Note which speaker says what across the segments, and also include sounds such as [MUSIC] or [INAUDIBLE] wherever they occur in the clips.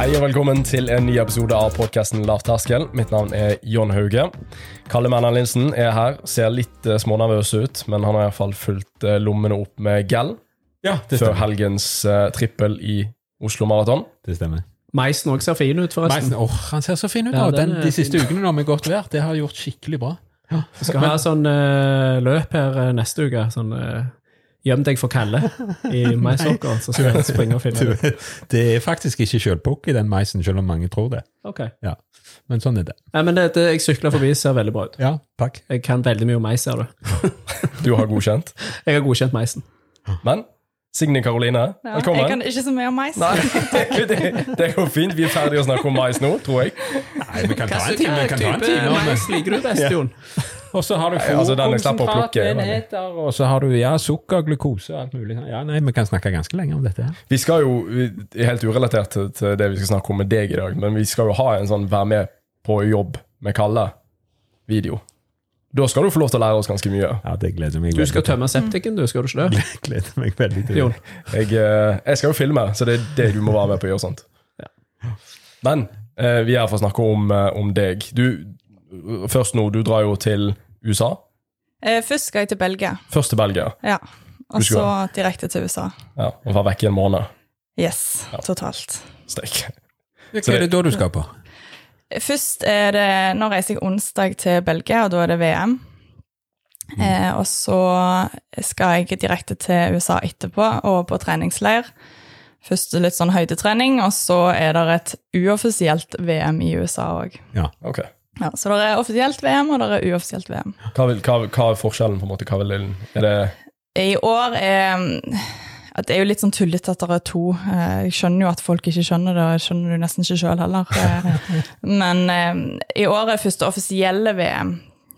Speaker 1: Hei og velkommen til en ny episode av podkasten Lavterskel. Mitt navn er Jon Hauge. Kalle Menna Linsen er her. Ser litt eh, smånervøs ut, men han har iallfall fulgt eh, lommene opp med gel
Speaker 2: Ja, det
Speaker 1: før
Speaker 2: stemmer.
Speaker 1: helgens eh, trippel i Oslo Maraton.
Speaker 2: Det stemmer.
Speaker 3: Meisen òg ser fin ut,
Speaker 2: Meisen,
Speaker 3: forresten.
Speaker 2: åh, han ser så fin ut.
Speaker 3: Ja,
Speaker 2: og den,
Speaker 3: den er
Speaker 2: de siste ukene nå med godt vær, det har gjort skikkelig bra.
Speaker 3: Vi skal ha sånn eh, løp her eh, neste uke. Sånn eh, gjem deg for Kalle i
Speaker 4: [LAUGHS]
Speaker 3: meissokker, så skal han springe og finne det.
Speaker 2: [LAUGHS] Du, det er faktisk ikke sjølpukk i den meisen, selv om mange tror det.
Speaker 3: Ok.
Speaker 2: Ja, Men sånn er det.
Speaker 3: Nei, men det, det, jeg sykler forbi, ser veldig bra ut.
Speaker 2: Ja, takk.
Speaker 3: Jeg kan veldig mye om meis, ser du.
Speaker 1: Du har godkjent.
Speaker 3: Jeg har godkjent meisen.
Speaker 1: Men Signe Karoline,
Speaker 4: Ja,
Speaker 1: velkommen.
Speaker 4: Jeg kan ikke så mye om mais.
Speaker 1: [LAUGHS] Nei, det, det, det går fint. Vi er ferdige å snakke om mais nå, tror jeg.
Speaker 2: Nei, vi kan ta en time.
Speaker 3: Hva
Speaker 2: Vi kan ta en time om
Speaker 3: mais
Speaker 2: det.
Speaker 3: liker du best, Jon?
Speaker 2: Og så har du
Speaker 1: Nei, altså, den jeg slapp å
Speaker 2: fôrkonsentrat,
Speaker 1: plukke, men-
Speaker 2: enheter, og så har du ja, sukker, glukose og alt mulig. sånn. Ja, nei, Vi kan snakke ganske lenge om dette. her.
Speaker 1: Vi skal jo, vi- helt urelatert til- til det vi skal snakke om med deg i dag, men vi skal jo ha en sånn Vær med på jobb med Kalle-video. Da skal du få lov til å lære oss ganske mye.
Speaker 2: Ja, det gleder meg
Speaker 3: Du skal tømme septiken, du, skal du ikke det?
Speaker 2: Jeg [LAUGHS] gleder meg veldig til
Speaker 3: Jon.
Speaker 2: det.
Speaker 1: Jeg, eh, jeg skal jo filme, så det er det du må være med på å gjøre sånt.
Speaker 3: Ja.
Speaker 1: Men eh, vi er her for å snakke om, eh, om deg. Du, først nå, du drar jo til USA.
Speaker 4: Eh, Først skal jeg til Belgia,
Speaker 1: Først til Belgia,
Speaker 4: ja.
Speaker 1: Du
Speaker 4: og
Speaker 1: skal-
Speaker 4: så direkte til USA.
Speaker 1: ja, og var vekk i en måned.
Speaker 4: Yes, totalt.
Speaker 1: Steik.
Speaker 2: Hva er det da du skal på?
Speaker 4: Først er det Nå reiser jeg onsdag til Belgia, og da er det VM.
Speaker 1: Mm.
Speaker 4: Eh, og så skal jeg direkte til USA etterpå og på treningsleir. Først litt sånn høydetrening, og så er det et uoffisielt VM i USA òg.
Speaker 1: Ok.
Speaker 4: Ja, så det er offisielt VM, og det er uoffisielt VM.
Speaker 1: Hva, vil, hva, hva er forskjellen, på en måte? Hva vil, er det
Speaker 4: I år er at Det er jo litt sånn tullete at det er to. Eh, Jeg skjønner jo at folk ikke skjønner det, og jeg skjønner det jo nesten ikke sjøl heller.
Speaker 3: [LAUGHS]
Speaker 4: Eh, Men eh, i år er det første offisielle VM.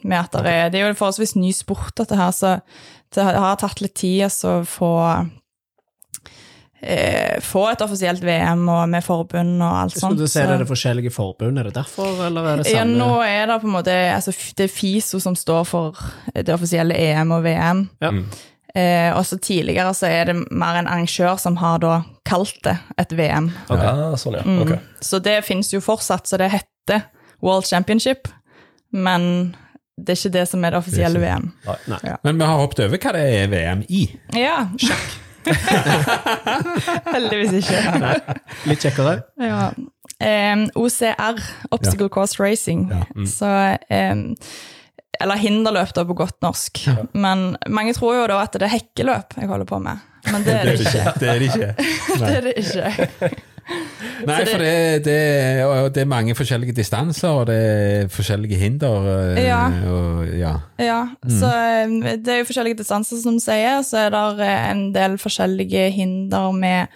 Speaker 4: med at Det er, det er jo en forholdsvis ny sport, dette her, så det har- har tatt litt tid altså, å få eh, få et offisielt VM og med forbund og alt sånt.
Speaker 3: Skulle du si det
Speaker 4: sånn, så-
Speaker 3: er det forskjellige forbund? Er det derfor, eller er det
Speaker 4: ja, nå
Speaker 3: samme?
Speaker 4: er det på en måte altså, f- Det er FISO som står for det offisielle EM og VM.
Speaker 3: Ja.
Speaker 4: Eh, og så tidligere så er det mer en arrangør som har da kalt det et VM.
Speaker 1: Ja, sånn, ja. Ok.
Speaker 4: Så det finnes jo fortsatt, så det heter World Championship. Men det er ikke det som er det offisielle VM.
Speaker 2: Men vi har hoppet over hva det er VM i.
Speaker 4: Ja. [LAUGHS] Sjakk. Heldigvis ikke.
Speaker 3: Litt kjekkere?
Speaker 4: Ja. Em, OCR, Obstacle Course Racing. Så em, Eller hinderløp, da, på godt norsk. Men mange tror jo da at det er hekkeløp jeg holder på med. Men [LAUGHS] det er det ikke.
Speaker 2: Det er det ikke.
Speaker 4: Det er det ikke.
Speaker 2: Nei,
Speaker 4: det-
Speaker 2: for det, det, og det er mange forskjellige distanser, og det er forskjellige hinder. eh,
Speaker 4: Ja.
Speaker 2: Og, ja.
Speaker 4: Ja, så eh, det er jo forskjellige distanser, som du sier. Så er det en del forskjellige hinder med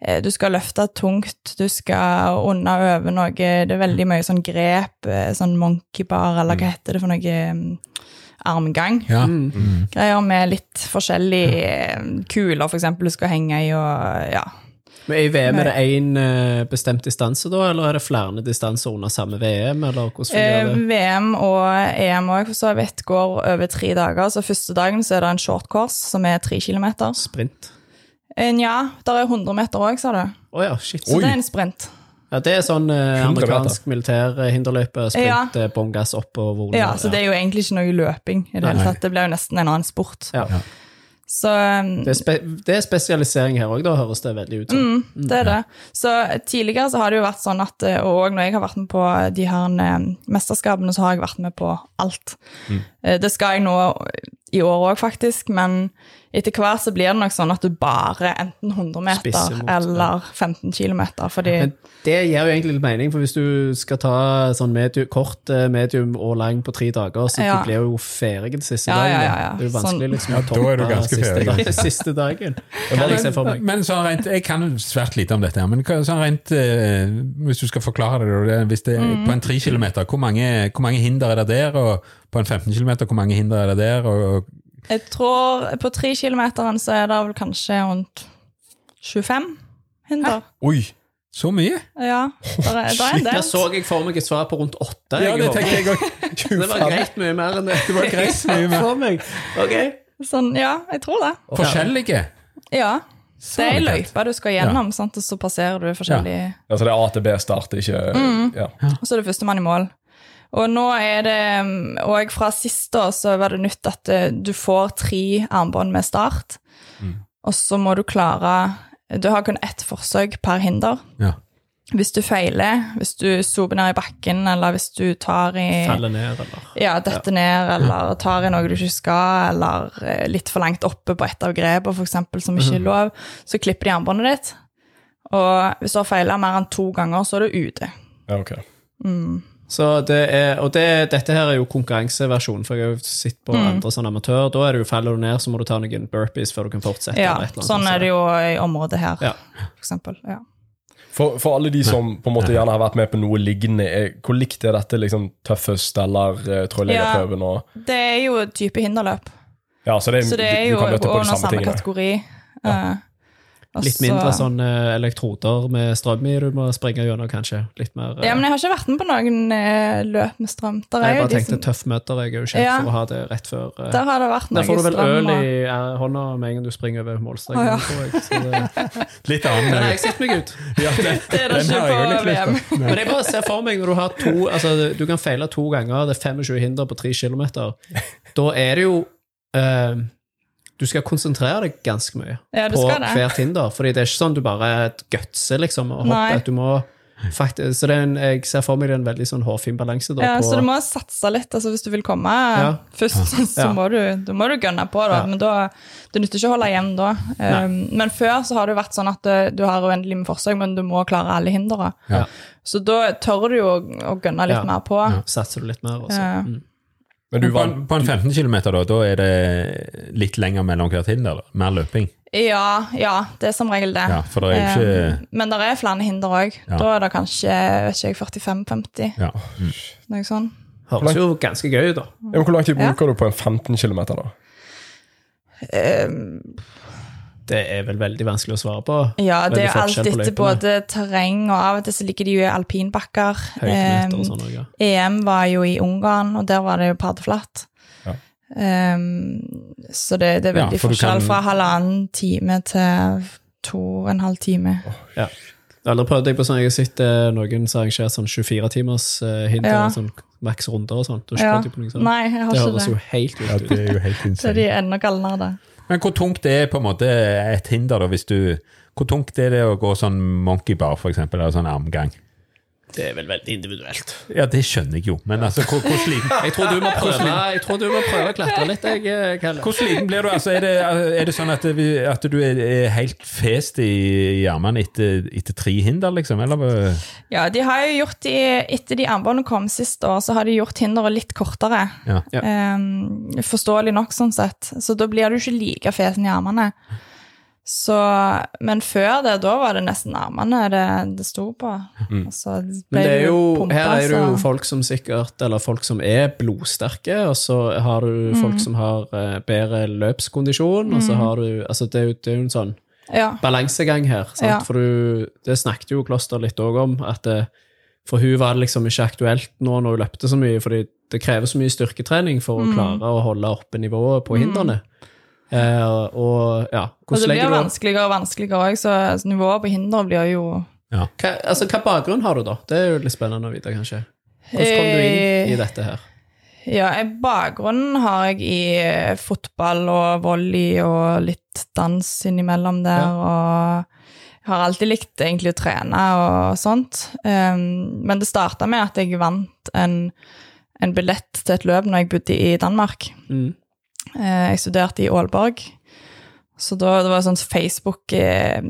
Speaker 4: eh, Du skal løfte tungt, du skal unna og over noe. Det er veldig mye sånn grep, eh, sånn monkeybar, eller hva heter det for noe mm, Armgang.
Speaker 2: Ja.
Speaker 4: Greier med litt forskjellige eh, kuler, for eksempel, du skal henge i og ja.
Speaker 3: Men I VM er det én eh, bestemt distanse, da, eller er det flere distanser under samme VM? eller hvordan
Speaker 4: Eh,
Speaker 3: fungerer det?
Speaker 4: VM og EM òg, for så vidt, går over tre dager. Så første dagen så er det en short course, som er tre kilometer.
Speaker 3: Sprint.
Speaker 4: Eh, Nja, der er 100 meter òg, sa du.
Speaker 3: Å ja, shit.
Speaker 4: Så det er en sprint.
Speaker 3: Ja, det er sånn eh,
Speaker 1: 100 meter.
Speaker 3: amerikansk militær eh, hinderløype, sprint, ja. bånn gass opp og volum.
Speaker 4: Ja, Så det er jo egentlig ikke noe løping i det hele tatt. Det blir jo nesten en annen sport.
Speaker 3: Ja.
Speaker 4: Så um,
Speaker 3: Det er, spe det er spesialisering her òg, da høres det veldig ut som.
Speaker 4: det er det. Så tidligere så har det jo vært sånn at eh, Og når jeg har vært med på de her eh, mesterskapene, så har jeg vært med på alt.
Speaker 3: Mm.
Speaker 4: Eh, Det skal jeg nå i år òg, faktisk, men etter hvert så blir det nok sånn at du bare enten 100
Speaker 3: Spisser
Speaker 4: meter
Speaker 3: mot, ja.
Speaker 4: eller 15 km, fordi
Speaker 3: Men det gir jo egentlig litt mening, for hvis du skal ta sånn medium, kort, eh, medium og lang på tre dager, så
Speaker 4: Ja.
Speaker 3: du blir jo ferdig den siste
Speaker 4: Ja,
Speaker 3: dagen.
Speaker 4: ja,
Speaker 3: da.
Speaker 4: ja, ja.
Speaker 3: Det er jo vanskelig
Speaker 4: Sånn.
Speaker 3: liksom, å
Speaker 2: Ja, da er du
Speaker 3: toppe
Speaker 2: ganske ferdig,
Speaker 3: siste, dag, [LAUGHS] siste dagen. Kan jeg se for meg.
Speaker 2: Men så rent, jeg kan jo svært lite om dette, her, men hva- sånn rent, eh, hvis du skal forklare det, og det hvis det
Speaker 4: Mm.
Speaker 2: er på en 3 km, hvor mange, hvor mange hinder er det der? Og på en 15 km, hvor mange hinder er det der? Og,
Speaker 4: Jeg tror på tre kilometeren så er det vel kanskje rundt 25 hinder.
Speaker 1: Oi!
Speaker 2: så mye?
Speaker 4: Ja, der er, der er en
Speaker 3: Der
Speaker 4: del.
Speaker 3: så jeg for meg et svar på rundt åtte.
Speaker 2: Ja,
Speaker 3: jeg
Speaker 2: det
Speaker 3: håper.
Speaker 2: tenkte jeg
Speaker 3: Det var
Speaker 2: òg.
Speaker 3: greit mye mer enn det.
Speaker 4: [LAUGHS]
Speaker 3: Det var
Speaker 2: greit mye mer.
Speaker 3: for meg. Ok.
Speaker 4: Sånn, ja, jeg tror det.
Speaker 2: Forskjellige?
Speaker 4: Ja. Det er ei
Speaker 2: Sannhet.
Speaker 4: løype du skal gjennom, sant? og så passerer du forskjellige
Speaker 1: Altså det er A til B start, ikke
Speaker 4: Mm.
Speaker 1: ja.
Speaker 4: Og så er det førstemann i mål. Og nå er det um, Og fra sist år så var det nytt at eh, du får tre armbånd med start. Og så må du klare Du har kun ett forsøk per hinder.
Speaker 2: Ja.
Speaker 4: Hvis du feiler, hvis du soper ned i bakken, eller hvis du tar i
Speaker 3: Faller ned, eller
Speaker 4: ja, detter ned, eller tar i noe du ikke skal, eller eh, litt for langt oppe på et av grepene, for eksempel, som ikke er lov, så klipper de armbåndet ditt. Og hvis du har feila mer enn to ganger, så er du ute.
Speaker 1: ja ok.
Speaker 3: Så det er, og det, dette her er jo konkurranseversjonen, for jeg har jo sett på
Speaker 4: Mm.
Speaker 3: andre sånn amatør. Da er det jo faller du ned, så må du ta noen burpees før du kan fortsette.
Speaker 4: Ja,
Speaker 3: eller et eller annet
Speaker 4: sånn
Speaker 3: sånt.
Speaker 4: er det jo i området her,
Speaker 3: Ja.
Speaker 4: for eksempel. Ja.
Speaker 1: For, for alle de som på en måte gjerne har vært med på noe lignende, er, hvor likt er dette liksom tøffest eller eh, trøylegerprøven? Og,
Speaker 4: Det er jo et type hinderløp,
Speaker 1: ja, så det er,
Speaker 4: så det er
Speaker 1: du,
Speaker 4: jo
Speaker 1: du kan møte på
Speaker 4: under
Speaker 1: de samme
Speaker 4: samme
Speaker 1: tingene.
Speaker 4: kategori. Eh, og
Speaker 3: Litt
Speaker 4: så-
Speaker 3: mindre sånn eh, elektroder med strøm i du må springe gjennom, kanskje. Litt mer eh,
Speaker 4: Ja, men jeg har ikke vært med på noen eh, løp med strøm. Der, er
Speaker 3: Jeg
Speaker 4: jo
Speaker 3: bare
Speaker 4: de
Speaker 3: tenkte
Speaker 4: som,
Speaker 3: tøffmøter. Jeg er jo kjent
Speaker 4: Ja.
Speaker 3: for å ha det rett før. eh,
Speaker 4: der har det vært noe
Speaker 3: der får du vel
Speaker 4: strøm.
Speaker 3: øl i
Speaker 4: og-
Speaker 3: eh, hånda med en gang du springer over målstreken.
Speaker 4: Å, ja.
Speaker 3: tror jeg. Så [LAUGHS] det,
Speaker 2: Litt annen
Speaker 3: den har
Speaker 2: løype.
Speaker 3: jeg sett meg ut.
Speaker 4: Det er det
Speaker 2: Den
Speaker 4: ikke
Speaker 2: har jeg jo
Speaker 4: på
Speaker 2: litt lyst
Speaker 4: VM.
Speaker 3: Men jeg bare ser for meg når du har to altså, Du kan feile to ganger, det er 25 hinder på 3 km. Da er det jo eh, Du skal konsentrere deg ganske mye
Speaker 4: Ja, du
Speaker 3: på
Speaker 4: skal det.
Speaker 3: hvert hinder. Fordi det er ikke sånn du bare gutser liksom, og
Speaker 4: Nei.
Speaker 3: hopper. Du må faktisk, så det er en, jeg ser for meg det er en veldig sånn hårfin balanse. Da,
Speaker 4: Ja,
Speaker 3: på,
Speaker 4: så du må satse litt altså, hvis du vil komme
Speaker 3: Ja.
Speaker 4: først. [LAUGHS] Så
Speaker 3: Ja.
Speaker 4: må du, da må du gønne på, da.
Speaker 3: Ja.
Speaker 4: Men da, det nytter ikke å holde igjen da. Um, men før så har det jo vært sånn at eh, du har uendelig med forsøk, men du må klare alle hindre.
Speaker 2: Ja.
Speaker 4: Så da tør du jo å, å gønne
Speaker 3: Ja.
Speaker 4: litt mer på.
Speaker 3: Satser du litt mer, og så
Speaker 4: Ja.
Speaker 3: mm.
Speaker 1: Men du
Speaker 2: På
Speaker 1: vant,
Speaker 4: Mm.
Speaker 2: en, på en 15 km, da, da er det litt lenger mellom hvert hinder? Da. Mer løping?
Speaker 4: Ja, ja, det er som regel det.
Speaker 2: Ja, for det er jo
Speaker 4: Eh,
Speaker 2: ikke
Speaker 4: Men det er flere hinder òg.
Speaker 2: Ja.
Speaker 4: Da er det kanskje vet ikke jeg, 45-50,
Speaker 2: ja.
Speaker 4: noe sånt.
Speaker 3: Høres jo ganske gøy ut, da.
Speaker 1: ja, men hvor lang tid
Speaker 4: Ja.
Speaker 1: bruker du på en 15 km, da?
Speaker 3: Um, Det er vel veldig vanskelig å svare på.
Speaker 4: Ja, det
Speaker 3: Veldig
Speaker 4: er jo alt
Speaker 3: forskjell på
Speaker 4: etter
Speaker 3: løypene.
Speaker 4: både terreng, og av og til så ligger de jo i alpinbakker.
Speaker 3: Høydemeter
Speaker 4: Eh,
Speaker 3: og sånn også, ja.
Speaker 4: EM var jo i Ungarn, og der var det jo paddeflatt.
Speaker 1: Ja.
Speaker 4: Ehm, så det, det er
Speaker 2: Ja,
Speaker 4: veldig
Speaker 2: for du
Speaker 4: forskjell
Speaker 2: kan-
Speaker 4: fra halvannen time til to og en halv time.
Speaker 3: Ja. Jeg har aldri prøvd deg på sånn, jeg har sett eh, noen som arrangerer sånn 24-timers eh, hinder,
Speaker 4: Ja.
Speaker 3: og sånn maks runder og sånn. Du har ikke
Speaker 4: Ja.
Speaker 3: prøvd deg på noe sånt?
Speaker 4: Nei, jeg har
Speaker 3: det
Speaker 4: ikke
Speaker 3: høres
Speaker 4: det.
Speaker 3: jo helt
Speaker 2: ja,
Speaker 3: vilt ut.
Speaker 2: det er jo [LAUGHS] helt
Speaker 4: Så de er enda galnere, da.
Speaker 2: Men hvor tungt det er på en måte et hinder, da, hvis du Hvor tungt er det å gå sånn monkey bar, for eksempel, eller sånn armgang?
Speaker 3: Det er vel veldig individuelt.
Speaker 2: Ja, det skjønner jeg jo, men altså, hvor, hvor,
Speaker 3: [LAUGHS]
Speaker 2: sliten,
Speaker 3: Jeg tror du må prøve, jeg tror du må prøve å klatre litt, jeg, eh, Kalle.
Speaker 2: hvor sliten blir du? Altså, er, det, er det sånn at, vi, at du er, er helt fest i, i armene etter, etter tre hinder, liksom? Eller?
Speaker 4: Ja, de har jo gjort de, Etter de armbåndene kom sist år, så har de gjort hinderet litt kortere.
Speaker 2: Ja.
Speaker 3: Ja.
Speaker 4: Ehm, forståelig nok, sånn sett. Så da blir du ikke like fesen i armene. Så, men før det, da var det nesten armene det, det sto på. Og så ble
Speaker 3: Mm. Men det er
Speaker 4: du altså?
Speaker 3: jo,
Speaker 4: pumpet,
Speaker 3: her er det jo
Speaker 4: så-
Speaker 3: folk som sikkert, eller folk som er blodsterke, og så har du
Speaker 4: Mm.
Speaker 3: folk som har eh, bedre løpskondisjon, og så har du, altså det er jo, det er jo en sånn
Speaker 4: ja.
Speaker 3: balansegang her. Sant?
Speaker 4: Ja.
Speaker 3: For du, det snakket jo Kloster litt òg om, at eh, for hun var det liksom ikke aktuelt nå når hun løpte så mye, fordi det krever så mye styrketrening for
Speaker 4: Mm.
Speaker 3: å klare å holde oppe nivået på hindrene. Eh, og ja,
Speaker 4: Og det
Speaker 3: hvordan
Speaker 4: blir
Speaker 3: legger du opp?
Speaker 4: vanskeligere og vanskeligere òg, så så nivået på hinderet blir jo
Speaker 3: Hva, altså, hva bakgrunn har du, da? Det er jo litt spennende å vite, kanskje. Hvordan kom du inn
Speaker 4: Eh,
Speaker 3: i dette her?
Speaker 4: Ja, jeg- bakgrunnen har jeg i eh, fotball og volley og litt dans innimellom der, og jeg har alltid likt egentlig å trene og sånt. Um, men det starta med at jeg vant en, en billett til et løp når jeg bodde i Danmark.
Speaker 3: Mm.
Speaker 4: Eh, jeg studerte i Aalborg, så da det var sånn Facebook eh,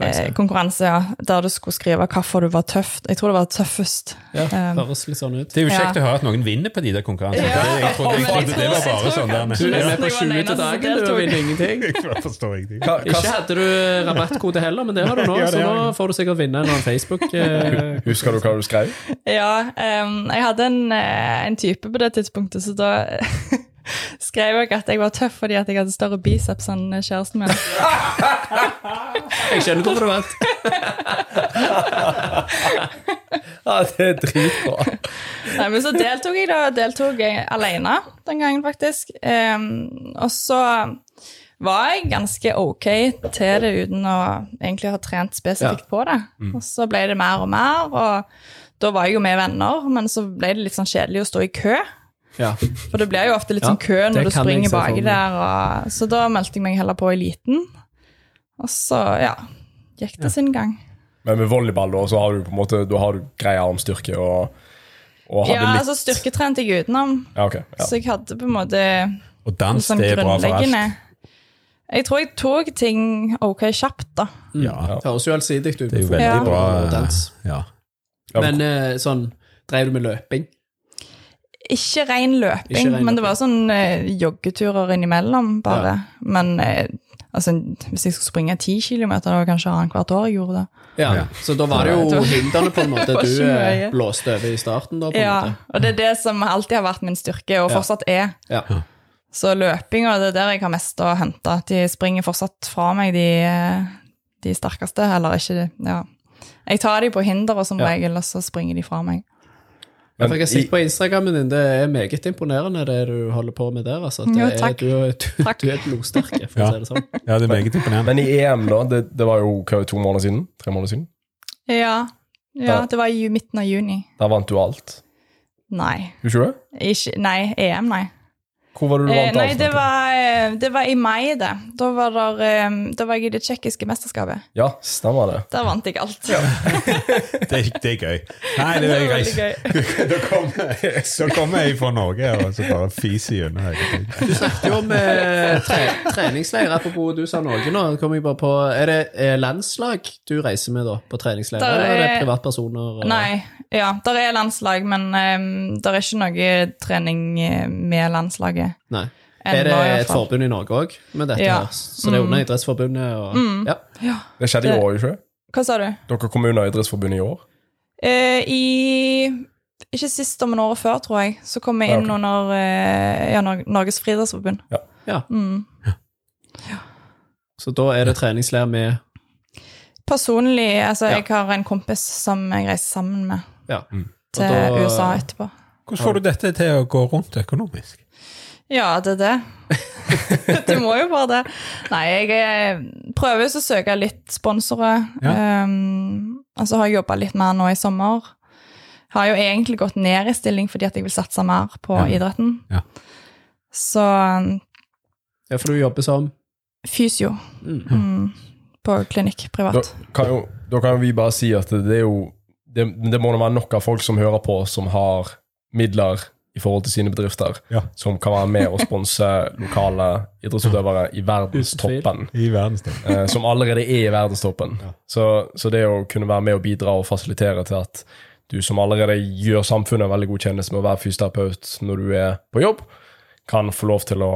Speaker 4: eh, konkurranse, ja, der du skulle skrive hvorfor du var tøff. Jeg tror det var tøffest.
Speaker 3: Ja,
Speaker 4: eh,
Speaker 3: høres litt sånn ut.
Speaker 2: Det er jo kjekt
Speaker 4: Ja.
Speaker 2: å høre at noen vinner på de der konkurransene.
Speaker 4: Ja.
Speaker 2: Det- Jeg trodde, jeg trodde det
Speaker 4: Men jeg
Speaker 2: var
Speaker 4: tror-
Speaker 2: bare
Speaker 4: jeg tror
Speaker 2: sånn der.
Speaker 4: kanskje-
Speaker 3: Du er med på
Speaker 4: Jeg var
Speaker 3: 20
Speaker 4: den
Speaker 3: til
Speaker 4: eneste
Speaker 3: dagen, du
Speaker 4: som
Speaker 3: vinner ingenting.
Speaker 2: [LAUGHS] Jeg forstår ingenting.
Speaker 1: Hva, hva,
Speaker 3: Ikke hadde du rabattkode heller, men det har du nå,
Speaker 2: Ja, det
Speaker 3: så
Speaker 2: har
Speaker 3: nå får du sikkert vinne en eller
Speaker 2: [LAUGHS]
Speaker 3: annen Facebook. eh,
Speaker 1: husker du hva du skrev?
Speaker 4: Ja, ehm, jeg hadde en, eh, en type på det tidspunktet, så da [LAUGHS] skrev jeg at jeg var tøff fordi at jeg hadde større biceps enn kjæresten min.
Speaker 3: Jeg kjenner til det vant.
Speaker 1: Ja, det er dritbra.
Speaker 4: Nei, men så deltok jeg da, deltok jeg alene den gangen faktisk. Ehm, og så var jeg ganske ok til det uten å egentlig ha trent spesifikt på det. Og så ble det mer og mer, og da var jeg jo med venner, men så ble det litt sånn kjedelig å stå i kø.
Speaker 3: Ja.
Speaker 4: For det blir jo ofte litt
Speaker 3: Ja,
Speaker 4: sånn kø
Speaker 3: det
Speaker 4: når du
Speaker 3: kan jeg
Speaker 4: springer
Speaker 3: se for
Speaker 4: baki
Speaker 3: meg.
Speaker 4: der, og, så da meldte jeg meg heller på eliten. Og så, ja, gikk det sin gang.
Speaker 1: Men med volleyball da, så har du på en måte Da har du greia om styrke og, og hadde
Speaker 4: Ja,
Speaker 1: litt
Speaker 4: altså styrketrente jeg utenom,
Speaker 1: Ja, ok. Ja.
Speaker 4: så jeg hadde på en måte
Speaker 2: Og dans,
Speaker 4: sånn
Speaker 2: det er bra for
Speaker 4: grunnleggende
Speaker 2: alt.
Speaker 4: Jeg tror jeg tok ting ok kjapt, da.
Speaker 2: Ja,
Speaker 3: Det høres jo allsidig ut.
Speaker 2: det er jo veldig
Speaker 4: Ja.
Speaker 2: bra. eh,
Speaker 3: Og dans.
Speaker 2: Ja.
Speaker 1: Ja,
Speaker 3: Men eh, sånn Drev du med løping?
Speaker 4: Ikke ren løping,
Speaker 3: Ikke ren
Speaker 4: men det var
Speaker 3: løping.
Speaker 4: sånn eh, joggeturer innimellom, bare. Men eh, altså, hvis jeg skulle springe ti kilometer, det var kanskje annethvert år jeg gjorde det.
Speaker 3: Ja.
Speaker 2: Ja.
Speaker 3: Så da var det
Speaker 4: Det
Speaker 3: jo
Speaker 4: var-
Speaker 3: hindrene på en måte
Speaker 4: [LAUGHS] Det var
Speaker 3: du
Speaker 4: ikke
Speaker 3: eh,
Speaker 4: mye.
Speaker 3: blåste over i starten, da, på en
Speaker 4: Ja,
Speaker 3: måte.
Speaker 4: og det er det som alltid har vært min styrke, og
Speaker 3: Ja.
Speaker 4: fortsatt er.
Speaker 3: Ja.
Speaker 4: Så løpinga, det er der jeg har mest å hente. At de springer fortsatt fra meg, de, eh, de sterkeste, eller ikke de. Ja. Jeg tar de på hinderet som
Speaker 3: Ja.
Speaker 4: regel, og så springer de fra meg.
Speaker 3: Ja, for jeg har sett
Speaker 1: i-
Speaker 3: på Instagrammen din, det er meget imponerende det du holder på med der. Altså, at det
Speaker 4: Jo,
Speaker 3: er,
Speaker 4: takk.
Speaker 3: du, er- du,
Speaker 4: Takk.
Speaker 3: du er blodsterk, for
Speaker 2: Ja.
Speaker 3: å si det sånn.
Speaker 2: ja, det er meget imponerende.
Speaker 1: Men i EM, da, det, det var jo hva, to måneder siden? Tre måneder siden?
Speaker 4: Ja, ja
Speaker 1: Da-
Speaker 4: det var i ju- midten av juni.
Speaker 1: Der vant du alt.
Speaker 4: Nei.
Speaker 1: Husker du det?
Speaker 4: Ikke, nei, EM, nei.
Speaker 1: Hvor var det du
Speaker 4: Eh,
Speaker 1: vant
Speaker 4: nei,
Speaker 1: alt?
Speaker 4: det
Speaker 1: vet du?
Speaker 4: var, eh, det var i mai, det. Da var, der, eh, da var jeg i det tsjekkiske mesterskapet.
Speaker 1: Ja, stemmer det.
Speaker 4: Der vant jeg alt.
Speaker 2: Det, er- det er gøy. Nei, det
Speaker 4: [LAUGHS]
Speaker 2: er
Speaker 4: veldig
Speaker 2: greit. Da kommer jeg, så kommer jeg fra Norge og så bare fiser gjennom hele tiden.
Speaker 3: Du snakket jo om eh, tre, treningsleir. Apropos du sa Norge nå, kom jeg bare på Er det eh, landslag du reiser med da, på treningsleir,
Speaker 4: Der
Speaker 3: eller er det
Speaker 4: er-
Speaker 3: privatpersoner? eh?
Speaker 4: Nei, ja, der er landslag, men um, der er ikke noe trening eh, med landslaget.
Speaker 3: Nei.
Speaker 4: Ennå,
Speaker 3: Er det
Speaker 4: i hvert
Speaker 3: et
Speaker 4: fall.
Speaker 3: forbund i Norge òg med dette
Speaker 4: Ja. Mm.
Speaker 3: her? Så det er under Idrettsforbundet og Ja.
Speaker 1: Det skjedde i
Speaker 4: Det-
Speaker 1: år, ikke sant?
Speaker 4: Hva sa du?
Speaker 1: Dere kom under Idrettsforbundet i år.
Speaker 4: Eh, I Ikke sist, men året før, tror jeg, så kom jeg
Speaker 1: Ja,
Speaker 4: inn
Speaker 1: ok.
Speaker 4: under eh, ja, Nor- Norges friidrettsforbund.
Speaker 3: ja.
Speaker 4: Mm.
Speaker 3: Så da er det treningsleir med
Speaker 4: Personlig, altså,
Speaker 3: Ja.
Speaker 4: jeg har en kompis som jeg reiser sammen med
Speaker 3: Ja.
Speaker 4: til
Speaker 3: da-
Speaker 4: USA etterpå.
Speaker 2: Hvordan får du dette til å gå rundt økonomisk?
Speaker 4: Ja, det er
Speaker 1: [LAUGHS]
Speaker 4: det. du må jo bare det. Nei, jeg eh, prøver jo så å søke litt sponsorer.
Speaker 2: Ja.
Speaker 4: Um, og så har jeg jobba litt mer nå i sommer. Har jo egentlig gått ned i stilling fordi at jeg vil satse mer på
Speaker 2: Ja.
Speaker 4: idretten.
Speaker 2: Ja.
Speaker 4: Så um,
Speaker 3: Ja, for du jobber som
Speaker 4: fysio
Speaker 3: Mm.
Speaker 4: mm, på klinikk
Speaker 1: Da
Speaker 4: privat.
Speaker 1: kan jo, da kan jo vi bare si at det er jo det, det må da være nok av folk som hører på, som har midler i forhold til sine bedrifter,
Speaker 2: Ja.
Speaker 1: som kan være med og sponse lokale idrettsutøvere i verdenstoppen.
Speaker 2: I verdensdelen.
Speaker 1: eh, Som allerede er i verdenstoppen. Så, så det å kunne være med og bidra og fasilitere til at du som allerede gjør samfunnet en veldig god tjeneste med å være fysioterapeut når du er på jobb, kan få lov til å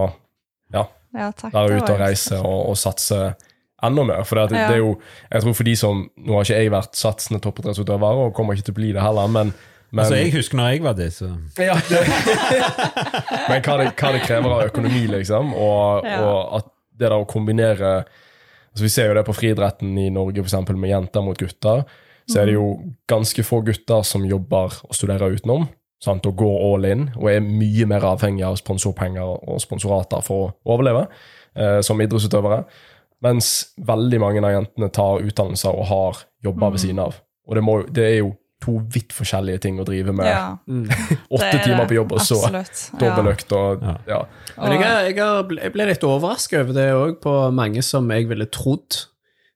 Speaker 1: ja,
Speaker 4: Ja, takk.
Speaker 1: være
Speaker 4: det
Speaker 1: ute
Speaker 4: var
Speaker 1: og
Speaker 4: jo-
Speaker 1: reise og, og satse enda mer. For det, at det,
Speaker 4: Ja.
Speaker 1: det er jo, jeg tror for de som, Nå har ikke jeg vært satsende toppidrettsutøver og kommer ikke til å bli det heller, men, men
Speaker 2: Altså, jeg husker når jeg var det, så
Speaker 1: ja, det, [LAUGHS] men hva det, hva det krever av økonomi, liksom, og,
Speaker 4: Ja.
Speaker 1: og at det der å kombinere altså Vi ser jo det på friidretten i Norge, f.eks. med jenter mot gutter. Så er det jo
Speaker 4: Mm.
Speaker 1: ganske få gutter som jobber og studerer utenom. Sant, og går all in, og er mye mer avhengig av sponsorpenger og sponsorater for å overleve eh, som idrettsutøvere. Mens veldig mange av jentene tar utdannelser og har jobber
Speaker 4: Mm.
Speaker 1: ved siden av. Og det, må, jo- det er jo to vidt forskjellige ting å drive med
Speaker 4: Ja,
Speaker 3: Mm.
Speaker 4: det
Speaker 1: eh, åtte
Speaker 4: er det.
Speaker 1: timer på jobb, og så
Speaker 4: Absolutt.
Speaker 1: dobbeltøkt og
Speaker 2: Ja.
Speaker 1: ja.
Speaker 3: Men jeg, er- jeg, er ble- jeg ble litt overraska over det òg, på mange som jeg ville trodd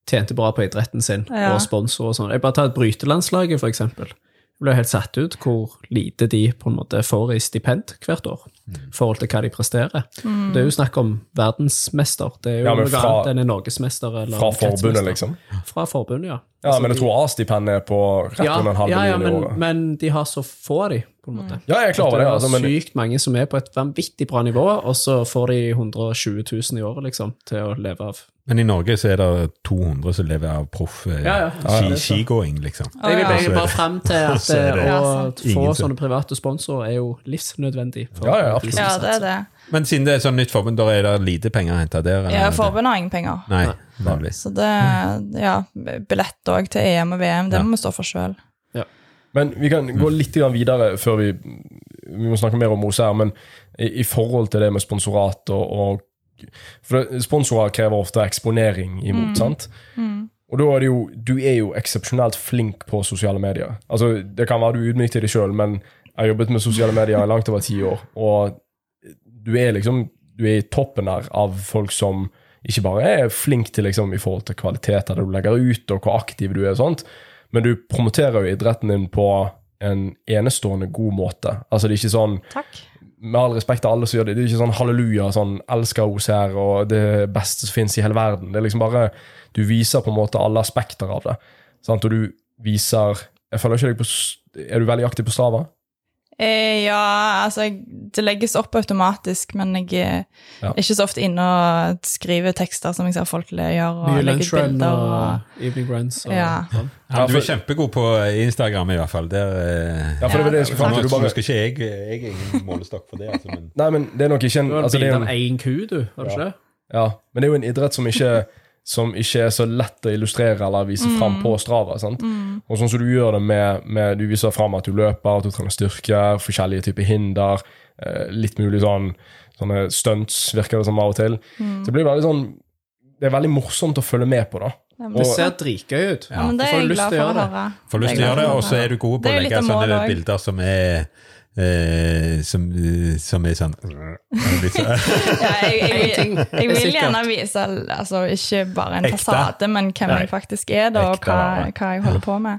Speaker 3: tjente bra på idretten sin,
Speaker 4: Ja.
Speaker 3: og sponsor og sånn. Jeg bare tar et brytelandslaget, for eksempel. Jeg ble helt satt ut hvor lite de på en måte får i stipend hvert år,
Speaker 1: Mm.
Speaker 3: i forhold til hva de presterer.
Speaker 4: Mm.
Speaker 3: Det er jo snakk om verdensmester. Det er jo
Speaker 1: Ja, men
Speaker 3: noe
Speaker 1: fra-
Speaker 3: annet enn en norgesmester eller
Speaker 1: Fra
Speaker 3: en kretsmester.
Speaker 1: forbundet, liksom.
Speaker 3: Fra forbundet, ja.
Speaker 1: Ja,
Speaker 3: Altså,
Speaker 1: men jeg
Speaker 3: de-
Speaker 1: tror A-stipendet er på rett
Speaker 3: ja,
Speaker 1: under en halv
Speaker 3: ja, ja,
Speaker 1: million i
Speaker 3: men,
Speaker 1: året.
Speaker 3: men de har så få av de, på en
Speaker 4: Mm.
Speaker 3: måte.
Speaker 1: Ja, jeg er klar over
Speaker 3: det
Speaker 1: det,
Speaker 3: er
Speaker 1: altså, men
Speaker 3: sykt mange som er på et vanvittig bra nivå, og så får de 120 000 i året liksom, til å leve av.
Speaker 2: Men i Norge så er det 200 som lever av proff eh,
Speaker 3: Ja, ja.
Speaker 2: ski-
Speaker 3: Ja, ja.
Speaker 2: skigåing, liksom.
Speaker 4: Å,
Speaker 3: Jeg vil
Speaker 4: ja.
Speaker 3: bare, bare frem
Speaker 1: [LAUGHS]
Speaker 3: til at
Speaker 2: Så er det-
Speaker 3: eh,
Speaker 4: Ja,
Speaker 3: å
Speaker 4: sant.
Speaker 3: få
Speaker 2: Ingen som-
Speaker 3: sånne private sponsorer er jo livsnødvendig. for
Speaker 1: Ja, ja,
Speaker 3: å
Speaker 1: absolutt.
Speaker 4: ja,
Speaker 3: liksom
Speaker 4: det
Speaker 3: satse.
Speaker 4: er det.
Speaker 2: Men siden det er sånn nytt forbund, da er det lite penger å hente der?
Speaker 4: Ja,
Speaker 2: eller?
Speaker 4: Forbundet har ingen penger.
Speaker 2: Nei, vanligvis.
Speaker 4: Så det, ja, billett òg til EM og VM, det
Speaker 2: Ja.
Speaker 4: må vi stå for sjøl.
Speaker 1: Men vi kan gå litt grann videre før vi Vi må snakke mer om Mose her, men i, i forhold til det med sponsorat og, og For det- sponsorer krever ofte eksponering imot, sant? Og da er det jo Du er jo eksepsjonelt flink på sosiale medier. Altså, Det kan være du utmykter det sjøl, men jeg har jobbet med sosiale medier i langt over ti år, og du er liksom Du er i toppen der av folk som ikke bare er flink til liksom i forhold til kvaliteter du legger ut, og hvor aktiv du er og sånt, men du promoterer jo idretten din på en enestående god måte. Altså, det er ikke sånn
Speaker 4: Takk.
Speaker 1: med all respekt til alle som gjør det, det er ikke sånn halleluja, sånn elsker hos her, og det beste som finnes i hele verden. Det er liksom bare, du viser på en måte alle aspekter av det. Sant? Og du viser, jeg føler ikke deg på, s- er du veldig aktiv på Strava?
Speaker 4: Eh, ja, altså jeg- Det legges opp automatisk, men jeg eh,
Speaker 1: Ja.
Speaker 4: er ikke så ofte inne og skriver tekster som jeg ser folk le- gjør, og
Speaker 3: Mye
Speaker 4: legger ut
Speaker 3: lunchrun
Speaker 4: bilder.
Speaker 3: og
Speaker 4: Og,
Speaker 3: evening runs. Og,
Speaker 4: Ja.
Speaker 1: Mm,
Speaker 3: sånn.
Speaker 2: Ja, du
Speaker 1: for-
Speaker 2: er kjempegod på eh, Instagram, i hvert fall. Der, eh,
Speaker 1: Ja, for det var det jeg skulle fram
Speaker 2: Nå
Speaker 1: til. Du bare,
Speaker 2: skal ikke jeg, jeg er ingen målestokk for det, altså, men
Speaker 1: nei, men det er nok ikke en,
Speaker 3: Du har
Speaker 1: altså, det
Speaker 3: bilde
Speaker 1: er
Speaker 3: av
Speaker 1: en,
Speaker 3: egen ku, du. Har du ikke det?
Speaker 1: ja, men det er jo en idrett som ikke, som ikke er så lett å illustrere eller vise fram på Strava, sant?
Speaker 4: Mm.
Speaker 1: Og sånn som du gjør det med, med du viser fram at du løper, at du trenger styrke, forskjellige typer hinder, eh, litt mulig sånn sånne stunts, virker det som av og til. Så det blir veldig sånn Det er veldig morsomt å følge med på, da.
Speaker 4: Nemlig.
Speaker 3: Det
Speaker 1: Og,
Speaker 3: ser dritgøy ut.
Speaker 4: ja, men det
Speaker 3: Du
Speaker 4: er
Speaker 3: får
Speaker 4: jeg
Speaker 3: lyst
Speaker 4: glad
Speaker 3: til
Speaker 4: for
Speaker 3: å
Speaker 4: å
Speaker 3: gjøre det.
Speaker 4: høre.
Speaker 2: får lyst til å gjøre det. Og så er du god på
Speaker 4: Det
Speaker 2: å
Speaker 4: er jo litt
Speaker 2: legge
Speaker 4: av
Speaker 2: sånne
Speaker 4: målet også.
Speaker 2: bilder som er eh, som, eh, som er sånn litt så-
Speaker 4: Ja,
Speaker 3: [LAUGHS]
Speaker 4: jeg, jeg, jeg,
Speaker 3: er
Speaker 4: vil
Speaker 3: sikkert.
Speaker 4: gjerne vise altså, ikke bare en
Speaker 2: Ekte.
Speaker 4: fasade, men hvem
Speaker 2: Nei.
Speaker 4: jeg faktisk er, da, og
Speaker 2: Ekte,
Speaker 4: hva,
Speaker 2: ja.
Speaker 4: hva jeg holder på med.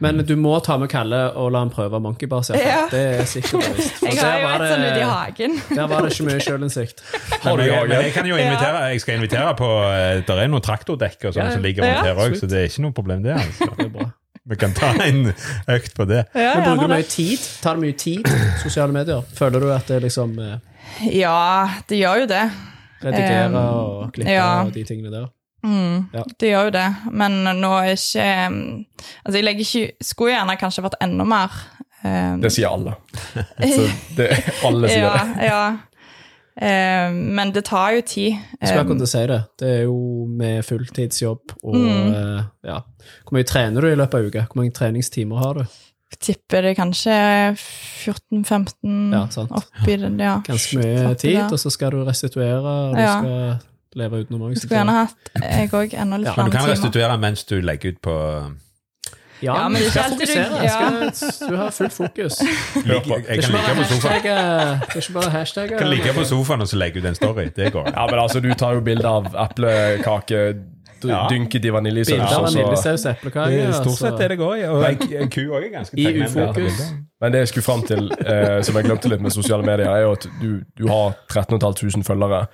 Speaker 3: Men du må ta med Kalle og la han prøve monkeybar.
Speaker 4: Ja.
Speaker 3: Ja. Det er
Speaker 4: [LAUGHS]
Speaker 3: sikkert og visst. For
Speaker 4: Jeg har
Speaker 3: der
Speaker 4: jo
Speaker 3: var
Speaker 4: et sånn
Speaker 3: det-
Speaker 4: ute i hagen.
Speaker 3: Der var det ikke mye sjølinnsikt.
Speaker 1: Har du
Speaker 2: men, jeg,
Speaker 1: jaget?
Speaker 2: men jeg kan jo invitere Jeg skal invitere på eh, Der er noen traktordekk og sånn
Speaker 3: Ja,
Speaker 2: som ligger
Speaker 4: ja,
Speaker 2: rundt her òg,
Speaker 3: absolutt.
Speaker 2: så det er ikke noe problem, det. altså.
Speaker 3: Det er bra.
Speaker 2: Vi kan ta en økt på det.
Speaker 4: Ja,
Speaker 3: Men
Speaker 4: gjerne
Speaker 3: bruker du
Speaker 4: det.
Speaker 3: mye tid? Tar det mye tid? Sosiale medier? Føler du at det liksom eh,
Speaker 4: Ja, det gjør jo det.
Speaker 3: redigerer og klipper
Speaker 4: ja.
Speaker 3: og de tingene der?
Speaker 4: Mm,
Speaker 3: Ja.
Speaker 4: Det gjør jo det, men nå er ikke um, Altså, jeg legger ikke Skulle gjerne kanskje vært enda mer. um,
Speaker 1: det sier alle. Så det, alle sier
Speaker 4: ja,
Speaker 1: det.
Speaker 4: ja. Um, men det tar jo tid.
Speaker 3: Jeg skulle akkurat
Speaker 4: Um,
Speaker 3: til å si det. Det er jo med fulltidsjobb og
Speaker 4: Mm.
Speaker 3: eh, ja. Hvor mye trener du i løpet av uka? Hvor mange treningstimer har du?
Speaker 4: tipper det kanskje 14-15
Speaker 3: Ja, sant.
Speaker 4: oppi den, ja.
Speaker 3: Ganske mye
Speaker 4: Fattig,
Speaker 3: tid,
Speaker 4: ja.
Speaker 3: og så skal du restituere, og du
Speaker 4: Ja.
Speaker 3: skal leve utenom òg.
Speaker 4: Skulle gjerne hatt jeg òg enda litt
Speaker 3: Ja,
Speaker 2: Men du kan
Speaker 4: lange timer.
Speaker 2: restituere mens du legger ut på
Speaker 3: Ja,
Speaker 4: Ja,
Speaker 3: men
Speaker 4: men det
Speaker 3: du
Speaker 4: er
Speaker 3: skal
Speaker 4: ikke alltid du-
Speaker 3: fokusere.
Speaker 4: ja.
Speaker 3: Du skal, du har fullt fokus.
Speaker 2: Jeg, jeg
Speaker 3: Det er
Speaker 2: kan
Speaker 3: ikke bare
Speaker 2: ligge på sofaen.
Speaker 3: hashtag, eh, det er ikke bare hashtag.
Speaker 2: Jeg kan ligge på sofaen og så legge ut en story. Det går.
Speaker 1: Ja, men altså, du tar jo bilde av eplekake d-
Speaker 2: Ja.
Speaker 1: dynket i vaniljesaus.
Speaker 3: Bilder av
Speaker 1: og så-
Speaker 3: vaniljesaus og eplekake. altså.
Speaker 2: Stort sett er altså, det går. Og
Speaker 1: Men-
Speaker 2: en ku også er ganske
Speaker 3: I
Speaker 2: takknemlig.
Speaker 3: ufokus.
Speaker 1: Men det jeg skulle fram til, eh, som jeg glemte litt med sosiale medier, er jo at du, du har 13.500 følgere,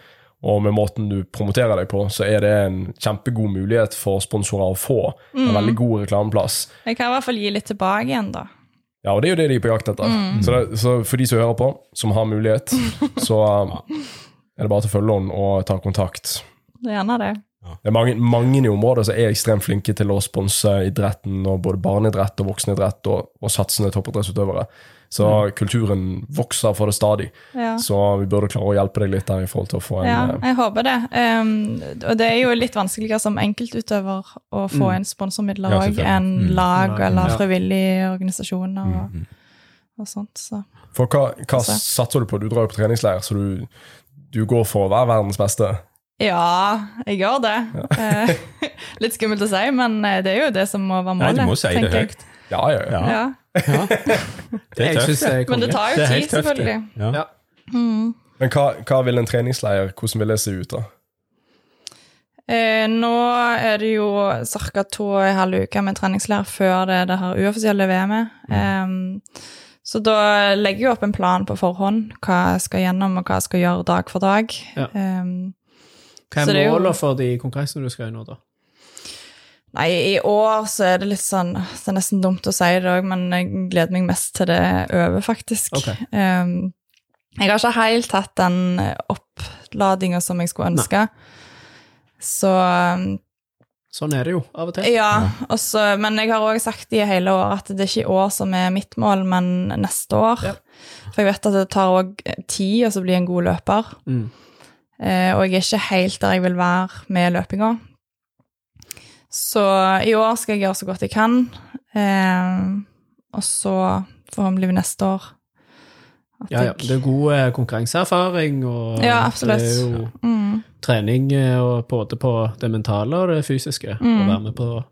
Speaker 1: og med måten du promoterer deg på, så er det en kjempegod mulighet for sponsorer å få. En veldig god reklameplass.
Speaker 4: Jeg kan i hvert fall gi litt tilbake igjen, da.
Speaker 1: Ja, og det er jo det de er på jakt etter. Så, det, så for de som hører på, som har mulighet, så eh, er det bare til å følge henne og ta kontakt.
Speaker 4: Det er Gjerne det.
Speaker 1: Det er mange, mange i området som er ekstremt flinke til å sponse idretten, og både barneidrett og voksenidrett, og, og satsende toppidrettsutøvere. Så kulturen vokser for det stadig.
Speaker 4: Mm. Ja.
Speaker 1: Så vi burde klare å hjelpe deg litt der i forhold til å få en
Speaker 4: Ja,
Speaker 1: eh,
Speaker 4: jeg håper det. Um, og det er jo litt vanskeligere som enkeltutøver å få inn sponsormidler
Speaker 2: Mm. Ja,
Speaker 4: òg
Speaker 2: selvfølgelig.
Speaker 4: enn
Speaker 2: Mm.
Speaker 4: lag
Speaker 3: Ja.
Speaker 4: eller
Speaker 3: Ja.
Speaker 4: frivillige organisasjoner og, og sånt. Så.
Speaker 1: For hva, hva
Speaker 4: Så.
Speaker 1: satser du på? Du drar jo på treningsleir, så du, du går for å være verdens beste.
Speaker 4: Ja, jeg gjør det. Eh, [LAUGHS] litt skummelt å si, men eh, det er jo det som må være
Speaker 2: Nei,
Speaker 4: målet.
Speaker 2: du må si det
Speaker 4: tenker jeg.
Speaker 2: høyt.
Speaker 1: Ja, ja, ja.
Speaker 2: Ja,
Speaker 4: Ja.
Speaker 2: det er
Speaker 3: Jeg synes
Speaker 2: tøft.
Speaker 3: det er
Speaker 4: [LAUGHS] Men
Speaker 3: konge.
Speaker 4: det tar
Speaker 2: Det
Speaker 4: jo
Speaker 2: er
Speaker 4: tid,
Speaker 2: helt tøft, det.
Speaker 4: selvfølgelig.
Speaker 2: Ja.
Speaker 3: Ja.
Speaker 1: Men hva, hva vil en treningsleir, hvordan vil det se ut da?
Speaker 4: Eh, nå er det jo ca. to og en halv uke med treningslær før det, det her uoffisielle VM-et.
Speaker 3: Mm.
Speaker 4: Ehm, så da legger jeg opp en plan på forhånd, hva jeg skal gjennom og hva jeg skal gjøre dag for dag.
Speaker 3: Ja.
Speaker 4: Ehm,
Speaker 3: Hva
Speaker 4: Så det
Speaker 3: er
Speaker 4: er jo-
Speaker 3: målet for de konkurransene du skal i nå, da?
Speaker 4: nei, i år så er det litt sånn åh, Det er nesten dumt å si det òg, men jeg gleder meg mest til det over, faktisk.
Speaker 3: Ok.
Speaker 4: Ehm, jeg har ikke helt hatt den oppladinga som jeg skulle ønske. Så um,
Speaker 3: Sånn er det jo av og til.
Speaker 4: Ja, og så- men jeg har òg sagt i hele år at det er ikke i år som er mitt mål, men neste år.
Speaker 3: Ja.
Speaker 4: For jeg vet at det tar òg tid å så bli en god løper.
Speaker 3: Mm.
Speaker 4: Eh, og jeg er ikke helt der jeg vil være med løpinga. Så i år skal jeg gjøre så godt jeg kan. Eh, og så forhåpentlig neste år. At
Speaker 3: Ja, ja.
Speaker 4: jeg-
Speaker 3: Det er god eh, konkurranseerfaring, og
Speaker 4: Ja, absolutt.
Speaker 3: det er jo
Speaker 4: mm.
Speaker 3: trening eh, og både på det mentale og det fysiske.
Speaker 4: Mm.
Speaker 3: Å være med på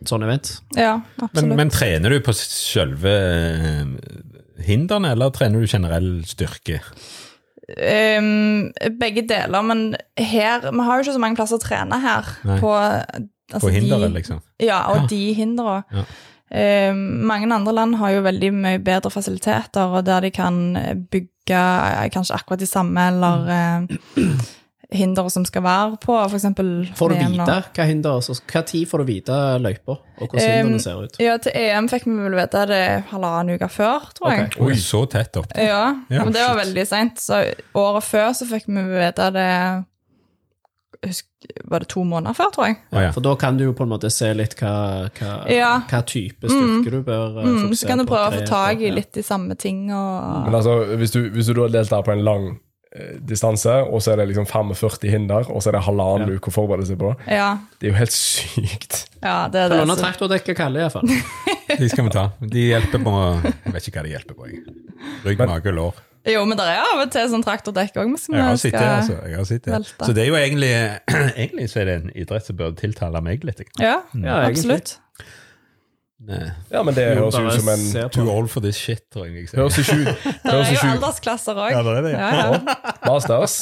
Speaker 3: et sånt event.
Speaker 4: Ja,
Speaker 2: Men,
Speaker 4: absolutt.
Speaker 2: men trener du på selve eh, hindrene, eller trener du generell styrke?
Speaker 4: Ehm, begge deler, men her Vi har jo ikke så mange plasser å trene her.
Speaker 2: Nei.
Speaker 4: På,
Speaker 2: På
Speaker 4: altså,
Speaker 2: hinderet,
Speaker 4: de,
Speaker 2: liksom?
Speaker 4: Ja, og
Speaker 2: Ja.
Speaker 4: de hindrene.
Speaker 2: Ja.
Speaker 4: Ehm, mange andre land har jo veldig mye bedre fasiliteter, og der de kan bygge eh, kanskje akkurat de samme, eller eh, hindre som skal være på, E f.eks.
Speaker 3: Får du vite hva hinder, altså, hva tid får du vite løyper, og hvordan
Speaker 4: Eh,
Speaker 3: hindrene ser ut?
Speaker 4: Ja, til EM fikk vi vel vite det halvannen uke før, tror jeg.
Speaker 3: Ok.
Speaker 2: Oi, så tett opp.
Speaker 4: Ja,
Speaker 2: Ja,
Speaker 4: men det var
Speaker 2: shit.
Speaker 4: veldig seint. Så året før så fikk vi vite det jeg husker- Var det to måneder før, tror jeg?
Speaker 2: Å,
Speaker 3: [LAUGHS]
Speaker 2: ja.
Speaker 3: For da kan du jo på en måte se litt hva, hva,
Speaker 4: Ja.
Speaker 3: hva type styrke du bør eh,
Speaker 4: Mm, så
Speaker 3: fokusere
Speaker 4: kan du
Speaker 3: på,
Speaker 4: prøve å
Speaker 3: tre Mm.
Speaker 4: få tak i
Speaker 3: etter.
Speaker 4: litt de samme ting og
Speaker 1: Men altså, hvis du, hvis du da deltar på en lang eh, distanse, og så er det liksom 45 hinder, og så er det halvannen
Speaker 3: Ja.
Speaker 1: uke å forberede seg på,
Speaker 4: Ja,
Speaker 1: det er jo helt [LAUGHS] sykt.
Speaker 4: ja det er
Speaker 3: Ja.
Speaker 4: det.
Speaker 3: Låne
Speaker 4: så-
Speaker 3: traktordekket, kaller jeg iallfall.
Speaker 2: De skal vi ta. De hjelper på Jeg vet ikke hva de hjelper på. Jeg. Rygg, mage, lår.
Speaker 4: Jo, men det er av og til sånn traktordekk òg.
Speaker 2: Jeg har sittet her, altså. Jeg har sittet her.
Speaker 4: velte.
Speaker 2: Så det er jo egentlig [CLEARS THROAT] Egentlig så er det en idrett som bør tiltale meg litt. jeg.
Speaker 4: Ja,
Speaker 3: Ja,
Speaker 4: absolutt.
Speaker 2: Eh,
Speaker 1: Ja, men det
Speaker 3: Jo,
Speaker 1: høres jo
Speaker 3: bare
Speaker 1: ut som en
Speaker 3: se på.
Speaker 2: Too old for this shit, tror jeg. liksom. jeg sier.
Speaker 1: Høres ikke ut
Speaker 4: Det er
Speaker 1: høres
Speaker 4: jo
Speaker 1: ikke ut
Speaker 4: aldersklasser òg.
Speaker 2: Ja, det er det, ja.
Speaker 1: Masters.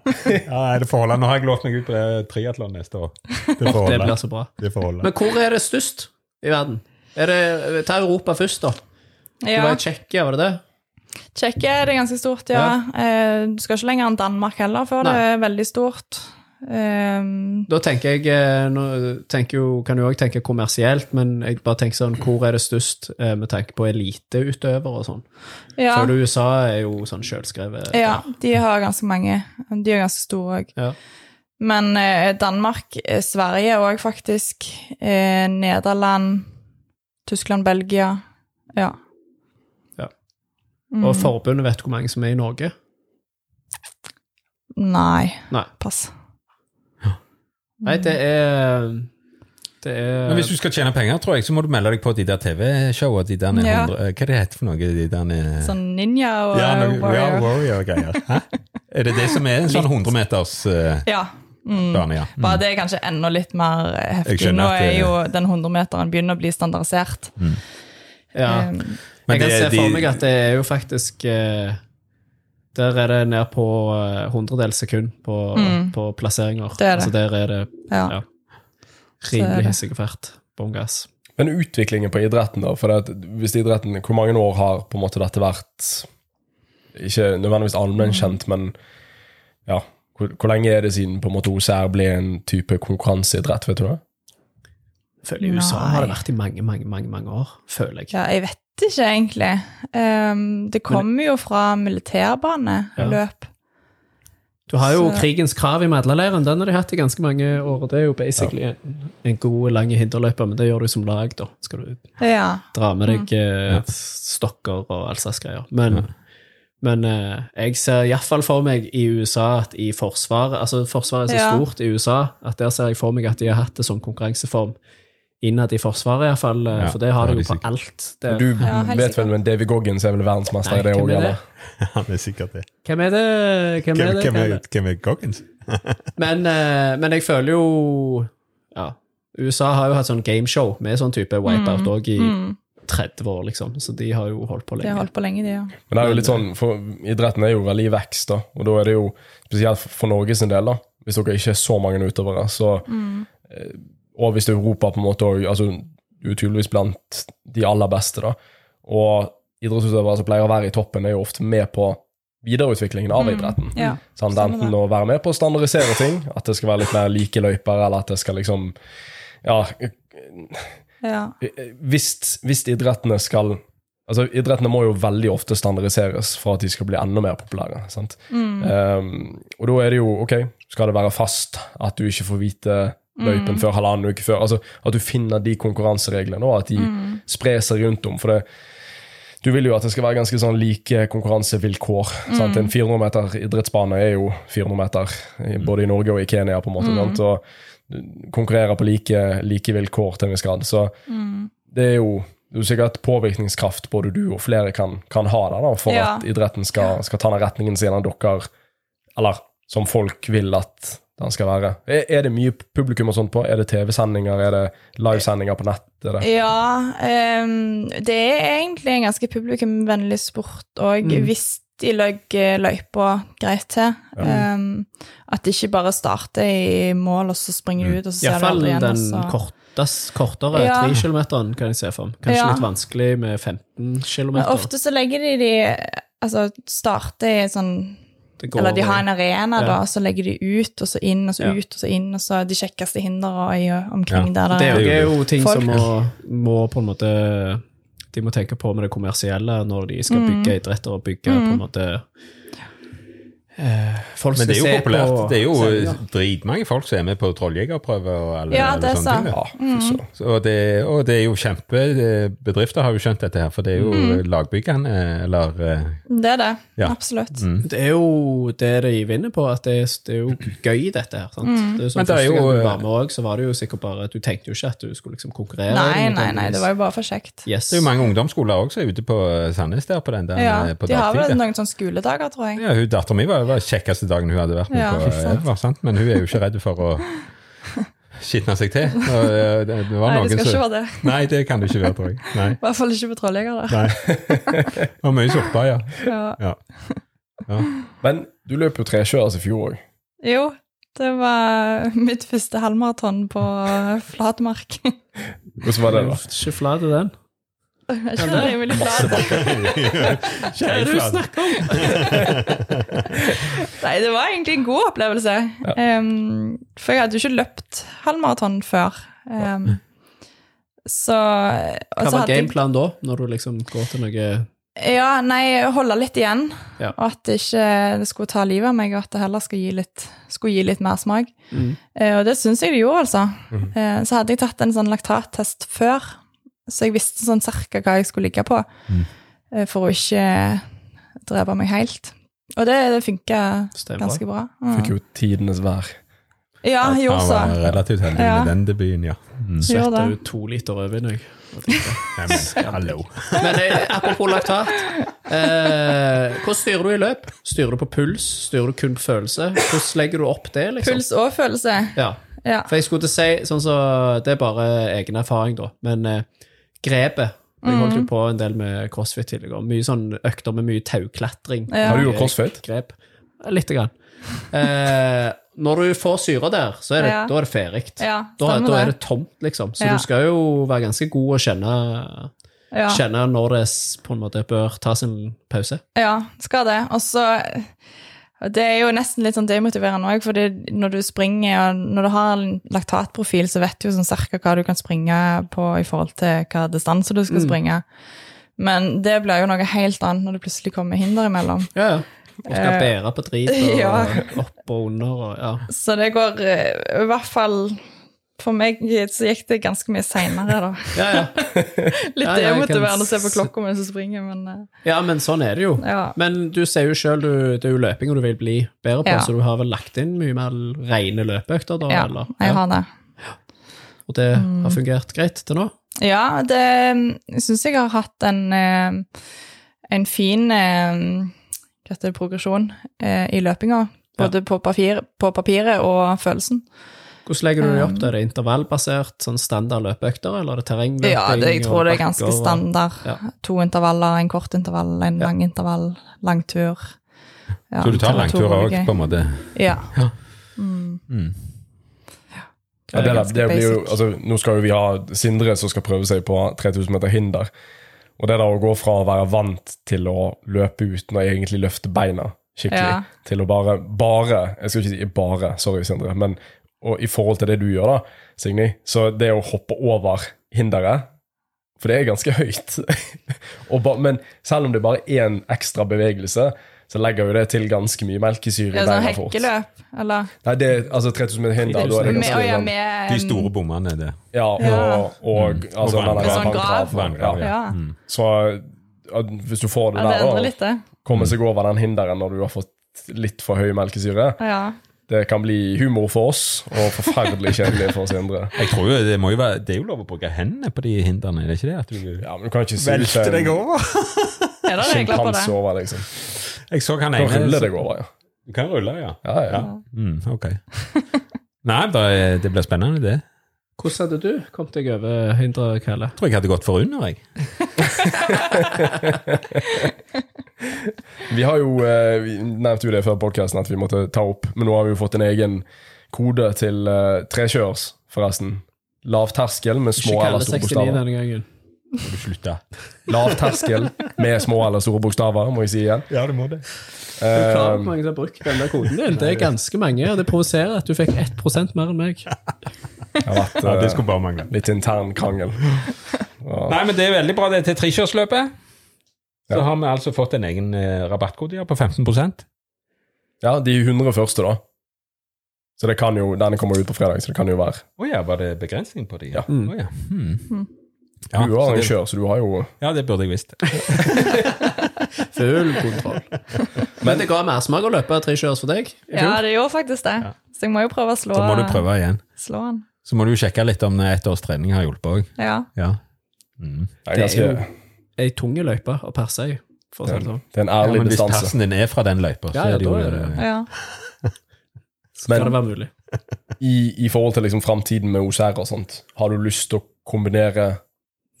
Speaker 2: Ja, nei, det får holde. Nå har jeg lovt meg ut på triatlon neste [LAUGHS] år. Det får
Speaker 3: Det
Speaker 2: holde.
Speaker 3: blir så bra.
Speaker 2: Det får holde.
Speaker 3: Men hvor er det størst i verden? Er det, ta Europa først, da. Det
Speaker 4: Ja.
Speaker 3: var i Tsjekkia, var det det?
Speaker 4: Tsjekkia er det ganske stort, ja. Eh, Du skal ikke lenger enn Danmark heller før det
Speaker 3: Nei.
Speaker 4: er veldig stort. Um,
Speaker 3: Da tenker jeg eh, Nå tenker jo, kan du òg tenke kommersielt, men jeg bare tenker sånn Hvor er det størst eh, med tanke på eliteutøvere og sånn?
Speaker 4: ja.
Speaker 3: For USA er jo sånn sjølskrevet.
Speaker 4: ja, de har ganske mange. De er ganske store òg.
Speaker 3: Ja.
Speaker 4: Men eh, Danmark, eh, Sverige òg, faktisk. Eh, Nederland, Tyskland, Belgia. Ja.
Speaker 3: Ja.
Speaker 4: Mm.
Speaker 3: Og forbundet vet hvor mange som er i Norge?
Speaker 4: Nei,
Speaker 3: Nei.
Speaker 4: pass.
Speaker 3: Nei, det er Det er
Speaker 2: Men hvis du skal tjene penger, tror jeg, så må du melde deg på de der TV-showene. De der
Speaker 4: Ja.
Speaker 2: 100 E Hva er det heter for noe? E? De der nede-
Speaker 4: Sånn ninja og
Speaker 2: ja, noe,
Speaker 4: warrior.
Speaker 2: Ja, warrior-greier. Hæ? [LAUGHS] Er det det som er en sånn 100-metersbane,
Speaker 4: Ja. Mm.
Speaker 2: ja?
Speaker 4: Bare det er kanskje enda litt mer eh,
Speaker 2: Jeg
Speaker 4: heftig.
Speaker 2: skjønner
Speaker 4: Nå
Speaker 2: at
Speaker 4: er
Speaker 2: det-
Speaker 4: jo den 100-meteren begynner å bli standardisert.
Speaker 3: ja.
Speaker 4: Um,
Speaker 2: Men
Speaker 3: Jeg kan
Speaker 2: det-
Speaker 3: se for
Speaker 2: de-
Speaker 3: meg at det er jo faktisk eh, Der er det ned på eh, hundredels sekund på, på plasseringer.
Speaker 4: Mm. Det er det.
Speaker 3: Så der er det
Speaker 4: ja.
Speaker 3: Ja.
Speaker 4: Så er det.
Speaker 3: rimelig hissig fart. Bånn gass.
Speaker 1: Men utviklingen på idretten, da? For det at hvis idretten, Hvor mange år har på en måte dette vært Ikke nødvendigvis
Speaker 3: Mm.
Speaker 1: allmennkjent, men ja, hvor, hvor lenge er det siden på en måte OCR ble en type konkurranseidrett? vet du det?
Speaker 3: Føler i USA
Speaker 4: Nei.
Speaker 3: har det vært i mange, mange, mange, mange år. Føler jeg.
Speaker 4: Ja, jeg vet ikke egentlig. Um, det kommer jo fra militærbaneløp.
Speaker 3: Du har jo
Speaker 4: Så-
Speaker 3: krigens krav i medleleiren. Den har de hatt i ganske mange år. og Det er jo basically en, en god, lang hinderløype, men det gjør du som lag, da. Skal du
Speaker 4: Ja.
Speaker 3: dra med
Speaker 4: Mm.
Speaker 3: deg eh, stokker og all slags greier. Men, men eh, jeg ser iallfall for meg i USA at i forsvaret Altså, forsvaret er så
Speaker 4: Ja.
Speaker 3: stort i USA at der ser jeg for meg at de har hatt det som konkurranseform innad i Forsvaret, iallfall. fall, eh,
Speaker 2: Ja,
Speaker 3: for det har
Speaker 2: det
Speaker 3: de
Speaker 2: har
Speaker 3: jo på
Speaker 2: de sikkert.
Speaker 3: alt. Det,
Speaker 1: Du
Speaker 4: Ja, helt
Speaker 1: vet
Speaker 4: sikkert.
Speaker 1: vel, men Davy Goggins er vel verdensmester i det
Speaker 3: hvem
Speaker 1: òg,
Speaker 3: er det?
Speaker 1: eller?
Speaker 2: Ja, det er sikkert det.
Speaker 3: Hvem er det? Hvem er
Speaker 2: Hvem, hvem,
Speaker 3: det? Hvem er
Speaker 2: er,
Speaker 3: det?
Speaker 2: hvem er Goggins?
Speaker 3: Men, eh, men jeg føler jo Ja. USA har jo hatt sånn gameshow med sånn type wipeout òg i 30 år, liksom. Så de har jo holdt på
Speaker 4: Mm. De
Speaker 3: lenge.
Speaker 4: har holdt på lenge, de, ja.
Speaker 1: Men det er jo litt sånn, for Idretten er jo veldig i vekst, da. og da er det jo spesielt for Norge sin del, da, hvis dere ikke er så mange utøvere. Så, eh, Og hvis Europa på en måte òg altså, Du er tydeligvis blant de aller beste. da. Og idrettsutøvere som pleier å være i toppen, er jo ofte med på videreutviklingen av idretten.
Speaker 4: ja.
Speaker 1: Sånn,
Speaker 4: Stemmer
Speaker 1: enten
Speaker 4: det.
Speaker 1: å være med på å standardisere ting, at det skal være litt mer like løyper, eller at det skal liksom Ja,
Speaker 4: ja.
Speaker 1: hvis, hvis idrettene skal Altså, Idrettene må jo veldig ofte standardiseres for at de skal bli enda mer populære. sant? Um, og da er det jo ok, skal det være fast at du ikke får vite løypen før halvannen uke før? altså At du finner de konkurransereglene, og at de sprer seg rundt om. for det du vil jo at det skal være ganske sånn like konkurransevilkår. Sant?
Speaker 4: Mm.
Speaker 1: En 400 meter idrettsbane er jo 400 meter, i- både i Norge og i Kenya. på en måte,
Speaker 4: Mm.
Speaker 1: sant? Og du konkurrerer på like, like vilkår til en viss grad. Så
Speaker 4: Mm.
Speaker 1: det er jo det er jo sikkert påvirkningskraft både du og flere kan, kan ha der, da, for
Speaker 4: Ja.
Speaker 1: at idretten skal, skal ta den retningen sin enn dere Eller som folk vil at den skal være. Er, er det mye publikum og sånt på? Er det TV-sendinger? Er det livesendinger på nett? Er det?
Speaker 4: Ja, ehm, det er egentlig en ganske publikumvennlig sport òg,
Speaker 3: Mm.
Speaker 4: hvis de legger løypa greit til. Ehm, at det ikke bare starter i mål, og så springer
Speaker 3: Mm.
Speaker 4: du ut, og så ser du
Speaker 3: Iallfall
Speaker 4: aldri igjen. og
Speaker 3: den
Speaker 4: så-
Speaker 3: kortest, kortere
Speaker 4: Ja.
Speaker 3: 3 km kan jeg se for meg. Kanskje
Speaker 4: Ja.
Speaker 3: litt vanskelig med 15 km.
Speaker 4: Men ofte så legger de de Altså starter i sånn Eller de har en arena,
Speaker 3: Ja.
Speaker 4: da, og så legger de ut, og så inn, og så
Speaker 3: Ja.
Speaker 4: ut, og så inn, og så de kjekkeste hindrene i- omkring der.
Speaker 3: Det er jo-
Speaker 2: Det
Speaker 3: er
Speaker 2: er
Speaker 3: jo ting
Speaker 4: Folk.
Speaker 3: som må, må på en måte De må tenke på med det kommersielle når de
Speaker 4: Mm.
Speaker 3: skal bygge idretter og bygge på en måte eh, Folk
Speaker 2: Men
Speaker 3: skal
Speaker 2: det er jo
Speaker 3: se
Speaker 2: populært.
Speaker 3: på
Speaker 2: Det er jo
Speaker 3: sendinger.
Speaker 2: dritmange folk som er med på trolljegerprøve og alle,
Speaker 4: Ja, Mm.
Speaker 2: alle
Speaker 4: det er
Speaker 2: sånne
Speaker 4: sant.
Speaker 2: ting.
Speaker 1: Ja, fy søren.
Speaker 2: Så- Og det, og det er jo kjempe det- Bedrifter har jo skjønt dette her, for det er jo
Speaker 4: Mm.
Speaker 2: lagbyggende, eller eh,
Speaker 4: Det er det.
Speaker 2: Ja. Mm.
Speaker 4: Absolutt.
Speaker 3: Det er jo det de vinner på, at det, er- det er jo gøy, dette her. sant?
Speaker 4: Mm.
Speaker 3: Det er jo sånn
Speaker 2: Men det er
Speaker 3: Første
Speaker 2: jo- eh,
Speaker 3: gang du var med også, så var det jo sikkert bare Du tenkte jo ikke at du skulle liksom konkurrere.
Speaker 4: Nei, nei, nei, det var jo bare for kjekt.
Speaker 3: yes.
Speaker 2: Det er jo mange ungdomsskoler òg som er ute på Sandnes der på den der
Speaker 4: Ja,
Speaker 2: eh, på
Speaker 4: de har vel
Speaker 2: dagtid.
Speaker 4: noen sånne skoledager, tror jeg.
Speaker 2: Ja, hun Dattera mi var, var kjekkeste dagen hun hadde vært med
Speaker 4: Ja,
Speaker 2: på
Speaker 4: fy faen.
Speaker 2: Elver, sant? men hun er jo ikke redd for å skitne seg til. Og, eh, det, det var
Speaker 4: Nei,
Speaker 2: noen
Speaker 4: det skal
Speaker 2: som-
Speaker 4: ikke være det.
Speaker 2: Nei, det kan du ikke være, tror jeg. Nei.
Speaker 4: I hvert fall ikke på
Speaker 2: [LAUGHS]
Speaker 4: trolljeger. da.
Speaker 2: Nei. [LAUGHS] Det var mye sorter,
Speaker 4: [LAUGHS]
Speaker 2: ja.
Speaker 4: Ja.
Speaker 2: ja.
Speaker 1: Men du løp jo trekjøres i fjor òg.
Speaker 4: Jo, det var mitt første halvmaraton på flatmark. [LAUGHS]
Speaker 1: Hvordan var det, da?
Speaker 3: Ikke flat i den.
Speaker 4: Jeg kjenner meg veldig glad.
Speaker 2: Hva
Speaker 3: er det du snakker
Speaker 2: om?
Speaker 4: [LAUGHS] Nei, det var egentlig en god opplevelse. Em, for jeg hadde jo ikke løpt halvmaraton før. Em, så og
Speaker 3: Hva
Speaker 4: så
Speaker 3: var
Speaker 4: Altså, hadde jeg-
Speaker 3: gameplanen da, når du liksom går til noe
Speaker 4: Ja, nei, holde litt igjen.
Speaker 3: Ja.
Speaker 4: Og at det ikke det skulle ta livet av meg, og at det heller skulle gi litt, skulle gi litt mer smak.
Speaker 3: Mm.
Speaker 4: Eh, og det syns jeg det gjorde, altså. Eh, så hadde jeg tatt en sånn laktattest før, så jeg visste sånn cirka hva jeg skulle ligge på, eh, for å ikke drepe meg helt. Og det, det funka
Speaker 3: Steinbra.
Speaker 4: ganske bra. Mm.
Speaker 1: Fikk jo tidenes vær.
Speaker 4: Ja, jeg gjorde så.
Speaker 2: Han var relativt heldig
Speaker 4: Ja.
Speaker 2: med den debuten, ja. Mm.
Speaker 4: Gjorde
Speaker 3: Svetta
Speaker 4: det.
Speaker 3: ut to liter rødvin, jeg.
Speaker 2: Nei,
Speaker 4: [LAUGHS]
Speaker 2: men, hallo.
Speaker 3: Men eh, apropos laktat. Eh, hvordan styrer du i løp? Styrer du på puls? Styrer du kun på følelse? Hvordan legger du opp det, liksom?
Speaker 4: Puls og følelse.
Speaker 3: Ja.
Speaker 4: Ja.
Speaker 3: For jeg skulle til å si, sånn så, det er bare egen erfaring, da, men eh, grepet Jeg holdt
Speaker 4: Mhm.
Speaker 3: jo på en del med crossfit tidligere. Mye sånn økter med mye tauklatring.
Speaker 4: Ja. Har
Speaker 1: du gjort crossfit?
Speaker 3: Grep. Litt.
Speaker 4: [LAUGHS]
Speaker 3: Grann. Eh, når du får syre der, så er det,
Speaker 4: Ja.
Speaker 3: da er det ferdig.
Speaker 4: Ja,
Speaker 3: da,
Speaker 4: stemmer
Speaker 3: da er
Speaker 4: det.
Speaker 3: det tomt, liksom. Så
Speaker 4: Ja.
Speaker 3: du skal jo være ganske god og kjenne,
Speaker 4: Ja.
Speaker 3: kjenne når det s- på en måte bør ta sin pause.
Speaker 4: ja, skal det. Og så og Det er jo nesten litt sånn demotiverende òg, for når du springer, og når du har en laktatprofil, så vet du jo sånn cirka hva du kan springe på i forhold til hva distanse du
Speaker 3: Mm.
Speaker 4: skal springe. Men det blir jo noe helt annet når det plutselig kommer hinder imellom.
Speaker 3: Ja, ja. Og skal
Speaker 4: Eh,
Speaker 3: bære på drit og
Speaker 4: [LAUGHS] ja.
Speaker 3: opp og under og ja.
Speaker 4: Så det går eh, i hvert fall For meg så gikk det ganske mye seinere, da. [LAUGHS]
Speaker 3: Ja, ja.
Speaker 4: Litt
Speaker 3: Ja, ja, jeg kan
Speaker 4: demotiverende å se på
Speaker 3: s-
Speaker 4: klokka mens du springer, men eh,
Speaker 3: Ja, men sånn er det jo.
Speaker 4: ja.
Speaker 3: Men du ser jo sjøl, det er jo løping du vil bli bedre på,
Speaker 4: Ja.
Speaker 3: så du har vel lagt inn mye mer rene løpeøkter, da?
Speaker 4: ja. Mm.
Speaker 3: eller?
Speaker 4: Jeg har det.
Speaker 3: Og det har fungert greit til nå?
Speaker 4: Ja, det jeg syns jeg har hatt en, eh, en fin eh, hva heter det, progresjon eh, i løpinga. Både på, papir, på papiret og følelsen.
Speaker 3: Hvordan legger du det
Speaker 4: Um,
Speaker 3: opp? da? Er det intervallbasert, sånn standard løpeøkter, eller er det terrengløping?
Speaker 4: Ja, det, jeg tror det er ganske
Speaker 3: standard.
Speaker 4: standard.
Speaker 3: ja.
Speaker 4: To intervaller, en kort intervall, en lang intervall, lang tur. Ja,
Speaker 2: Så du tar langturer
Speaker 4: var
Speaker 2: òg,
Speaker 4: gøy.
Speaker 2: på en måte?
Speaker 4: Ja. Mm.
Speaker 1: Ja, det, der,
Speaker 4: ganske
Speaker 1: det blir jo,
Speaker 4: basic.
Speaker 1: altså, nå skal jo vi ha Sindre som skal prøve seg på 3000 meter hinder. Og det der å gå fra å være vant til å løpe uten å egentlig løfte beina skikkelig,
Speaker 4: Ja.
Speaker 1: til å bare, bare Jeg skal ikke si bare, sorry, Sindre, men og i forhold til det du gjør, da, Signy, så det å hoppe over hinderet For det er ganske høyt. [LAUGHS] og ba, men selv om det er bare én ekstra bevegelse, så legger jo det til ganske mye melkesyre i
Speaker 4: Det er sånn
Speaker 1: beina fort.
Speaker 4: hekkeløp, eller
Speaker 1: Nei, det er altså 3000 meter hinder. Da er det
Speaker 4: med,
Speaker 1: ganske
Speaker 4: å ja,
Speaker 1: sånn-
Speaker 4: med,
Speaker 2: De store bommene, det.
Speaker 1: ja, og,
Speaker 4: Ja.
Speaker 1: og altså, den
Speaker 2: Og
Speaker 1: der
Speaker 2: vann-
Speaker 4: sånn grav.
Speaker 1: vanngrav.
Speaker 2: Vanngrav,
Speaker 1: ja.
Speaker 4: Ja,
Speaker 1: Så ja, hvis du får det
Speaker 4: ja det
Speaker 1: der,
Speaker 4: endrer
Speaker 1: da,
Speaker 4: litt, det.
Speaker 1: og komme seg over den hinderen når du har fått litt for høy melkesyre,
Speaker 4: Ja.
Speaker 1: det kan bli humor for oss, og forferdelig kjedelig for Sindre.
Speaker 2: Jeg tror jo det, må jo være, det er jo lov å bruke hendene på de hindrene, er det ikke det? At du
Speaker 1: Ja, men du kan ikke si til en
Speaker 2: over?
Speaker 4: Er det regler på det?
Speaker 1: sjimpanse over, liksom.
Speaker 2: Jeg så han
Speaker 1: Du kan rulle
Speaker 2: ene
Speaker 1: deg over, ja.
Speaker 2: Du kan rulle, ja.
Speaker 1: Ja, ja.
Speaker 2: Mm, ok. [LAUGHS] Nei, da, er- det blir spennende, det.
Speaker 3: Hvordan hadde du kommet deg over hinderet, Kalle?
Speaker 2: Jeg tror jeg hadde gått for under, jeg.
Speaker 1: Vi har jo eh, vi nevnte jo det før podkasten at vi måtte ta opp, men nå har vi jo fått en egen kode til eh, trekjørs, forresten. Lav terskel med små
Speaker 3: Ikke
Speaker 1: eller
Speaker 3: Kalle
Speaker 1: store
Speaker 3: 69
Speaker 1: bokstaver.
Speaker 3: denne gangen.
Speaker 2: Må du slutte?
Speaker 1: Lav terskel med små eller store bokstaver, må jeg si igjen.
Speaker 2: Ja, du må det.
Speaker 3: Er du klar over hvor mange som har brukt den der koden din? Det er ganske mange, og det provoserer at du fikk 1 mer enn meg.
Speaker 1: Det har vært
Speaker 2: Ja,
Speaker 1: eh,
Speaker 2: det skulle bare mangle.
Speaker 1: litt intern krangel.
Speaker 2: Nei, men det er veldig bra. Det er til trekjørsløpet. Så har vi altså fått en egen eh, rabattkode ja, på 15
Speaker 1: Ja, de 100 første, da. Så det kan jo, Denne kommer ut på fredag, så det kan jo være
Speaker 2: Å ja, var det begrensning på de?
Speaker 1: Ja.
Speaker 2: Å ja. Hmm. Ja,
Speaker 1: Du er
Speaker 2: så det,
Speaker 1: arrangør, så du har jo
Speaker 2: ja, det burde jeg visst.
Speaker 3: Full kontroll.
Speaker 1: [LAUGHS]
Speaker 3: Men det ga mersmak å løpe tre kjørs for deg. i
Speaker 4: Ja,
Speaker 3: fjor.
Speaker 4: det gjorde faktisk det. Så jeg må jo prøve å slå,
Speaker 2: Da må du prøve igjen.
Speaker 4: slå han.
Speaker 2: Så må du jo sjekke litt om ett års trening har hjulpet òg.
Speaker 4: Ja.
Speaker 2: Ja.
Speaker 1: Det er, ganske,
Speaker 3: Det er jo- Ei tung løype å perse i, for å si det sånn.
Speaker 1: det er en
Speaker 2: Ja,
Speaker 1: ærlig
Speaker 2: men hvis
Speaker 1: distanse.
Speaker 2: persen din er fra den løypa, så
Speaker 3: Ja, ja,
Speaker 2: er det jo
Speaker 3: da er det-
Speaker 2: eh,
Speaker 4: ja.
Speaker 3: Så skal
Speaker 1: Men-
Speaker 3: det være mulig.
Speaker 1: i, i forhold til liksom framtiden med OCR og sånt, har du lyst til å kombinere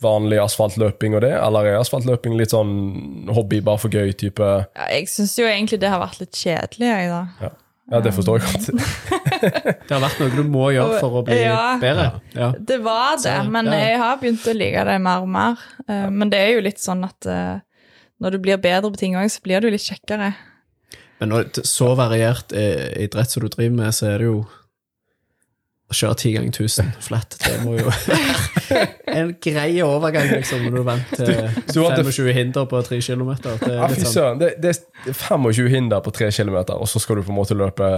Speaker 1: vanlig asfaltløping og det, eller er asfaltløping litt sånn hobby, bare for gøy type
Speaker 4: Ja, jeg syns jo egentlig det har vært litt kjedelig, jeg, da.
Speaker 1: Ja, det forstår jeg godt.
Speaker 3: Det har vært noe du må gjøre for å bli
Speaker 4: Ja.
Speaker 3: bedre. Ja.
Speaker 4: Det var det, men
Speaker 3: ja.
Speaker 4: jeg har begynt å like det mer og mer. Eh, Men det er jo litt sånn at eh, når du blir bedre på ting òg, så blir du litt kjekkere.
Speaker 3: Men når, det- så variert eh, idrett som du driver med, så er det jo å kjøre ti ganger 1000 flatt. Det må jo En grei overgang, liksom, når du vant til
Speaker 1: du hadde-
Speaker 3: 25 hinder på tre kilometer. Det
Speaker 1: Ja,
Speaker 3: er
Speaker 1: fy
Speaker 3: litt sånn.
Speaker 1: søren. Det, det er 25 hinder på 3 km, og så skal du på en måte løpe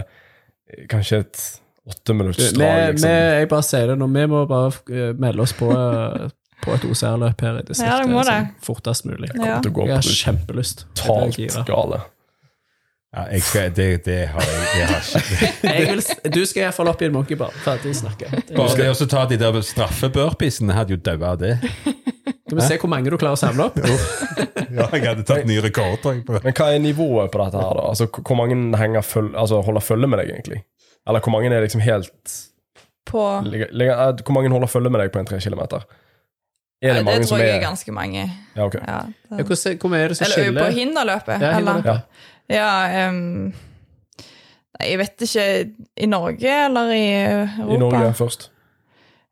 Speaker 1: eh, kanskje et
Speaker 3: Vi,
Speaker 1: åtteminuttsdrag,
Speaker 3: vi,
Speaker 1: liksom.
Speaker 3: jeg bare sier det nå, vi må bare eh, melde oss på, eh, på et OCR-løp her i distriktet
Speaker 4: Ja, det må
Speaker 3: liksom, fortest mulig.
Speaker 4: Ja.
Speaker 1: Kommer til å gå
Speaker 3: Jeg har
Speaker 1: brutalt
Speaker 3: kjempelyst. Jeg er gira.
Speaker 1: gale.
Speaker 2: ja, jeg skal, det, det har jeg det har ikke.
Speaker 3: Jeg vil, s- du skal iallfall opp i en monkeybar. Ferdig snakka.
Speaker 2: Bare
Speaker 3: Skal
Speaker 2: det å så ta de der straffeburpeesene hadde jo daua av det.
Speaker 3: vi se hvor mange du klarer å samle opp?
Speaker 2: Ja, jeg hadde tatt ny rekord, tror jeg. på
Speaker 1: Men hva er nivået på dette her, da? Altså, hvor- hvor mange henger føl altså, holder følge med deg, egentlig? Eller hvor mange er liksom helt
Speaker 4: På
Speaker 1: Ligger- ligger- eh, Hvor mange holder følge med deg på en tre kilometer? Er det
Speaker 4: Det,
Speaker 1: mange som
Speaker 4: tror jeg er
Speaker 1: er
Speaker 4: ganske mange.
Speaker 1: Ja, ok.
Speaker 4: Ja,
Speaker 3: Ja,
Speaker 4: det.
Speaker 3: Hvordan hvor mye er det som
Speaker 4: Eller
Speaker 3: skiller?
Speaker 4: på hinderløpet.
Speaker 3: Ja,
Speaker 4: eller?
Speaker 3: hinderløpet.
Speaker 1: Ja.
Speaker 4: Ja, ehm, Nei, jeg vet ikke I Norge eller i Europa?
Speaker 1: I Norge først.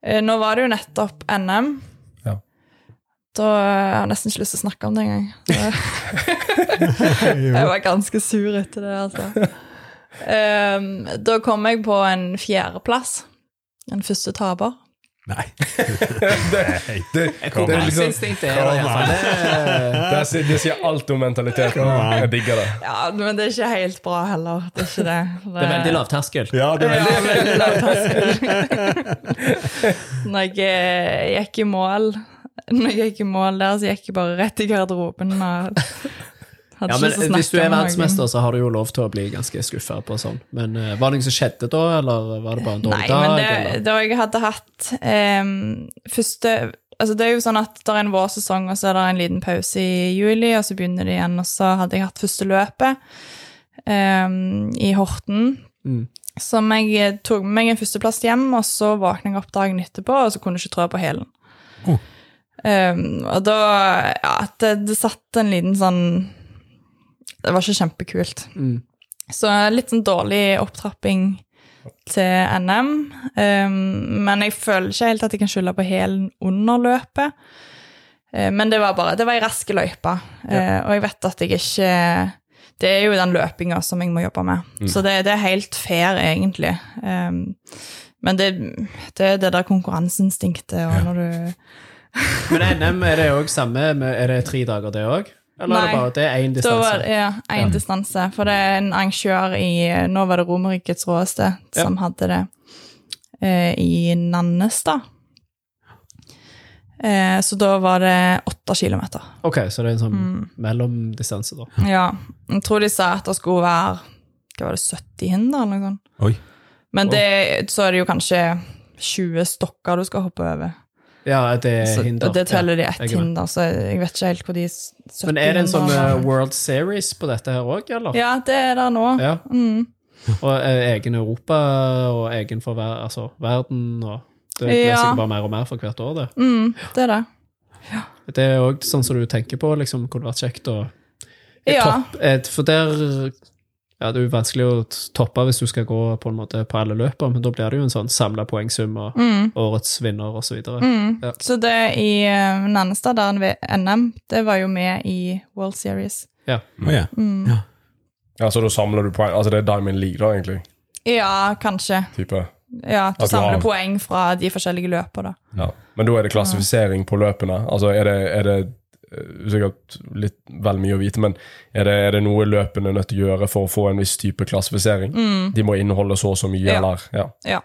Speaker 4: Eh, Nå var det jo nettopp NM.
Speaker 1: Ja.
Speaker 4: Da jeg har nesten ikke lyst til å snakke om det engang. Så- [LAUGHS] jeg var ganske sur etter det, altså. Ehm, da kom jeg på en fjerdeplass. En første taper.
Speaker 2: [LAUGHS] Nei.
Speaker 1: Det, liksom-
Speaker 2: liksom- Kom an.
Speaker 3: Konkurranseinstinktet er der, i hvert fall. Det-
Speaker 1: det sier, det sier alt om mentaliteten. Jeg digger det.
Speaker 4: Ja, men det er ikke helt bra heller. Det er ikke det.
Speaker 3: Det er veldig lavterskel.
Speaker 2: Ja, det er
Speaker 4: Ja, veldig lav
Speaker 3: [LAUGHS]
Speaker 4: terskel. Når jeg eh, gikk i mål Når jeg gikk i mål der, så gikk jeg bare rett i garderoben. Og hadde
Speaker 3: Ja,
Speaker 4: ikke
Speaker 3: men
Speaker 4: lyst til å
Speaker 3: Hvis du
Speaker 4: snakke
Speaker 3: er
Speaker 4: om noen.
Speaker 3: verdensmester, så har du jo lov til å bli ganske skuffa på sånn. Men eh, var det noe som skjedde da, eller var det bare en dårlig
Speaker 4: Nei,
Speaker 3: dag?
Speaker 4: men det,
Speaker 3: eller?
Speaker 4: da jeg hadde hatt em, første Altså det er jo sånn at det er en vårsesong, og så er det en liten pause i juli, og så begynner det igjen. Og så hadde jeg hatt første løpet em, i Horten.
Speaker 3: Mm.
Speaker 4: Som jeg tok med meg en førsteplass hjem, og så våkna jeg opp dagen etterpå, og så kunne jeg ikke trå på hælen.
Speaker 2: Oh.
Speaker 4: Em, og da Ja, at det, det satt en liten sånn Det var ikke kjempekult.
Speaker 3: Mm.
Speaker 4: Så litt sånn dårlig opptrapping til NM. Um, men jeg føler ikke helt at jeg kan skylde på hælen under løpet. Eh, men det var bare, det var ei rask løype, Eh, og jeg vet at jeg ikke Det er jo den løpinga som jeg må jobbe med, så det, det er helt fair, egentlig. Um, men det, det er det der konkurranseinstinktet, og når du
Speaker 3: Men NM, er det òg samme? med- Er det tre dager, det òg? Eller er det
Speaker 4: Nei.
Speaker 3: bare det er én
Speaker 4: Da var
Speaker 3: distanse?
Speaker 4: det ja, en distanse, for det er en arrangør i Nå var det Romerrikets råeste
Speaker 3: Ja.
Speaker 4: som hadde det eh, i Nannestad. Eh, så da var det åtte kilometer.
Speaker 3: Ok, så det er en sånn
Speaker 4: Mm.
Speaker 3: mellomdistanse, da.
Speaker 4: Ja. Jeg tror de sa at det skulle være hva var det, 70 hinder eller noe sånt.
Speaker 2: Oi.
Speaker 4: Men det, så er det jo kanskje 20 stokker du skal hoppe over.
Speaker 3: Ja, det er
Speaker 4: Så,
Speaker 3: Eh, hinder.
Speaker 4: og det teller de
Speaker 3: jeg
Speaker 4: ett
Speaker 3: er med.
Speaker 4: hinder, så jeg vet ikke helt hvor de s- 70
Speaker 3: Ja. Men er det en sånn
Speaker 4: hindrene
Speaker 3: eh, World Series på dette her òg, eller?
Speaker 4: Ja, det er der nå.
Speaker 3: Ja.
Speaker 4: Mm.
Speaker 3: Og eh, egen Europa og egen for ver altså, verden og Det
Speaker 4: Ja.
Speaker 3: blir sikkert bare mer og mer for hvert år, det.
Speaker 4: Mm, det er det.
Speaker 3: Det er òg sånn som du tenker på, liksom, kunne vært kjekt å et
Speaker 4: Ja.
Speaker 3: topp, et, For der ja, Det er jo vanskelig å t- toppe hvis du skal gå på en måte på alle løpene, men da blir det jo en sånn samla poengsum og
Speaker 4: Mm,
Speaker 3: årets vinner og så videre.
Speaker 4: mm.
Speaker 3: Ja.
Speaker 4: Så det i eh, Nannestad, der ved NM, det var jo med i World Series.
Speaker 2: Å ja.
Speaker 4: Mm.
Speaker 2: Ja.
Speaker 1: Ja, så da samler du poeng. Altså, det er Diamond League, da, egentlig.
Speaker 4: Ja, kanskje.
Speaker 1: Type.
Speaker 4: Ja,
Speaker 1: du
Speaker 4: du samler
Speaker 1: har-
Speaker 4: poeng fra de forskjellige løpene, da.
Speaker 1: Ja. Men da er det klassifisering på løpene. Altså, er det, er det eh, sikkert litt vel mye å vite, men er det, er det noe løpene er nødt til å gjøre for å få en viss type klassifisering?
Speaker 4: Mm,
Speaker 1: De må inneholde så og så mye,
Speaker 4: Ja.
Speaker 1: eller ja.
Speaker 4: ja.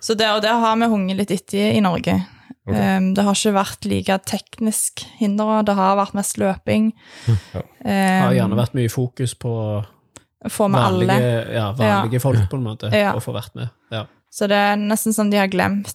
Speaker 4: Så det og det har vi hunget litt etter i Norge.
Speaker 1: Ok.
Speaker 4: Ehm, det har ikke vært like teknisk hindre, det har vært mest løping.
Speaker 1: [LAUGHS] Ja.
Speaker 3: Det har
Speaker 4: Um,
Speaker 3: gjerne vært mye fokus på
Speaker 4: Får vi
Speaker 3: vanlige,
Speaker 4: alle.
Speaker 3: ja, vanlige folk, på en måte,
Speaker 4: Ja.
Speaker 3: å få vært med. Ja.
Speaker 4: Så det er nesten som de har glemt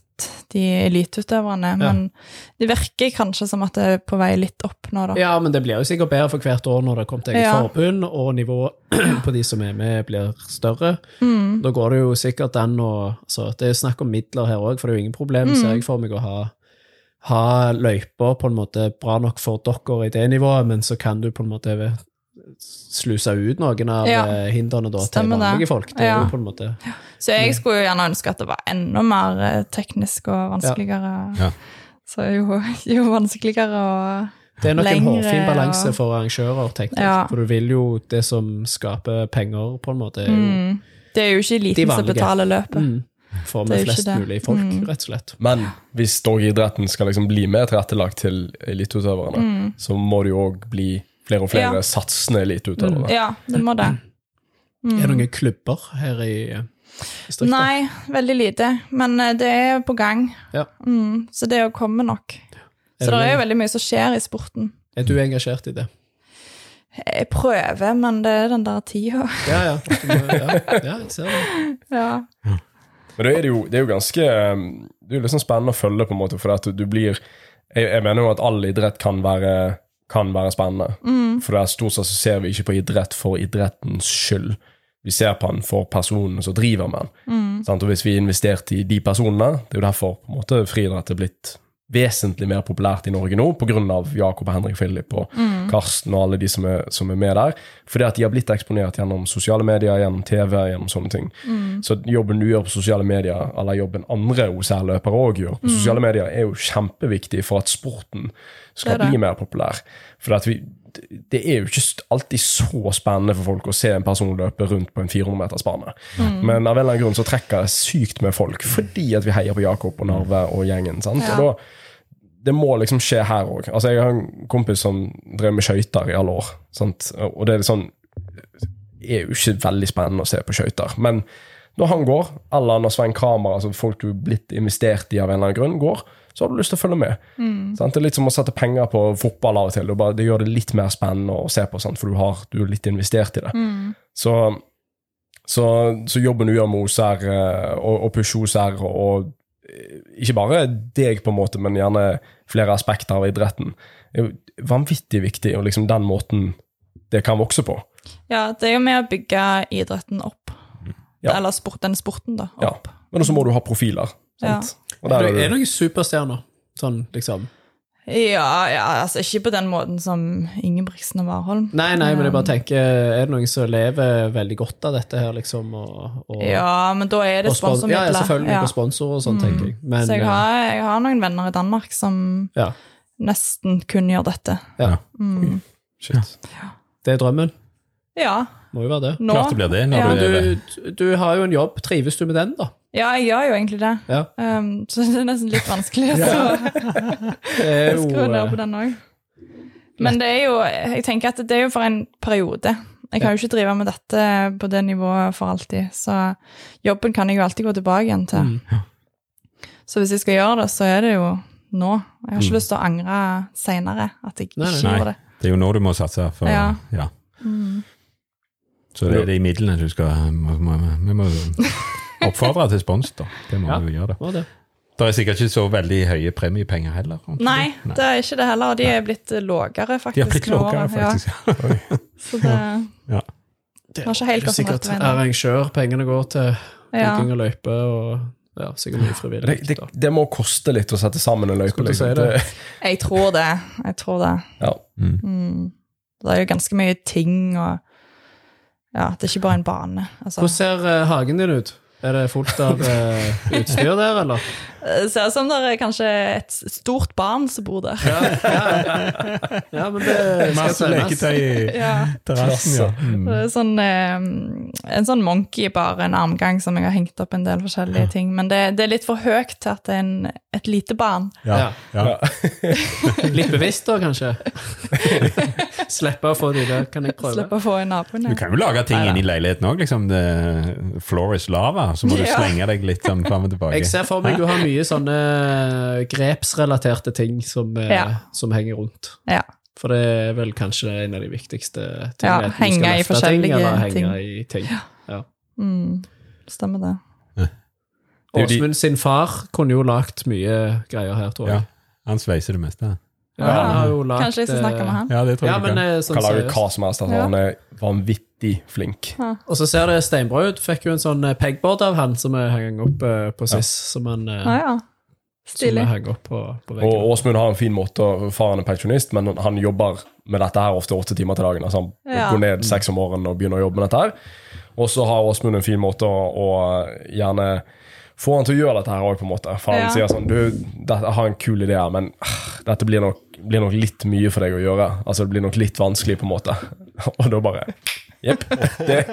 Speaker 4: de eliteutøverne. Men det virker kanskje som at det er på vei litt opp nå, da.
Speaker 3: ja, men det blir jo sikkert bedre for hvert år når det kommer til eget
Speaker 4: Ja.
Speaker 3: forbund, og nivået [CLEARS THROAT] på de som er med, blir større.
Speaker 4: Mm,
Speaker 3: Da går det jo sikkert an å altså, Det er jo snakk om midler her òg, for det er jo ingen
Speaker 4: Mm.
Speaker 3: problem, ser jeg for meg, å ha, ha løyper på en måte bra nok for dere i det nivået, men så kan du på en måte sluse ut noen av
Speaker 4: Ja.
Speaker 3: eh, hindrene da, til
Speaker 4: Stemmer det.
Speaker 3: vanlige folk. Det
Speaker 4: Ja.
Speaker 3: er jo på en måte
Speaker 4: Så jeg skulle jo gjerne ønske at det var enda mer eh, teknisk og vanskeligere.
Speaker 2: Ja.
Speaker 4: Så jo, [LAUGHS] jo vanskeligere og
Speaker 3: Det er nok en
Speaker 4: Lengre,
Speaker 3: hårfin balanse
Speaker 4: og-
Speaker 3: for arrangører, tenker jeg.
Speaker 4: Ja.
Speaker 3: For du vil jo det som skaper penger, på en måte, er jo
Speaker 4: mm, Det er jo ikke eliten som
Speaker 3: vanlige.
Speaker 4: betaler løpet.
Speaker 3: mm, få
Speaker 4: Det er
Speaker 3: med
Speaker 4: jo ikke
Speaker 3: flest
Speaker 4: det.
Speaker 3: mulig folk,
Speaker 4: Mm.
Speaker 3: rett og slett.
Speaker 1: Men hvis dog idretten skal liksom bli mer tilrettelagt til eliteutøverne, så må det jo òg bli flere og flere
Speaker 4: Mm. Ja.
Speaker 1: satsende eliteutøvere.
Speaker 4: Ja, det
Speaker 3: [CLEARS THROAT]
Speaker 4: må det. Mm.
Speaker 3: Er det noen klubber her i eh, distriktet?
Speaker 4: Nei, veldig lite. Men eh, det er på gang.
Speaker 3: Ja.
Speaker 4: Mm, så det er jo komme nok. Så
Speaker 3: Er
Speaker 4: det er
Speaker 3: det-
Speaker 4: jo veldig mye som skjer i sporten.
Speaker 3: Er du engasjert i det?
Speaker 4: Jeg prøver, men det er den der tida.
Speaker 3: Ja, ja. Du må- ja, ja jeg ser det.
Speaker 4: [LAUGHS] Ja.
Speaker 1: Men da er det, jo, det er jo ganske eh, Det er jo liksom spennende å følge, på en måte, for at du blir jeg, jeg mener jo at all idrett kan være, kan være spennende. For det er stort sett så ser vi ikke på idrett for idrettens skyld. Vi ser på den for personene som driver med den. Sant? Og hvis vi investerte i de personene Det er jo derfor på en måte friidrett er blitt vesentlig mer populært i Norge nå, pga. Jakob og Henrik Philip og
Speaker 4: Mm.
Speaker 1: Karsten og alle de som er, som er med der. Fordi at de har blitt eksponert gjennom sosiale medier, gjennom TV, gjennom sånne ting.
Speaker 4: Mm.
Speaker 1: Så jobben du gjør på sosiale medier, eller jobben andre OCR-løpere òg gjør
Speaker 4: Mm.
Speaker 1: på sosiale medier, er jo kjempeviktig for at sporten skal
Speaker 4: Det er det.
Speaker 1: bli mer populær. For at vi, det er jo ikke alltid så spennende for folk å se en person løpe rundt på en 400 meters bane.
Speaker 4: Mm.
Speaker 1: Men av en eller annen grunn så trekker det sykt med folk, fordi at vi heier på Jakob og Narve og gjengen. sant?
Speaker 4: Ja.
Speaker 1: Og da, det må liksom skje her òg. Altså, jeg har en kompis som drev med skøyter i alle år. Sant? Og det er litt sånn er jo ikke veldig spennende å se på skøyter. Men når han går, eller når Svein Kramer, altså folk du er blitt investert i av en eller annen grunn, går, så har du lyst til å følge med. Sant? Det er litt som å sette penger på fotball av og til. Det, er bare, det gjør det litt mer spennende å se på, sant? for du, har, du er litt investert i det. Så, så, så jobben du gjør med OCR eh, og, og pushe OCR, og, og eh, ikke bare deg, på en måte, men gjerne flere aspekter av idretten, er jo vanvittig viktig, og liksom den måten det kan vokse på.
Speaker 4: ja, det er jo med å bygge idretten opp.
Speaker 1: Ja.
Speaker 4: Eller sport, den sporten, da.
Speaker 1: Ja.
Speaker 4: Opp.
Speaker 1: Men også må du ha profiler. Sant? Og
Speaker 3: Er
Speaker 1: der
Speaker 3: det er
Speaker 1: er
Speaker 3: det
Speaker 1: du.
Speaker 3: noen superstjerner? Sånn, liksom.
Speaker 4: Ja. ja, altså ikke på den måten som Ingebrigtsen og Warholm.
Speaker 3: Nei, nei, men jeg bare tenker, er det noen som lever veldig godt av dette her, liksom? Og, og,
Speaker 4: Ja, men da er det
Speaker 3: og spon- ja,
Speaker 4: sponsormidler.
Speaker 3: ja, selvfølgelig
Speaker 4: Ja. Mm.
Speaker 3: på sponsorer og sånn, tenker jeg. Men,
Speaker 4: Så jeg
Speaker 3: eh,
Speaker 4: har, jeg har noen venner i Danmark som
Speaker 3: ja,
Speaker 4: nesten kun gjør dette.
Speaker 3: ja.
Speaker 4: Mm.
Speaker 1: Shit.
Speaker 3: Det er drømmen.
Speaker 4: Ja,
Speaker 3: Må jo være det.
Speaker 4: nå.
Speaker 2: Klart det blir det når
Speaker 4: Ja.
Speaker 2: du er
Speaker 3: Men du, du har jo en jobb. Trives du med den, da?
Speaker 4: Ja, jeg gjør jo egentlig det. [LAUGHS]
Speaker 3: Ja.
Speaker 4: Um, så det er nesten litt vanskelig å
Speaker 3: Det er jo, eh,
Speaker 4: skru ned på den òg. Men det er jo jeg tenker at det er jo for en periode. Jeg kan jo ikke drive med dette på det nivået for alltid, så jobben kan jeg jo alltid gå tilbake igjen til.
Speaker 3: Mm.
Speaker 4: Så hvis jeg skal gjøre det, så er det jo nå. Jeg har ikke lyst til å angre seinere at jeg
Speaker 3: Nei,
Speaker 4: ikke
Speaker 2: Mm. nei.
Speaker 4: gjorde det.
Speaker 2: Det er jo nå du må satse. For,
Speaker 4: Ja.
Speaker 2: ja. Så det er de midlene du skal må, må, Vi må jo oppfordre til spons, da. Det må
Speaker 3: Ja.
Speaker 2: vi jo gjøre.
Speaker 3: Var det.
Speaker 2: Det er sikkert ikke så veldig høye premiepenger heller. antar jeg.
Speaker 4: Nei, det er ikke det heller. og De er blitt eh, lågere, faktisk.
Speaker 2: De har blitt
Speaker 4: med årene,
Speaker 2: lavere, faktisk. Ja.
Speaker 4: Ja, så det,
Speaker 2: [LAUGHS] Ja.
Speaker 3: Det
Speaker 4: Har ikke helt
Speaker 3: er
Speaker 4: gått den
Speaker 3: sikkert
Speaker 4: rette veien, da.
Speaker 3: arrangør pengene går til.
Speaker 4: ja.
Speaker 3: Bygging av løyper og ja, sikkert mye
Speaker 1: Det,
Speaker 3: frivillig.
Speaker 1: det,
Speaker 3: da.
Speaker 1: det må koste litt å sette sammen en løype.
Speaker 3: Skulle
Speaker 1: Liksom.
Speaker 3: si det.
Speaker 1: Det,
Speaker 4: Jeg tror det. Jeg tror det.
Speaker 1: ja.
Speaker 2: Mm.
Speaker 4: Mm. Det er jo ganske mye ting og Ja, det er ikke bare en bane. Altså.
Speaker 3: Hvordan ser eh, hagen din ut? Er det
Speaker 1: [LAUGHS]
Speaker 3: fullt av eh, utstyr der, eller?
Speaker 4: Det eh, ser ut som det er kanskje et stort barn som bor der.
Speaker 3: Ja, ja. ja men det skal
Speaker 2: Masse
Speaker 3: sendes.
Speaker 2: leketøy i
Speaker 4: [LAUGHS] Ja.
Speaker 2: terrassen, ja. Mm.
Speaker 4: Det er sånn, eh, en sånn monkey bar, en armgang som jeg har hengt opp en del forskjellige ting. Men det, det er litt for høyt til at det er en, et lite barn.
Speaker 2: Ja, ja.
Speaker 3: Litt bevisst da, kanskje?
Speaker 1: [LAUGHS]
Speaker 3: Slippe å få de der, kan jeg prøve?
Speaker 4: Slipper å få en naboen.
Speaker 2: Du
Speaker 4: ja.
Speaker 2: kan jo lage ting
Speaker 4: Neida.
Speaker 2: inni leiligheten òg. Liksom det- floor is lava, så må du
Speaker 4: Ja.
Speaker 2: slenge deg litt sånn fram og tilbake.
Speaker 3: Jeg ser for meg du har mye sånne eh, grepsrelaterte ting som, eh,
Speaker 4: Ja.
Speaker 3: som henger rundt.
Speaker 4: Ja.
Speaker 3: For det er vel kanskje en av de viktigste
Speaker 4: Ja,
Speaker 3: tingene. enten du skal
Speaker 4: henge i
Speaker 3: løfte
Speaker 4: forskjellige
Speaker 3: ting. Eller
Speaker 4: ting.
Speaker 3: henge i ting. Ja.
Speaker 4: Mm, stemmer det.
Speaker 1: Det er jo de-
Speaker 3: Åsmund sin far kunne jo lagt mye greier her, tror
Speaker 2: Ja.
Speaker 3: jeg.
Speaker 2: Han sveiser det meste.
Speaker 3: Ja, han har eh, jo lagt,
Speaker 4: Kanskje jeg skal snakke med han?
Speaker 2: Ja, det tror
Speaker 3: Ja,
Speaker 2: jeg du
Speaker 3: men
Speaker 2: kan.
Speaker 3: eh, sånn
Speaker 1: Kan lage
Speaker 3: seriøst.
Speaker 1: hva som helst. Altså.
Speaker 4: Ja.
Speaker 1: Han er vanvittig flink.
Speaker 3: Og så ser det steinbra ut. Fikk jo en sånn eh, pegboard av han som jeg hang opp eh, på sist. Som han eh,
Speaker 4: Ja, ja.
Speaker 3: som
Speaker 4: Stilig.
Speaker 3: jeg hang opp på, på
Speaker 1: Og
Speaker 3: veggen.
Speaker 1: Åsmund har en fin måte å- Faren er pensjonist, men han jobber med dette her ofte åtte timer til dagen. Altså Han
Speaker 4: Ja.
Speaker 1: går ned seks om morgenen og begynner å jobbe med dette her. Og så har Åsmund en fin måte å, å eh, gjerne få han til å gjøre dette her òg, på en måte. For han
Speaker 4: Ja.
Speaker 1: sier sånn Du, dette, jeg har en kul idé her, men ah, dette blir nok, blir nok litt mye for deg å gjøre. Altså det blir nok litt vanskelig, på en måte. [LAUGHS] Og da bare Jepp. Det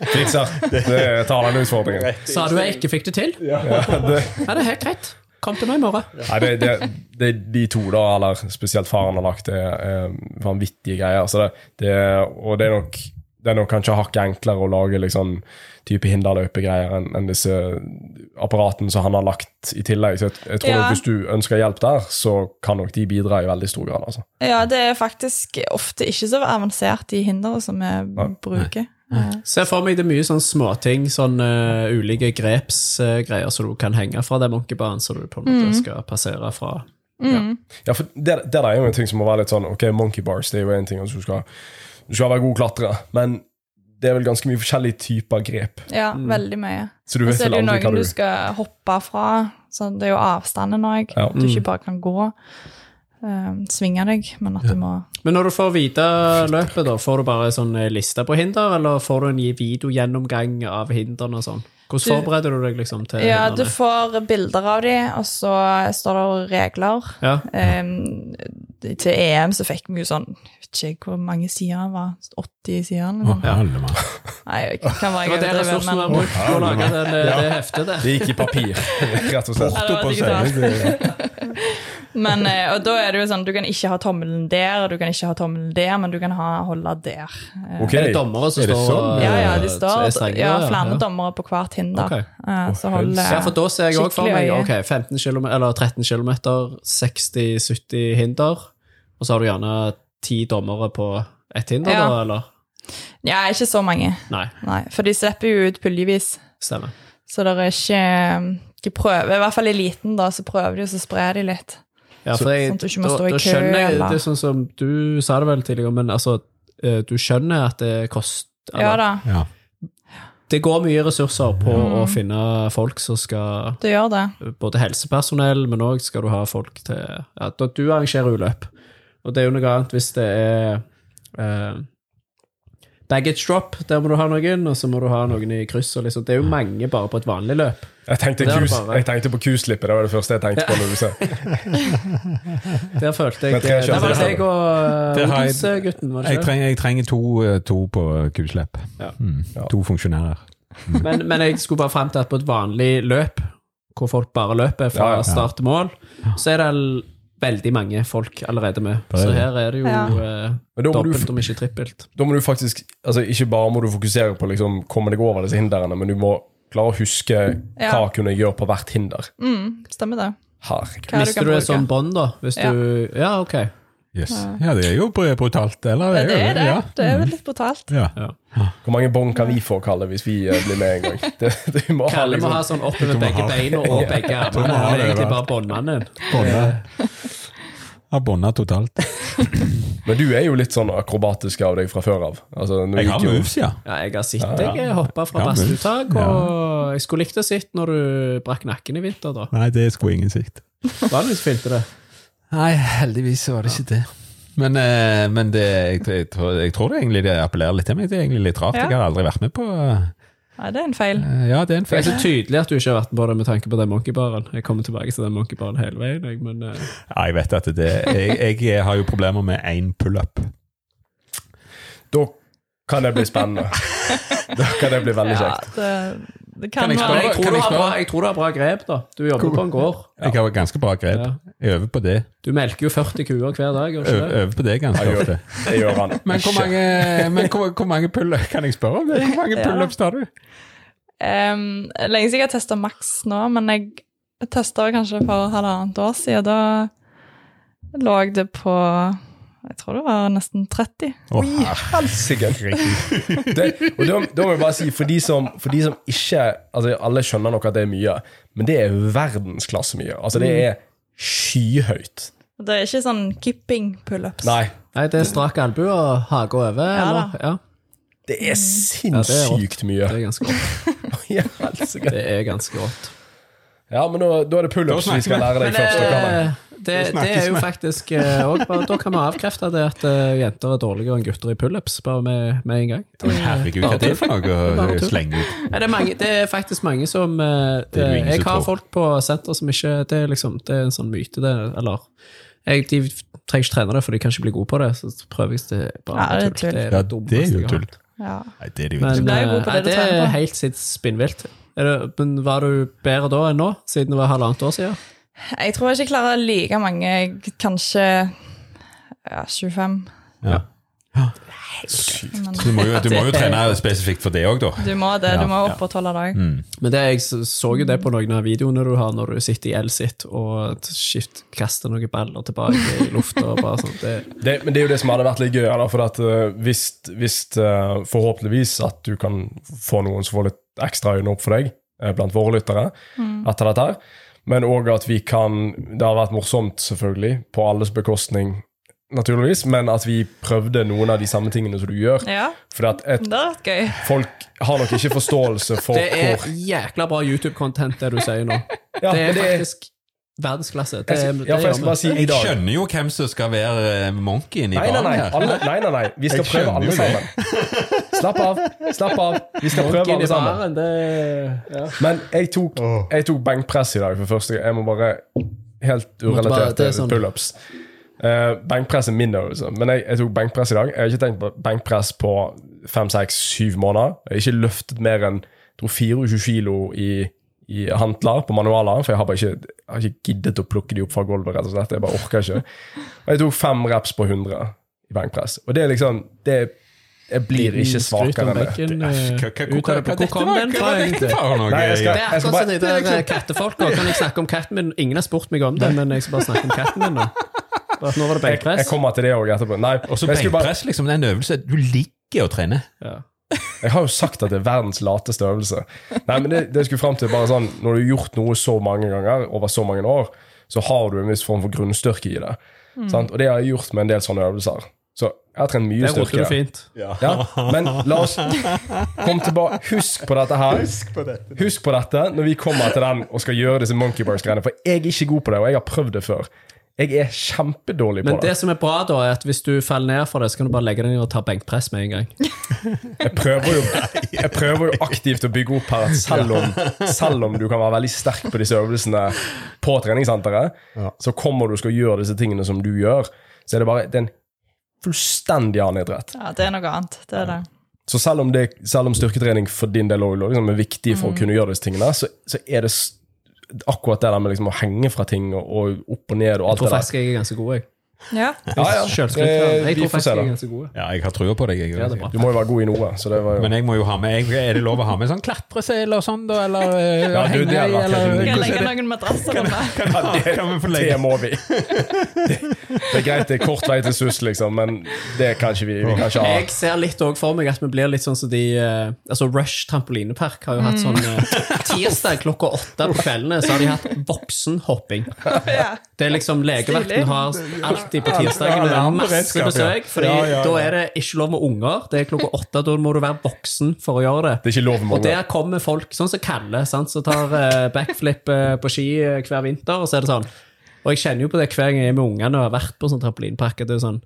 Speaker 4: [LAUGHS]
Speaker 1: fikser. Det tar den utfordringen.
Speaker 3: Sa du jeg ikke fikk det til?
Speaker 1: [LAUGHS]
Speaker 3: Ja, det er helt greit. Kom til meg i morgen.
Speaker 1: Nei, det, det, det, de to, da, eller spesielt faren har lagt, det er eh, vanvittige greier. Så det, det, og det er nok det er nok kanskje hakket enklere å lage liksom, type hinderløpegreier enn enn disse apparatene som han har lagt i tillegg. Så jeg, jeg tror
Speaker 4: Ja.
Speaker 1: nok hvis du ønsker hjelp der, så kan nok de bidra i veldig stor grad. Altså.
Speaker 4: Ja, det er faktisk ofte ikke så avansert de hindre som vi bruker.
Speaker 3: Se for meg det er mye sånn småting, sånn eh, ulike grepsgreier som du kan henge fra den monkeybanen som du på en
Speaker 4: Mm.
Speaker 3: måte skal passere fra.
Speaker 1: Ja, for det, det der er jo en ting som må være litt sånn Ok, monkey bars det er jo en ting, altså du skal, du skal være god klatrer, men det er vel ganske mye forskjellige typer grep.
Speaker 4: Ja, veldig mye.
Speaker 1: Så du Mm.
Speaker 4: Og
Speaker 1: vet
Speaker 4: så
Speaker 1: vel
Speaker 4: er det jo
Speaker 1: aldri hva
Speaker 4: noen
Speaker 1: du
Speaker 4: du skal hoppe fra. Så det er jo avstanden òg.
Speaker 1: Ja. Mm.
Speaker 4: At du ikke bare kan gå. Um, svinge deg, men at du må
Speaker 3: Men når du får vite løpet, da, får du bare en sånn eh, liste på hinder, eller får du en videogjennomgang av hindrene og sånn? Hvordan
Speaker 4: Du-
Speaker 3: forbereder du deg liksom til
Speaker 4: Ja, du
Speaker 3: hindrene?
Speaker 4: får bilder av de, og så står det regler.
Speaker 3: Ja.
Speaker 4: Um, til EM så fikk vi jo sånn Jeg vet ikke hvor mange sider det var. 80 sider?
Speaker 2: Å,
Speaker 4: eller noe.
Speaker 2: alle mann.
Speaker 4: Nei, jeg kan være
Speaker 3: Det var
Speaker 4: jeg
Speaker 3: det
Speaker 4: overdriver,
Speaker 3: ressursen var
Speaker 4: men
Speaker 3: brukt på å lage det, det, det heftet der.
Speaker 1: Det gikk i papir, [LAUGHS] rett og slett.
Speaker 4: Ja, det var
Speaker 2: Oppå seg,
Speaker 4: digitalt.
Speaker 2: det-
Speaker 4: Men, eh, og da er det jo sånn, du kan ikke ha tommelen der, og du kan ikke ha tommelen der, men du kan ha, holde der.
Speaker 1: [LAUGHS]
Speaker 4: Eh,
Speaker 1: Ok.
Speaker 3: Er det dommere som
Speaker 2: Er det
Speaker 3: står
Speaker 2: sånn?
Speaker 3: og-
Speaker 4: Ja, ja, de
Speaker 3: som
Speaker 4: står
Speaker 3: er strengere,
Speaker 4: ja, flere
Speaker 3: ja.
Speaker 4: dommere på hvert hinder.
Speaker 3: Ok.
Speaker 4: Eh, så
Speaker 1: Å,
Speaker 4: holder
Speaker 3: Ja, for da ser jeg òg for meg
Speaker 4: Skikkelig øye.
Speaker 3: ok, 15 km, eller 13 km, 60-70 hinder, og så har du gjerne ti dommere på ett hinder,
Speaker 4: Ja.
Speaker 3: da, eller?
Speaker 4: eh, Ja, ikke så mange.
Speaker 3: Nei,
Speaker 4: Nei, for de slipper jo ut puljevis.
Speaker 3: stemmer.
Speaker 4: Så det er ikke eh, De prøver, i hvert fall eliten, da, så prøver de, og så sprer de litt.
Speaker 3: Ja, for jeg,
Speaker 4: Sånn at du ikke må
Speaker 3: da,
Speaker 4: stå i
Speaker 3: da
Speaker 4: kø,
Speaker 3: skjønner jeg,
Speaker 4: eller-
Speaker 3: Det er sånn som du sa det vel tidligere, men altså, eh, du skjønner at det koster
Speaker 4: Ja da,
Speaker 2: Ja.
Speaker 3: Det går mye ressurser på å finne folk som skal
Speaker 4: det gjør det.
Speaker 3: Både helsepersonell, men òg skal du ha folk til ja, da Du arrangerer uløp. Og det er jo noe annet hvis det er eh, baggage drop. Der må du ha noen, og så må du ha noen i kryss. Og liksom. Det er jo mange bare på et vanlig løp.
Speaker 1: Jeg tenkte,
Speaker 3: Det er det
Speaker 1: kus,
Speaker 3: bare.
Speaker 1: jeg tenkte på kuslippet, det var det første jeg tenkte på. når du sa.
Speaker 3: Der følte jeg eh,
Speaker 1: Men tre kjører
Speaker 3: Der var det
Speaker 1: sammen.
Speaker 3: jeg og
Speaker 2: Der har jeg-
Speaker 3: Odensgutten, var det
Speaker 2: Jeg
Speaker 3: ikke det?
Speaker 2: trenger, jeg trenger to, eh, to på kuslepp.
Speaker 3: Ja.
Speaker 2: Mm.
Speaker 1: Ja.
Speaker 2: To funksjonærer.
Speaker 3: Men, men jeg skulle bare frem til at på et vanlig løp, hvor folk bare løper fra
Speaker 1: Ja, ja.
Speaker 3: start til mål, så er det l- veldig mange folk allerede med.
Speaker 2: er
Speaker 3: Så
Speaker 2: det.
Speaker 3: her er det jo
Speaker 4: Ja.
Speaker 3: eh,
Speaker 1: Men da må du-
Speaker 3: dobbelt, om ikke trippelt.
Speaker 1: Da må du faktisk, altså Ikke bare må du fokusere på å liksom, komme deg over disse hindrene, men du må klare å huske
Speaker 4: Ja.
Speaker 1: hva kunne jeg gjøre på hvert hinder.
Speaker 4: Mm, stemmer det.
Speaker 1: Herregud.
Speaker 4: Hva er det du
Speaker 3: Mister
Speaker 4: kan
Speaker 3: du sånn-
Speaker 4: bruke?
Speaker 3: et sånt bånd, da? Hvis
Speaker 4: Ja.
Speaker 3: du Ja, ok.
Speaker 2: Yes. Ja, det er jo br- brutalt, eller?
Speaker 4: Det
Speaker 2: jo
Speaker 4: er det.
Speaker 2: Ja.
Speaker 4: Det er jo litt brutalt.
Speaker 2: Ja.
Speaker 1: Hvor mange bånd kan vi få, Kalle, hvis vi eh, blir med en gang? [LAUGHS] Det, det vi må ha,
Speaker 3: Kalle må
Speaker 1: liksom.
Speaker 3: ha sånn oppover begge beina og begge
Speaker 2: må
Speaker 3: armene.
Speaker 2: ha
Speaker 3: Han er
Speaker 2: det, vet.
Speaker 3: egentlig bare båndmannen.
Speaker 2: Bonde. Har bonda totalt.
Speaker 1: Men du er jo litt sånn akrobatisk av deg fra før av. Altså, nå
Speaker 2: Jeg har
Speaker 1: gikk jo-
Speaker 2: moves, ja.
Speaker 3: Ja, jeg har sett deg hoppe fra
Speaker 2: Ja, men-
Speaker 3: badstuetak, og jeg skulle likt å sett når du brakk nakken i vinter, da.
Speaker 2: Nei, det skulle ingen sikt.
Speaker 3: Vanligvis filmte det.
Speaker 2: Nei, heldigvis så var det ikke det. Men, eh, men det, jeg, jeg, tror, jeg tror det egentlig det appellerer litt til meg. Det er egentlig litt rart.
Speaker 4: Ja.
Speaker 2: Jeg har aldri vært med på eh,
Speaker 4: Nei, det er en feil.
Speaker 2: Ja, det er en
Speaker 3: Det
Speaker 2: feil.
Speaker 3: er så tydelig at du ikke har vært med på det med tanke på den monkeybaren. Jeg kommer tilbake til den monkeybaren hele veien, jeg, men eh,
Speaker 2: [LAUGHS] Ja, jeg vet at det Jeg, jeg eh, har jo problemer med én pullup.
Speaker 1: Da kan det bli
Speaker 2: [LAUGHS]
Speaker 1: spennende. Da kan det bli veldig
Speaker 4: Ja,
Speaker 1: kjekt.
Speaker 4: det, det
Speaker 2: Kan
Speaker 4: kan,
Speaker 2: jeg
Speaker 3: men
Speaker 4: være
Speaker 3: jeg, tror
Speaker 2: kan
Speaker 3: du
Speaker 2: jeg
Speaker 3: har
Speaker 2: spørre?
Speaker 3: bra, jeg tror du har bra grep, da. Du jobber på en gård.
Speaker 2: Jeg har ganske bra grep.
Speaker 3: Ja.
Speaker 2: Jeg øver på det.
Speaker 3: Du melker jo 40 kuer hver dag, gjør
Speaker 2: Øver,
Speaker 3: ikke det?
Speaker 2: øver på det ganske
Speaker 1: Jeg gjør-
Speaker 2: ofte.
Speaker 1: Det gjør han.
Speaker 2: Men hvor
Speaker 1: ikke.
Speaker 2: mange, men hvor, hvor mange pull Kan jeg spørre om det? Hvor mange
Speaker 4: Ja.
Speaker 2: pullups tar du?
Speaker 4: Ehm, lenge siden jeg har testa maks nå, men jeg testa kanskje for halvannet år siden. Da lå det på Jeg tror det var nesten 30.
Speaker 2: Å,
Speaker 1: Helsike. Det, og da, da må jeg bare si, for de som, for de som ikke altså Alle skjønner nok at det er mye, men det er verdensklasse mye. Altså, det er skyhøyt.
Speaker 4: Og Det er ikke sånn kipping pullups.
Speaker 1: Nei,
Speaker 3: Nei, det er strak albue og hage over,
Speaker 4: Ja,
Speaker 3: eller? Ja,
Speaker 1: det er
Speaker 3: rått.
Speaker 1: sinnssykt mye. [LAUGHS]
Speaker 3: det er ganske rått.
Speaker 1: Ja, helsike.
Speaker 3: Det er ganske rått.
Speaker 1: Ja, men da, da er det pullups
Speaker 2: Da
Speaker 1: vi skal
Speaker 2: snakker
Speaker 1: lære
Speaker 3: Men
Speaker 1: deg først. da, Kalle.
Speaker 3: eh, det, det er jo faktisk eh, også bare, Da kan vi avkrefte det at eh, jenter er dårligere enn gutter i pullups, bare med, med en gang.
Speaker 2: men Herregud, hva er det for noe
Speaker 3: Bare
Speaker 2: å
Speaker 3: tull.
Speaker 2: slenge ut?
Speaker 3: Ja, det, er mange, det er faktisk mange som eh,
Speaker 2: Det er jo ingen
Speaker 3: Jeg
Speaker 2: som
Speaker 3: har
Speaker 2: tror.
Speaker 3: folk på senter som ikke Det er, liksom, det er en sånn myte, det. Eller jeg, De trenger ikke trene det, for de kan ikke bli gode på det. Så prøver jeg det er bare
Speaker 4: Ja, det er tull.
Speaker 3: Det
Speaker 2: Ja, det
Speaker 3: er det
Speaker 2: er jo
Speaker 3: dummeste jeg har
Speaker 2: tull.
Speaker 3: hørt.
Speaker 4: Ja.
Speaker 2: Nei, det er det jo ikke.
Speaker 3: Men
Speaker 4: ble jo god
Speaker 3: eh,
Speaker 4: på
Speaker 3: nei,
Speaker 4: det du
Speaker 3: det
Speaker 4: trener
Speaker 3: er
Speaker 4: på.
Speaker 3: helt sitt spinnvilt. Er det, men var du bedre da enn nå, siden det var halvannet år siden?
Speaker 4: Jeg tror jeg ikke klarer like mange, kanskje ja, 25.
Speaker 2: Ja.
Speaker 4: Men
Speaker 2: Så Du må jo, du må jo trene spesifikt for det òg, da.
Speaker 4: du må det.
Speaker 2: Ja.
Speaker 4: Du må opprettholde det òg.
Speaker 3: Men det, jeg så- så jo det på noen av videoene du har når du sitter i elsit og skift, kaster noen baller tilbake i lufta. og bare sånn. Det,
Speaker 1: Det, men det er jo det som hadde vært litt gøy. Da, for at, eh, hvis, hvis eh, forhåpentligvis at du kan få noen som får litt ekstra øyne opp for deg eh, blant våre lyttere etter dette her. Men òg at vi kan Det har vært morsomt, selvfølgelig, på alles bekostning, naturligvis, men at vi prøvde noen av de samme tingene som du gjør.
Speaker 4: Ja,
Speaker 1: For at et,
Speaker 4: det har vært gøy.
Speaker 1: folk har nok ikke forståelse for
Speaker 3: det er
Speaker 1: hvor
Speaker 3: jækla bra YouTube-content, det du sier nå.
Speaker 1: ja,
Speaker 3: det
Speaker 1: men
Speaker 3: er faktisk verdensklasse. Det,
Speaker 1: jeg skal, ja, for jeg skal bare si i
Speaker 2: Jeg
Speaker 1: dag
Speaker 2: skjønner jo hvem som skal være eh, monkeyen i
Speaker 1: Nei, nei,
Speaker 2: baren
Speaker 1: nei.
Speaker 2: her.
Speaker 1: Alle, nei, nei, nei. Vi skal
Speaker 2: Jeg
Speaker 1: prøve
Speaker 2: skjønner
Speaker 1: alle
Speaker 2: jo det.
Speaker 1: sammen. Slapp av. Slapp av. Vi skal prøve alle sammen.
Speaker 3: det, ja.
Speaker 1: Men jeg tok, jeg tok benkpress i dag for første gang. Jeg må bare Helt
Speaker 3: Måtte bare-
Speaker 1: urelatert
Speaker 3: det er
Speaker 1: til
Speaker 3: sånn.
Speaker 1: pullups. Eh, benkpress er min øvelse, men jeg, jeg tok benkpress i dag. Jeg har ikke tenkt på benkpress på fem, seks, syv måneder. Jeg har ikke løftet mer enn jeg tror 24 kilo i, i hantler på manualer, for jeg har bare ikke, jeg har ikke giddet å plukke de opp fra gulvet, rett og slett. Jeg bare orker ikke. Og jeg tok fem reps på 100 i benkpress. Og det er liksom det, Jeg blir ikke svakere enn det.
Speaker 3: eh,
Speaker 2: Hva- hva- Hvor hva-
Speaker 3: Hvor kom den
Speaker 2: hva-
Speaker 3: fra,
Speaker 2: hva-
Speaker 3: egentlig?
Speaker 2: dette var noe?
Speaker 1: Nei, jeg skal-
Speaker 3: Det er akkurat som de
Speaker 1: Jeg
Speaker 3: der eh, kattefolka. Kan jeg snakke om katten min? Ingen har spurt meg om det, men jeg skal bare snakke om
Speaker 1: [LAUGHS]
Speaker 3: katten min nå. Bare at nå var det
Speaker 1: Jeg, jeg
Speaker 3: benkpress.
Speaker 1: kommer til det òg etterpå. Nei,
Speaker 2: Og så
Speaker 1: jeg skulle bare-
Speaker 2: benkpress, liksom. Det er en øvelse du liker å trene.
Speaker 3: Ja.
Speaker 1: Jeg har jo sagt at det er verdens lateste øvelse. Nei, men det, det skulle frem til bare sånn, Når du har gjort noe så mange ganger over så mange år, så har du en viss form for grunnstyrke i det. Sant? Og det har jeg gjort med en del sånne øvelser. Så jeg har trent mye
Speaker 3: Der roter du
Speaker 1: styrke.
Speaker 3: fint.
Speaker 1: Ja, men la oss kom tilbake. Husk på dette her. Husk på dette. når vi kommer til den og skal gjøre disse monkey bars-greiene. For jeg er ikke god på det, og jeg har prøvd det før. Jeg er kjempedårlig på
Speaker 3: Men det
Speaker 1: det.
Speaker 3: som er bra, da, er at hvis du faller ned for det, så kan du bare legge deg ned og ta benkpress med en gang.
Speaker 1: Jeg prøver,
Speaker 3: [LAUGHS]
Speaker 1: jo, jeg prøver jo aktivt å bygge opp her at selv om, selv om du kan være veldig sterk på disse øvelsene på treningssenteret, så kommer du og skal gjøre disse tingene som du gjør, så er det bare det er en fullstendig annen idrett.
Speaker 4: Ja, det er noe annet. Det er det.
Speaker 1: Så selv om, det, selv om styrketrening for din del også, liksom, er viktig for å kunne gjøre disse tingene, så, så er det s- akkurat det der med liksom å henge fra ting og, og opp og ned og
Speaker 3: Jeg
Speaker 1: alt
Speaker 3: tror
Speaker 1: det der.
Speaker 3: faktisk jeg er ganske god, jeg.
Speaker 4: Ja.
Speaker 1: Ja, ja.
Speaker 3: Selvskryt.
Speaker 1: Eh,
Speaker 3: Jeg
Speaker 1: vi
Speaker 3: tror
Speaker 1: får se,
Speaker 3: faktisk de
Speaker 1: da.
Speaker 3: er ganske gode.
Speaker 2: Ja, jeg har trua på deg. Jeg,
Speaker 3: Ja, det er bra.
Speaker 1: Du må jo være god i noe, så det var jo
Speaker 2: Men jeg må jo ha med jeg, Er det lov å ha med sånn klatresel og sånn, da? Eller eh,
Speaker 1: Ja, du,
Speaker 2: henge
Speaker 1: det hadde
Speaker 2: i,
Speaker 1: vært
Speaker 2: eller
Speaker 1: helt
Speaker 4: Skal jeg
Speaker 2: hvordan
Speaker 4: legge
Speaker 2: er det?
Speaker 4: noen madrasser under?
Speaker 1: ja, det,
Speaker 2: Kan vi få legge-
Speaker 1: det må vi. Det, [LAUGHS] det er greit, det er kort vei til SUS, liksom, men det kan ikke vi. Vi kan ikke ha
Speaker 3: Jeg ser litt også for meg at vi blir litt sånn som de eh, Altså Rush trampolinepark har jo hatt sånn eh, Tirsdag klokka åtte på kveldene så har de hatt voksenhopping.
Speaker 4: [LAUGHS] Ja.
Speaker 3: Det er liksom Legevakten
Speaker 4: Stilig.
Speaker 3: har alltid på
Speaker 2: Ja,
Speaker 3: tirsdagene masse
Speaker 2: alarmberedskap, ja.
Speaker 3: besøk, Fordi
Speaker 2: Ja, ja, ja.
Speaker 3: da er det ikke lov med unger. Det er klokka åtte, da må du være voksen for å gjøre
Speaker 1: Det er
Speaker 3: det.
Speaker 1: ikke lov med
Speaker 3: Og
Speaker 1: unger.
Speaker 3: der kommer folk, sånn som Kalle, sant, som tar eh, backflip eh, på ski eh, hver vinter. Og så er det sånn. Og jeg kjenner jo på det hver gang jeg er med ungene og har vært på sånn trampolinepark. at det er Sånn.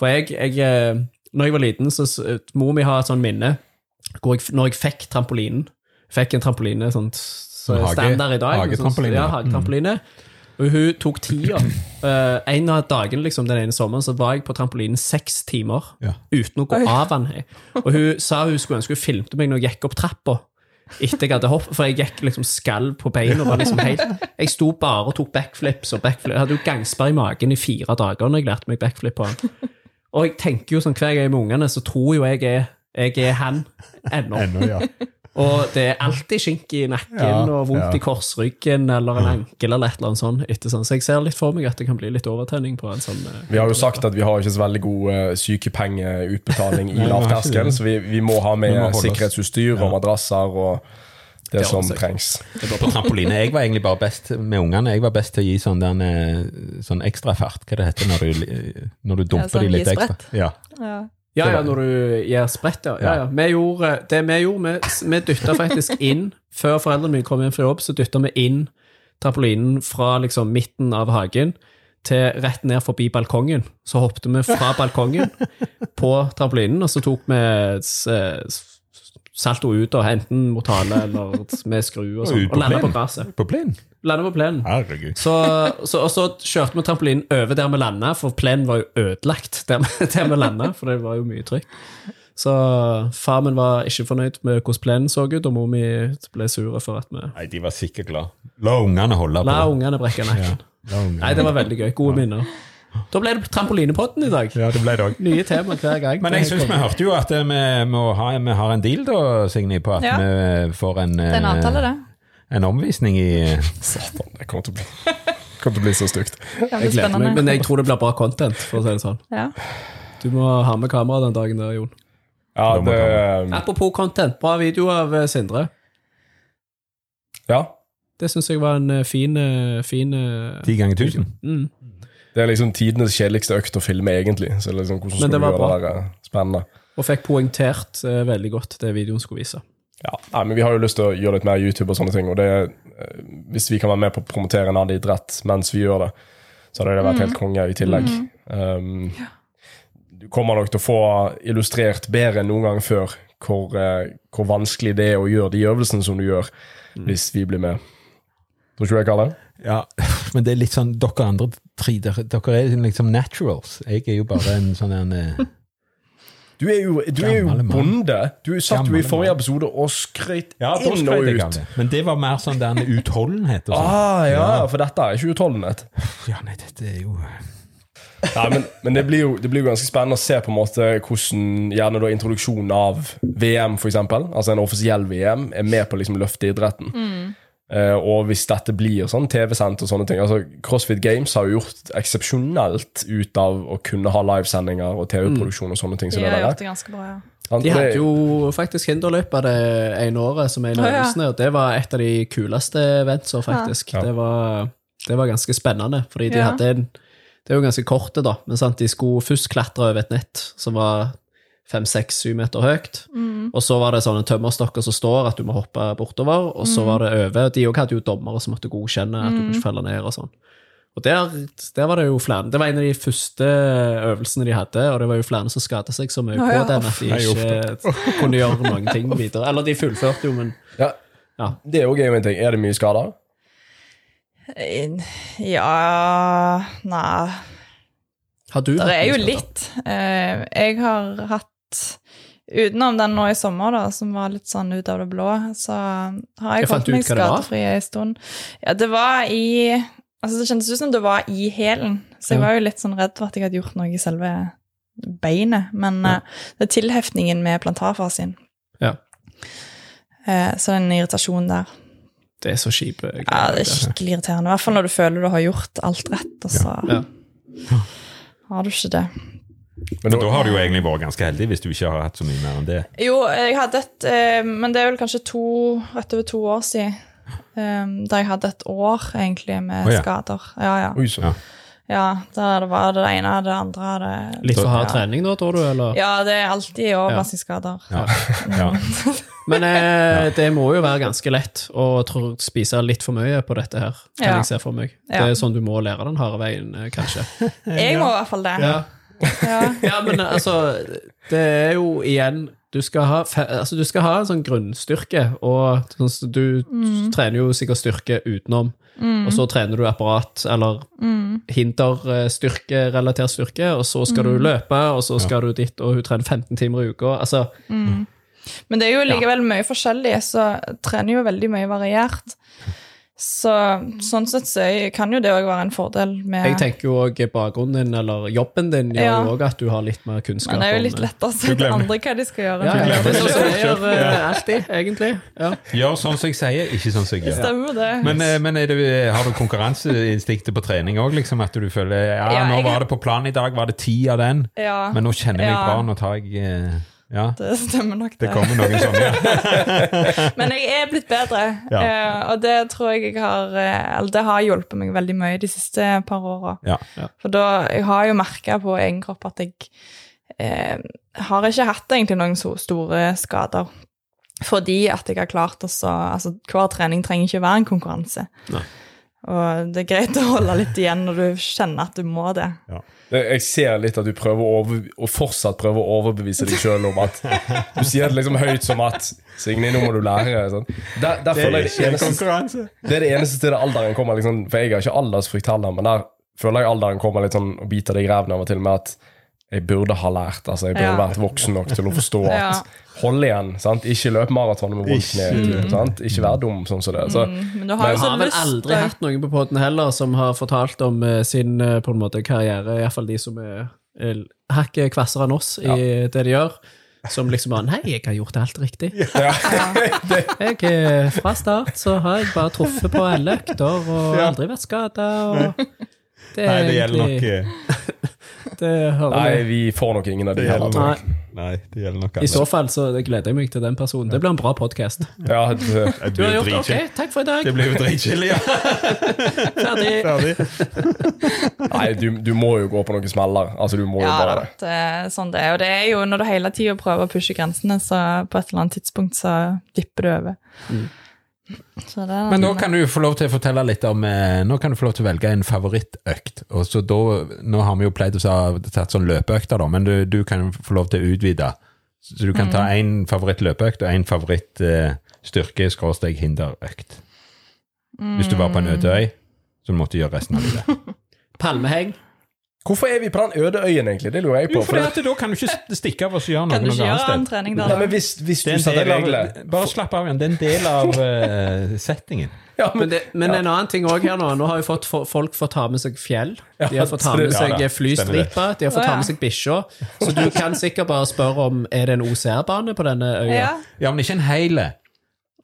Speaker 3: For jeg, jeg eh, når jeg var liten, så s- eh, mor mi har et sånt minne hvor jeg, f- når jeg fikk trampolinen. Fikk en trampoline sånn så
Speaker 2: Sånn hage-
Speaker 3: standard i dag. sånn-
Speaker 2: hagetrampoline,
Speaker 3: Ja,
Speaker 2: ja. Mm.
Speaker 3: hagetrampoline. Og hun tok tida. Eh, en av dagene liksom, den ene sommeren så var jeg på trampolinen seks timer
Speaker 2: Ja.
Speaker 3: uten å gå av den. jeg. Og hun sa hun skulle ønske hun filmte meg når jeg gikk opp trappa. Etter jeg hadde hopp, For jeg gikk liksom skalv på beina. og Var liksom helt, jeg sto bare og tok backflips. og backflip. Jeg hadde jo gangsperre i magen i fire dager når jeg lærte meg backflip på den. Og jeg tenker jo sånn, hver gang jeg er med ungene, så tror jo jeg er, jeg er han ennå.
Speaker 2: Ennå, ja.
Speaker 3: Og det er alltid skink i nakken
Speaker 2: Ja,
Speaker 3: og vondt
Speaker 2: ja.
Speaker 3: i korsryggen eller en ankel eller et eller annet sånt. Etter sånn. Så jeg ser litt for meg at det kan bli litt overtenning på en sånn eh,
Speaker 1: Vi har jo sagt at vi har ikke så veldig god eh, sykepengeutbetaling i
Speaker 2: vi har ikke
Speaker 1: lavterskel,
Speaker 2: det.
Speaker 1: så vi, vi må ha
Speaker 2: Vi må
Speaker 1: med
Speaker 2: holde oss.
Speaker 1: sikkerhetsutstyr og madrasser og det,
Speaker 3: Det
Speaker 1: som
Speaker 3: ordner seg.
Speaker 1: trengs.
Speaker 2: På trampoline. Jeg var egentlig bare best med ungene. Jeg var best til å gi sånn, den, eh, sånn ekstra fart, hva det heter når du, li- eh, når du dumper
Speaker 4: sånn
Speaker 2: de litt
Speaker 4: gi
Speaker 2: ekstra.
Speaker 4: sprett.
Speaker 2: Ja.
Speaker 4: Ja.
Speaker 3: Ja,
Speaker 2: Det
Speaker 3: ja,
Speaker 2: var-
Speaker 3: når du gjør sprett, ja. ja, ja. Vi gjorde, det vi gjorde, vi, vi dytta faktisk inn Før foreldrene mine kom hjem fra jobb, så dytta vi inn trampolinen fra liksom midten av hagen til rett ned forbi balkongen. Så hoppet vi fra balkongen på trampolinen, og så tok vi s- s- salto ut, da, enten mot hale eller med skru og sånn,
Speaker 2: ut på
Speaker 3: og landa på
Speaker 2: plenen.
Speaker 3: gresset.
Speaker 2: På plenen.
Speaker 3: Landa på plenen.
Speaker 2: Herregud.
Speaker 3: Så, så, og så kjørte vi trampolinen over der vi landa, for plenen var jo ødelagt der, vi- der vi landa, for det var jo mye trykk. Så far min var ikke fornøyd med hvordan plenen så ut, og mor mi ble sur for at vi
Speaker 2: Nei, de var sikkert glad. La ungene holde på.
Speaker 3: la ungene brekke nakken.
Speaker 2: La ungene.
Speaker 3: Nei, det var veldig gøy. Gode minner. Da ble det trampolinepodden i dag.
Speaker 2: Ja, det ble det òg.
Speaker 3: Nye tema hver gang.
Speaker 2: Men jeg syns vi hørte jo at eh, vi, må ha, vi har en deal, da, Signe, på at
Speaker 4: Ja.
Speaker 2: vi får en, eh,
Speaker 4: Det er en avtale, det.
Speaker 2: en omvisning i eh,
Speaker 1: Satan, det kommer til å bli,
Speaker 3: [LAUGHS]
Speaker 1: kommer til å bli så stygt.
Speaker 4: Det
Speaker 3: Jeg
Speaker 4: blir
Speaker 3: gleder
Speaker 4: spennende.
Speaker 3: meg, men jeg tror det blir bra content. for å si det sånn.
Speaker 4: Ja.
Speaker 3: Du må ha med kamera den dagen der, Jon.
Speaker 2: Mm.
Speaker 1: Ja,
Speaker 2: Da må
Speaker 1: det,
Speaker 3: Apropos content, bra video av eh, Sindre.
Speaker 1: ja,
Speaker 3: Det syns jeg var en eh, fin, eh, fin eh,
Speaker 2: ti ganger tusen.
Speaker 3: mm.
Speaker 1: det er liksom tidenes kjedeligste økt å filme, egentlig. Så det er liksom, hvordan
Speaker 3: Men
Speaker 1: skal
Speaker 3: det
Speaker 1: du
Speaker 3: var
Speaker 1: gjøre
Speaker 3: bra.
Speaker 1: det der eh, spennende?
Speaker 3: Og fikk poengtert eh, veldig godt det videoen skulle vise.
Speaker 1: Ja, nei, men Vi har jo lyst til å gjøre litt mer YouTube, og sånne ting, og det, eh, hvis vi kan være med på å promotere en annen idrett mens vi gjør det, så hadde det vært helt konge i tillegg. Um, du kommer nok til å få illustrert bedre enn noen gang før hvor, eh, hvor vanskelig det er å gjøre de øvelsene som du gjør, hvis vi blir med. Tror ikke du det, Kalle?
Speaker 2: Ja, men det er litt sånn dere andre tre, dere, dere er liksom naturals. Jeg er jo bare en sånn en eh,
Speaker 1: Du er jo, du er jo
Speaker 2: Gammel mann.
Speaker 1: bonde. Du satt jo
Speaker 2: Gammel
Speaker 1: i forrige
Speaker 2: mann.
Speaker 1: episode og skrøt
Speaker 2: [LAUGHS] Ja, da
Speaker 1: inn
Speaker 2: skrøt
Speaker 1: og
Speaker 2: jeg av
Speaker 1: ut.
Speaker 2: det. Men det var mer sånn den utholdenhet og sånn.
Speaker 1: Ah, ja, for dette er ikke utholdenhet.
Speaker 2: Ja, nei, dette er jo
Speaker 1: Nei, men, men det, blir jo, det blir jo ganske spennende å se på en måte hvordan gjerne da introduksjonen av VM, for eksempel, altså en offisiell VM, er med på å liksom løfte idretten.
Speaker 4: Mm.
Speaker 1: Eh, og hvis dette blir sånn TV-sendt og sånne ting altså CrossFit Games har jo gjort eksepsjonelt ut av å kunne ha livesendinger og TV-produksjon og sånne ting. som
Speaker 4: De har
Speaker 1: det
Speaker 4: gjort
Speaker 1: der.
Speaker 4: det ganske bra, ja.
Speaker 1: Sant?
Speaker 3: De
Speaker 1: Det-
Speaker 3: hadde jo faktisk hinderløypa det ene året som en av
Speaker 4: Å, ja.
Speaker 3: øvelsene, og det var et av de kuleste eventser, faktisk.
Speaker 1: Ja.
Speaker 3: Det, var, det var ganske spennende, fordi de
Speaker 4: Ja.
Speaker 3: hadde en Det er jo ganske korte, da, men sant, de skulle først klatre over et nett som var fem, seks, syv meter høyt,
Speaker 4: Mm.
Speaker 3: og så var det sånne tømmerstokker som står at du må hoppe bortover, og
Speaker 4: Mm.
Speaker 3: så var det over. De òg hadde jo dommere som måtte godkjenne at du kunne ikke falle ned og sånn. Og der, der var det jo flere Det var en av de første øvelsene de hadde, og det var jo flere som skada seg så mye
Speaker 4: Ja, ja.
Speaker 3: på den at de
Speaker 2: Nei, uff
Speaker 3: ikke kunne gjøre noen ting videre. Eller de fullførte jo, men
Speaker 1: ja,
Speaker 3: ja.
Speaker 1: det er jo gøy med en ting. Er det mye skader?
Speaker 4: Ja Nei.
Speaker 3: Har du
Speaker 4: Det er jo
Speaker 3: noen skader?
Speaker 4: litt. Eh, Jeg har hatt Utenom den nå i sommer, da, som var litt sånn ut av det blå, så har jeg
Speaker 3: Jeg fant
Speaker 4: holdt meg
Speaker 3: ut hva det var.
Speaker 4: skadefri en stund. Ja, det var i Altså, det kjentes ut som det var i hælen, Så jeg var jo litt sånn redd for at jeg hadde gjort noe i selve beinet. Men eh, det er tilheftningen med plantarfasien.
Speaker 3: Ja.
Speaker 4: Eh, så den irritasjonen der.
Speaker 3: Det er så kjipe greier.
Speaker 4: Ja, det er skikkelig irriterende. I hvert fall når du føler du har gjort alt rett, og så
Speaker 3: Ja.
Speaker 4: har du ikke det.
Speaker 1: Men
Speaker 2: Men da
Speaker 1: da,
Speaker 2: har du jo egentlig vært ganske heldig, hvis du ikke har hatt så mye mer enn det.
Speaker 4: Jo, jeg hadde et eh, Men det er vel kanskje to, rett over to år siden. eh, da jeg hadde et år egentlig med
Speaker 2: Å, ja.
Speaker 4: skader. Ja, ja.
Speaker 1: Oi, så.
Speaker 2: Ja.
Speaker 4: ja der det var det ene, det andre det,
Speaker 3: Litt for hard
Speaker 4: ja.
Speaker 3: trening da, tror du? eller?
Speaker 4: Ja, det er alltid overbelastningsskader.
Speaker 2: Ja. Ja.
Speaker 3: Men eh, det må jo være ganske lett å tro- spise litt for mye på dette her. kan
Speaker 4: Ja.
Speaker 3: jeg se for meg.
Speaker 4: Ja.
Speaker 3: Det er sånn du må lære den harde veien, eh, kanskje.
Speaker 4: Jeg må i hvert fall det.
Speaker 3: Ja.
Speaker 4: [LAUGHS] Ja.
Speaker 3: ja, men altså Det er jo igjen Du skal ha, fe- altså, du skal ha en sånn grunnstyrke, og sånn, som du
Speaker 4: Mm.
Speaker 3: trener jo sikkert styrke utenom. Og så trener du apparat eller
Speaker 4: Mm.
Speaker 3: hinderstyrke, relatert styrke, og så skal du løpe, og så skal du dit, og hun trener 15 timer i uka. Altså,
Speaker 4: Men det er jo likevel mye forskjellig, så jeg trener jo veldig mye variert. Så sånn sett så er- kan jo det òg være en fordel
Speaker 3: jeg
Speaker 4: med
Speaker 3: tenker jo òg bakgrunnen din, eller jobben din, gjør
Speaker 4: Ja.
Speaker 3: jo òg at du har litt mer kunnskap.
Speaker 4: Men det er jo
Speaker 3: om- eh,
Speaker 4: litt lettere å si til
Speaker 2: glemmer.
Speaker 4: andre hva de skal gjøre.
Speaker 3: Ja,
Speaker 4: enn
Speaker 3: ja,
Speaker 4: jeg
Speaker 3: det er
Speaker 4: gjør
Speaker 3: sånn som
Speaker 4: selv.
Speaker 3: jeg gjør eh, alltid, egentlig. Ja.
Speaker 2: Gjør sånn som jeg sier, ikke sånn som jeg gjør.
Speaker 4: Stemmer det.
Speaker 2: Men, eh, men er det, har du konkurranseinstinktet på trening òg? Liksom at du føler ja,
Speaker 4: Ja,
Speaker 2: nå
Speaker 4: jeg-
Speaker 2: var det på planen i dag, var det ti av den?
Speaker 4: ja,
Speaker 2: Men nå kjenner jeg meg
Speaker 4: Ja.
Speaker 2: bra, nå tar jeg eh, Ja,
Speaker 4: det stemmer nok,
Speaker 2: det
Speaker 4: det.
Speaker 2: kommer noen sånne. Ja.
Speaker 4: Men jeg er blitt bedre,
Speaker 2: Ja.
Speaker 4: eh, og det tror jeg jeg har eh, Eller det har hjulpet meg veldig mye de siste par åra.
Speaker 2: Ja.
Speaker 4: For da, jeg har jo merka på egen kropp at jeg eh, har ikke hatt egentlig noen so store skader. Fordi at jeg har klart å så Altså, hver trening trenger ikke være en konkurranse.
Speaker 3: Nei.
Speaker 4: Og det er greit å holde litt igjen når du kjenner at du må det.
Speaker 1: Det- Jeg ser litt at du prøver å overbe- og fortsatt prøver å overbevise deg sjøl om at Du sier det liksom høyt som at Signe, nå må du lære. Sånn. Der, der føler jeg det eneste
Speaker 2: konkurranse.
Speaker 1: Det er det eneste stedet alderen kommer, liksom, for jeg har ikke aldersfrykt heller, men der føler jeg alderen kommer litt sånn og biter deg i ræven av og til med at jeg burde ha lært, altså jeg burde
Speaker 4: Ja.
Speaker 1: vært voksen nok til å forstå at
Speaker 4: Ja.
Speaker 1: hold igjen, sant? ikke løp maraton med vondt
Speaker 2: Ikke-
Speaker 1: kne, typ, sant? ikke vær dum sånn som det. Så,
Speaker 4: Mm, Men du har
Speaker 1: Men
Speaker 4: jo
Speaker 3: Jeg
Speaker 4: så
Speaker 3: har vel
Speaker 4: lyst
Speaker 3: aldri hatt noen på podden heller som har fortalt om eh, sin eh, på en måte, karriere, iallfall de som er er hakket kvassere enn oss i det de gjør. Som liksom bare Nei, jeg har gjort alt riktig. [LAUGHS] Jeg eh, Fra start så har jeg bare truffet på alle økter og
Speaker 2: Ja.
Speaker 3: aldri vært skada. Det, er
Speaker 2: Nei, det gjelder nok
Speaker 3: [LAUGHS] egentlig-
Speaker 2: eh,
Speaker 3: Det hører
Speaker 1: Nei,
Speaker 3: med.
Speaker 1: vi får nok ingen av de
Speaker 2: Det
Speaker 1: heller.
Speaker 2: gjelder
Speaker 1: tror
Speaker 3: Nei.
Speaker 1: jeg.
Speaker 2: Nei, det gjelder nok
Speaker 3: I så fall så gleder jeg meg til den personen. Det blir en bra podkast.
Speaker 1: Ja, det,
Speaker 2: Det
Speaker 3: Du
Speaker 2: blir
Speaker 3: har
Speaker 2: jo
Speaker 3: gjort det. Ok,
Speaker 2: dritkjedelig.
Speaker 3: takk for i dag.
Speaker 2: Det blir jo dritkjedelig, ja. [LAUGHS]
Speaker 3: Ferdig.
Speaker 2: Ferdig.
Speaker 1: nei du, du må jo gå på noen smeller. Altså, du må jo
Speaker 4: Ja,
Speaker 1: bare
Speaker 4: da, det er sånn det er. Og det er jo når du hele tida prøver å pushe grensene, så på et eller annet tidspunkt så dipper du over. Så det er
Speaker 2: Men nå kan du få lov til å fortelle litt om eh, Nå kan du få lov til å velge en favorittøkt. Og så da, Nå har vi jo pleid å sa- tatt sånn løpeøkter, da, men du, du kan jo få lov til å utvide. Så du kan ta én favorittløpeøkt og eh, én favorittstyrke-hinderøkt. Hvis du var på en øde øy, så du måtte gjøre resten av [LAUGHS] livet.
Speaker 3: Palmeheng.
Speaker 1: Hvorfor er vi på den øde øyen, egentlig? Det lurer jeg på. for det-
Speaker 2: da kan du ikke stikke av og gjøre
Speaker 4: Kan du ikke gjøre annen trening der,
Speaker 1: Nei,
Speaker 4: da?
Speaker 1: men hvis, hvis du setter regler
Speaker 2: Bare slapp av igjen. Det er en del
Speaker 1: [LAUGHS]
Speaker 2: av eh, settingen.
Speaker 1: ja,
Speaker 3: Men,
Speaker 1: men,
Speaker 3: det, men en annen ting også her nå. Nå har jo fått, fo- folk fått ta med seg fjell. De har fått ta med
Speaker 1: absolutt.
Speaker 3: seg
Speaker 2: Ja, da.
Speaker 3: flystripa. De har fått
Speaker 4: Å,
Speaker 3: ta
Speaker 4: ja.
Speaker 3: med seg bikkja. Så du kan sikkert bare spørre om er det en OCR-bane på denne øya.
Speaker 4: Ja,
Speaker 2: Ja, men ikke en hele.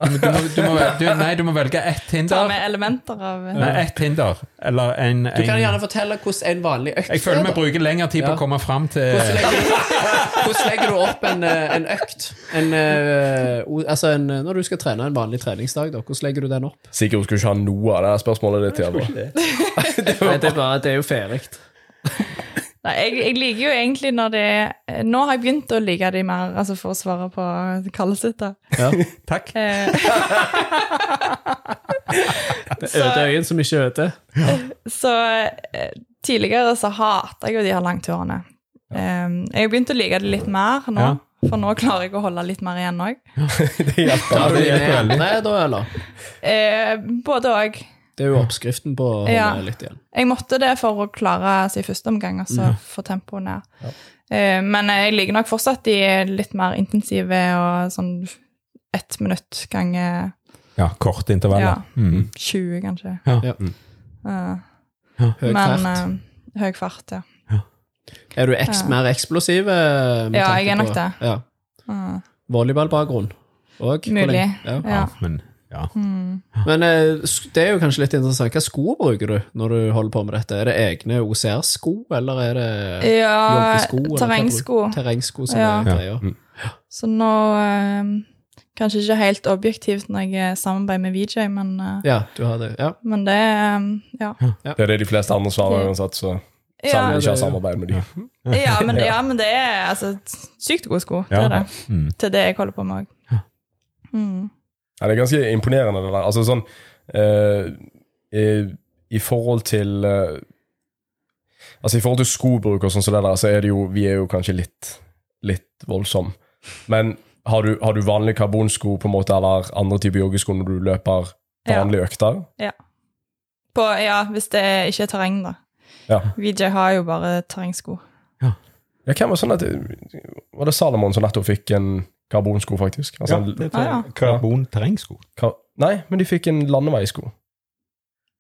Speaker 2: Du, må- du, må, du, må, du, nei, du må velge ett
Speaker 4: ta
Speaker 2: hinder.
Speaker 4: med elementer av
Speaker 2: Nei, ett hinder. Eller en,
Speaker 3: Du kan
Speaker 2: en
Speaker 3: gjerne fortelle hvordan en vanlig økt
Speaker 2: Jeg føler vi
Speaker 3: er, da.
Speaker 2: bruker lengre tid på
Speaker 3: Ja.
Speaker 2: å komme fram til
Speaker 3: Hvordan legger du- Hvordan legger du opp en, eh, en økt? En, eh, o- altså en, eh, når du skal trene en vanlig treningsdag, da, hvordan legger du den opp?
Speaker 1: Sikkert hun skulle ikke ha noe av det her spørsmålet ditt. Eva.
Speaker 3: Nei, Det er, bare, det er jo ferdig.
Speaker 4: Nei, jeg, jeg liker jo egentlig når det er Nå har jeg begynt å like de mer, altså for å svare på kallet sitt, da.
Speaker 3: Ja.
Speaker 2: Takk.
Speaker 4: Eh, [LAUGHS]
Speaker 3: Øde øyen som ikke øde.
Speaker 4: så eh, tidligere så hata jeg jo de her langturene. Eh, jeg har begynt å like det litt mer nå,
Speaker 2: Ja.
Speaker 4: for nå klarer jeg å holde litt mer igjen òg.
Speaker 1: Det hjelper.
Speaker 3: Tar du
Speaker 2: det
Speaker 3: dine
Speaker 2: hjelper veldig.
Speaker 3: andre da, eller?
Speaker 4: Eh, både òg.
Speaker 3: Det er jo oppskriften på å holde
Speaker 4: Ja.
Speaker 3: litt igjen.
Speaker 4: Jeg måtte det for å klare altså, i første omgang, altså få tempoet ned. Eh, men jeg ligger nok fortsatt i litt mer intensive og sånn ett minutt ganger
Speaker 2: Ja, korte intervaller.
Speaker 4: Ja.
Speaker 2: Mm.
Speaker 4: 20, kanskje.
Speaker 2: Ja.
Speaker 3: Ja.
Speaker 4: Eh,
Speaker 3: Høy
Speaker 4: men
Speaker 3: fart.
Speaker 4: eh, høy fart, ja.
Speaker 3: Er du eks,
Speaker 4: Ja.
Speaker 3: mer eksplosiv? eh, med
Speaker 4: Ja,
Speaker 3: tanke
Speaker 4: jeg er nok
Speaker 3: på-
Speaker 4: det.
Speaker 3: Ja. Eh,
Speaker 4: Mm.
Speaker 3: Volleyballbakgrunn òg?
Speaker 4: Mulig.
Speaker 3: Ja.
Speaker 4: Ja.
Speaker 2: Men ja.
Speaker 4: Mm.
Speaker 3: Men eh, sk- det er jo kanskje litt interessant. Hva sko bruker du når du holder på med dette? Er det egne OCR-sko, eller er det
Speaker 4: Eh, Ja,
Speaker 3: joggesko, eller hva bruker-
Speaker 4: terrengsko.
Speaker 3: terrengsko som
Speaker 4: Ja.
Speaker 3: er greia?
Speaker 4: Så nå eh, Kanskje ikke helt objektivt når jeg samarbeider med VJ, men, eh,
Speaker 3: Ja, du har det. Ja.
Speaker 4: men det eh, Ja.
Speaker 1: Det er det de fleste andre svarer
Speaker 4: Det-
Speaker 1: uansett, så selv om vi
Speaker 4: Ja,
Speaker 1: ikke har
Speaker 3: det er jo-
Speaker 1: samarbeid med de.
Speaker 4: ja, men, ja, men det er altså, sykt gode sko. Det
Speaker 2: Ja.
Speaker 4: er det.
Speaker 2: Mm.
Speaker 4: Til det jeg holder på med òg. Mm.
Speaker 1: Ja, det er ganske imponerende, det der. Altså sånn eh, i, I forhold til eh, Altså i forhold til skobruk og sånn som det der, så er det jo Vi er jo kanskje litt, litt voldsom. Men har du, har du vanlige karbonsko på en måte, eller andre typer joggesko når du løper
Speaker 4: Ja.
Speaker 1: vanlige økter?
Speaker 4: På, ja, hvis det ikke er terreng, da.
Speaker 1: Ja.
Speaker 4: VJ har jo bare terrengsko.
Speaker 1: ja. Hvem var sånn at Var det Salomon som nettopp fikk en karbonsko, faktisk? Altså, en-
Speaker 4: Ah, ja.
Speaker 2: Karbonterrengsko.
Speaker 1: ka nei, men de fikk en landeveisko.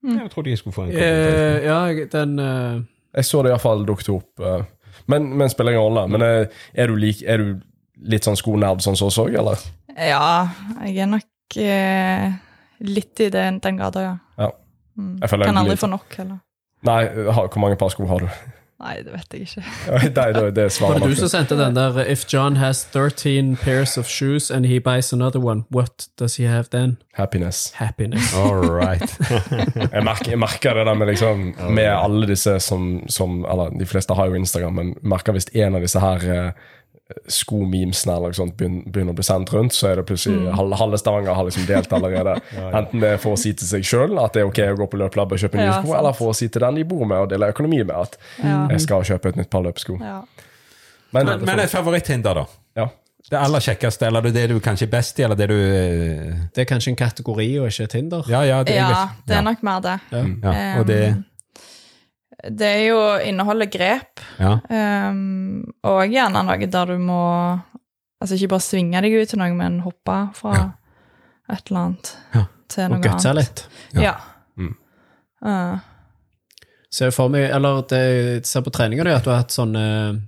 Speaker 2: Jeg trodde jeg skulle få en karbonterrengsko.
Speaker 3: Eh, ja, jeg- den eh,
Speaker 1: Jeg så det iallfall dukket opp. eh. Men, men spiller ingen rolle. Men eh, er du, lik, er du litt sånn skonerd sånn som oss òg, eller?
Speaker 4: Ja, jeg er nok eh, litt i det, den grada, ja.
Speaker 1: Ja.
Speaker 4: Mm.
Speaker 1: Jeg føler jeg
Speaker 4: Kan aldri
Speaker 1: litt-
Speaker 4: få nok, heller.
Speaker 1: Nei, ha, hvor mange par sko har du? [LAUGHS]
Speaker 4: Nei, det vet jeg
Speaker 2: [LAUGHS]
Speaker 4: ikke.
Speaker 1: Nei, det, det
Speaker 3: Var
Speaker 1: svarer
Speaker 3: det du
Speaker 1: nok.
Speaker 3: som sendte den der eh, If John has 13 pairs of shoes and he buys another one, what does he have then?
Speaker 1: Happiness.
Speaker 3: Happiness.
Speaker 2: All right.
Speaker 1: Jeg merker, jeg merker det der med liksom Med alle disse som, som Eller de fleste har jo Instagram, men merker hvis en av disse her eh, skomemesene eller noe sånt begyn- begynner å bli sendt rundt, så er det plutselig
Speaker 4: Mm.
Speaker 1: halve, halve Stavanger har liksom delt [LAUGHS] allerede. Enten det er for å si til seg sjøl at det er ok å gå på løpelabb og kjøpe nye
Speaker 4: Ja,
Speaker 1: sko,
Speaker 4: sant.
Speaker 1: eller for å si til den de bor med og deler økonomi med, at
Speaker 4: Ja.
Speaker 1: jeg skal kjøpe et nytt par løpesko.
Speaker 4: Ja.
Speaker 1: Men,
Speaker 2: men, men et favoritthinder, da?
Speaker 1: ja.
Speaker 2: Det aller kjekkeste, eller det du kanskje er best i, eller det du eh,
Speaker 3: Det er kanskje en kategori og ikke Tinder.
Speaker 2: Ja, ja, det, jeg
Speaker 4: ja,
Speaker 2: vet.
Speaker 4: det
Speaker 2: Ja.
Speaker 4: er nok mer det.
Speaker 2: Ja, og det
Speaker 4: Um, Det er jo inneholder grep,
Speaker 2: Ja.
Speaker 4: um, og gjerne noe der du må Altså ikke bare svinge deg ut til noe, men hoppe fra et eller annet
Speaker 2: Ja.
Speaker 4: til noe
Speaker 3: Og gutsa
Speaker 4: annet.
Speaker 3: litt.
Speaker 2: Ja.
Speaker 4: Ja.
Speaker 1: Mm.
Speaker 4: Uh,
Speaker 3: Se for meg, eller det, jeg ser på treninga di at du har hatt sånne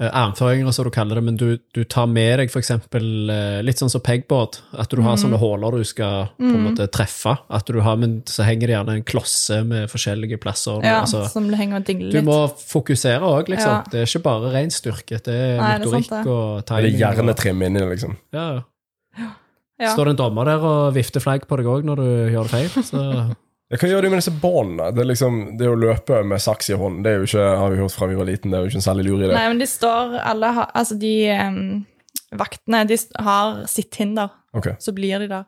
Speaker 3: eh, armføringer, som du kaller det, men du, du tar med deg for eksempel eh, litt sånn som pegboard, at du
Speaker 4: Mm.
Speaker 3: har sånne håler du skal på en måte treffe, at du har, men så henger det gjerne en klosse med forskjellige plasser.
Speaker 4: ja,
Speaker 3: altså,
Speaker 4: som henger og dingler
Speaker 3: du
Speaker 4: litt.
Speaker 3: må fokusere òg, liksom.
Speaker 4: Ja.
Speaker 3: Det er ikke bare ren styrke, det er
Speaker 4: Nei, det er sant,
Speaker 3: motorikk
Speaker 4: det.
Speaker 3: og
Speaker 1: Det
Speaker 3: timing.
Speaker 1: er hjernetrim inni det, liksom.
Speaker 3: og- Ja.
Speaker 4: Ja.
Speaker 3: Står det en dommer der og vifter flagg på deg òg når du gjør det feil, så
Speaker 1: Ja, Hva gjør du med disse båndene? Det, er liksom, det å løpe med saks i hånden, det er jo ikke, har vi hørt fra vi var liten, det er jo ikke en særlig lur idé.
Speaker 4: Nei, men de står alle har, Altså, de em, vaktene de st- har sitt hinder,
Speaker 1: Ok.
Speaker 4: så blir de der.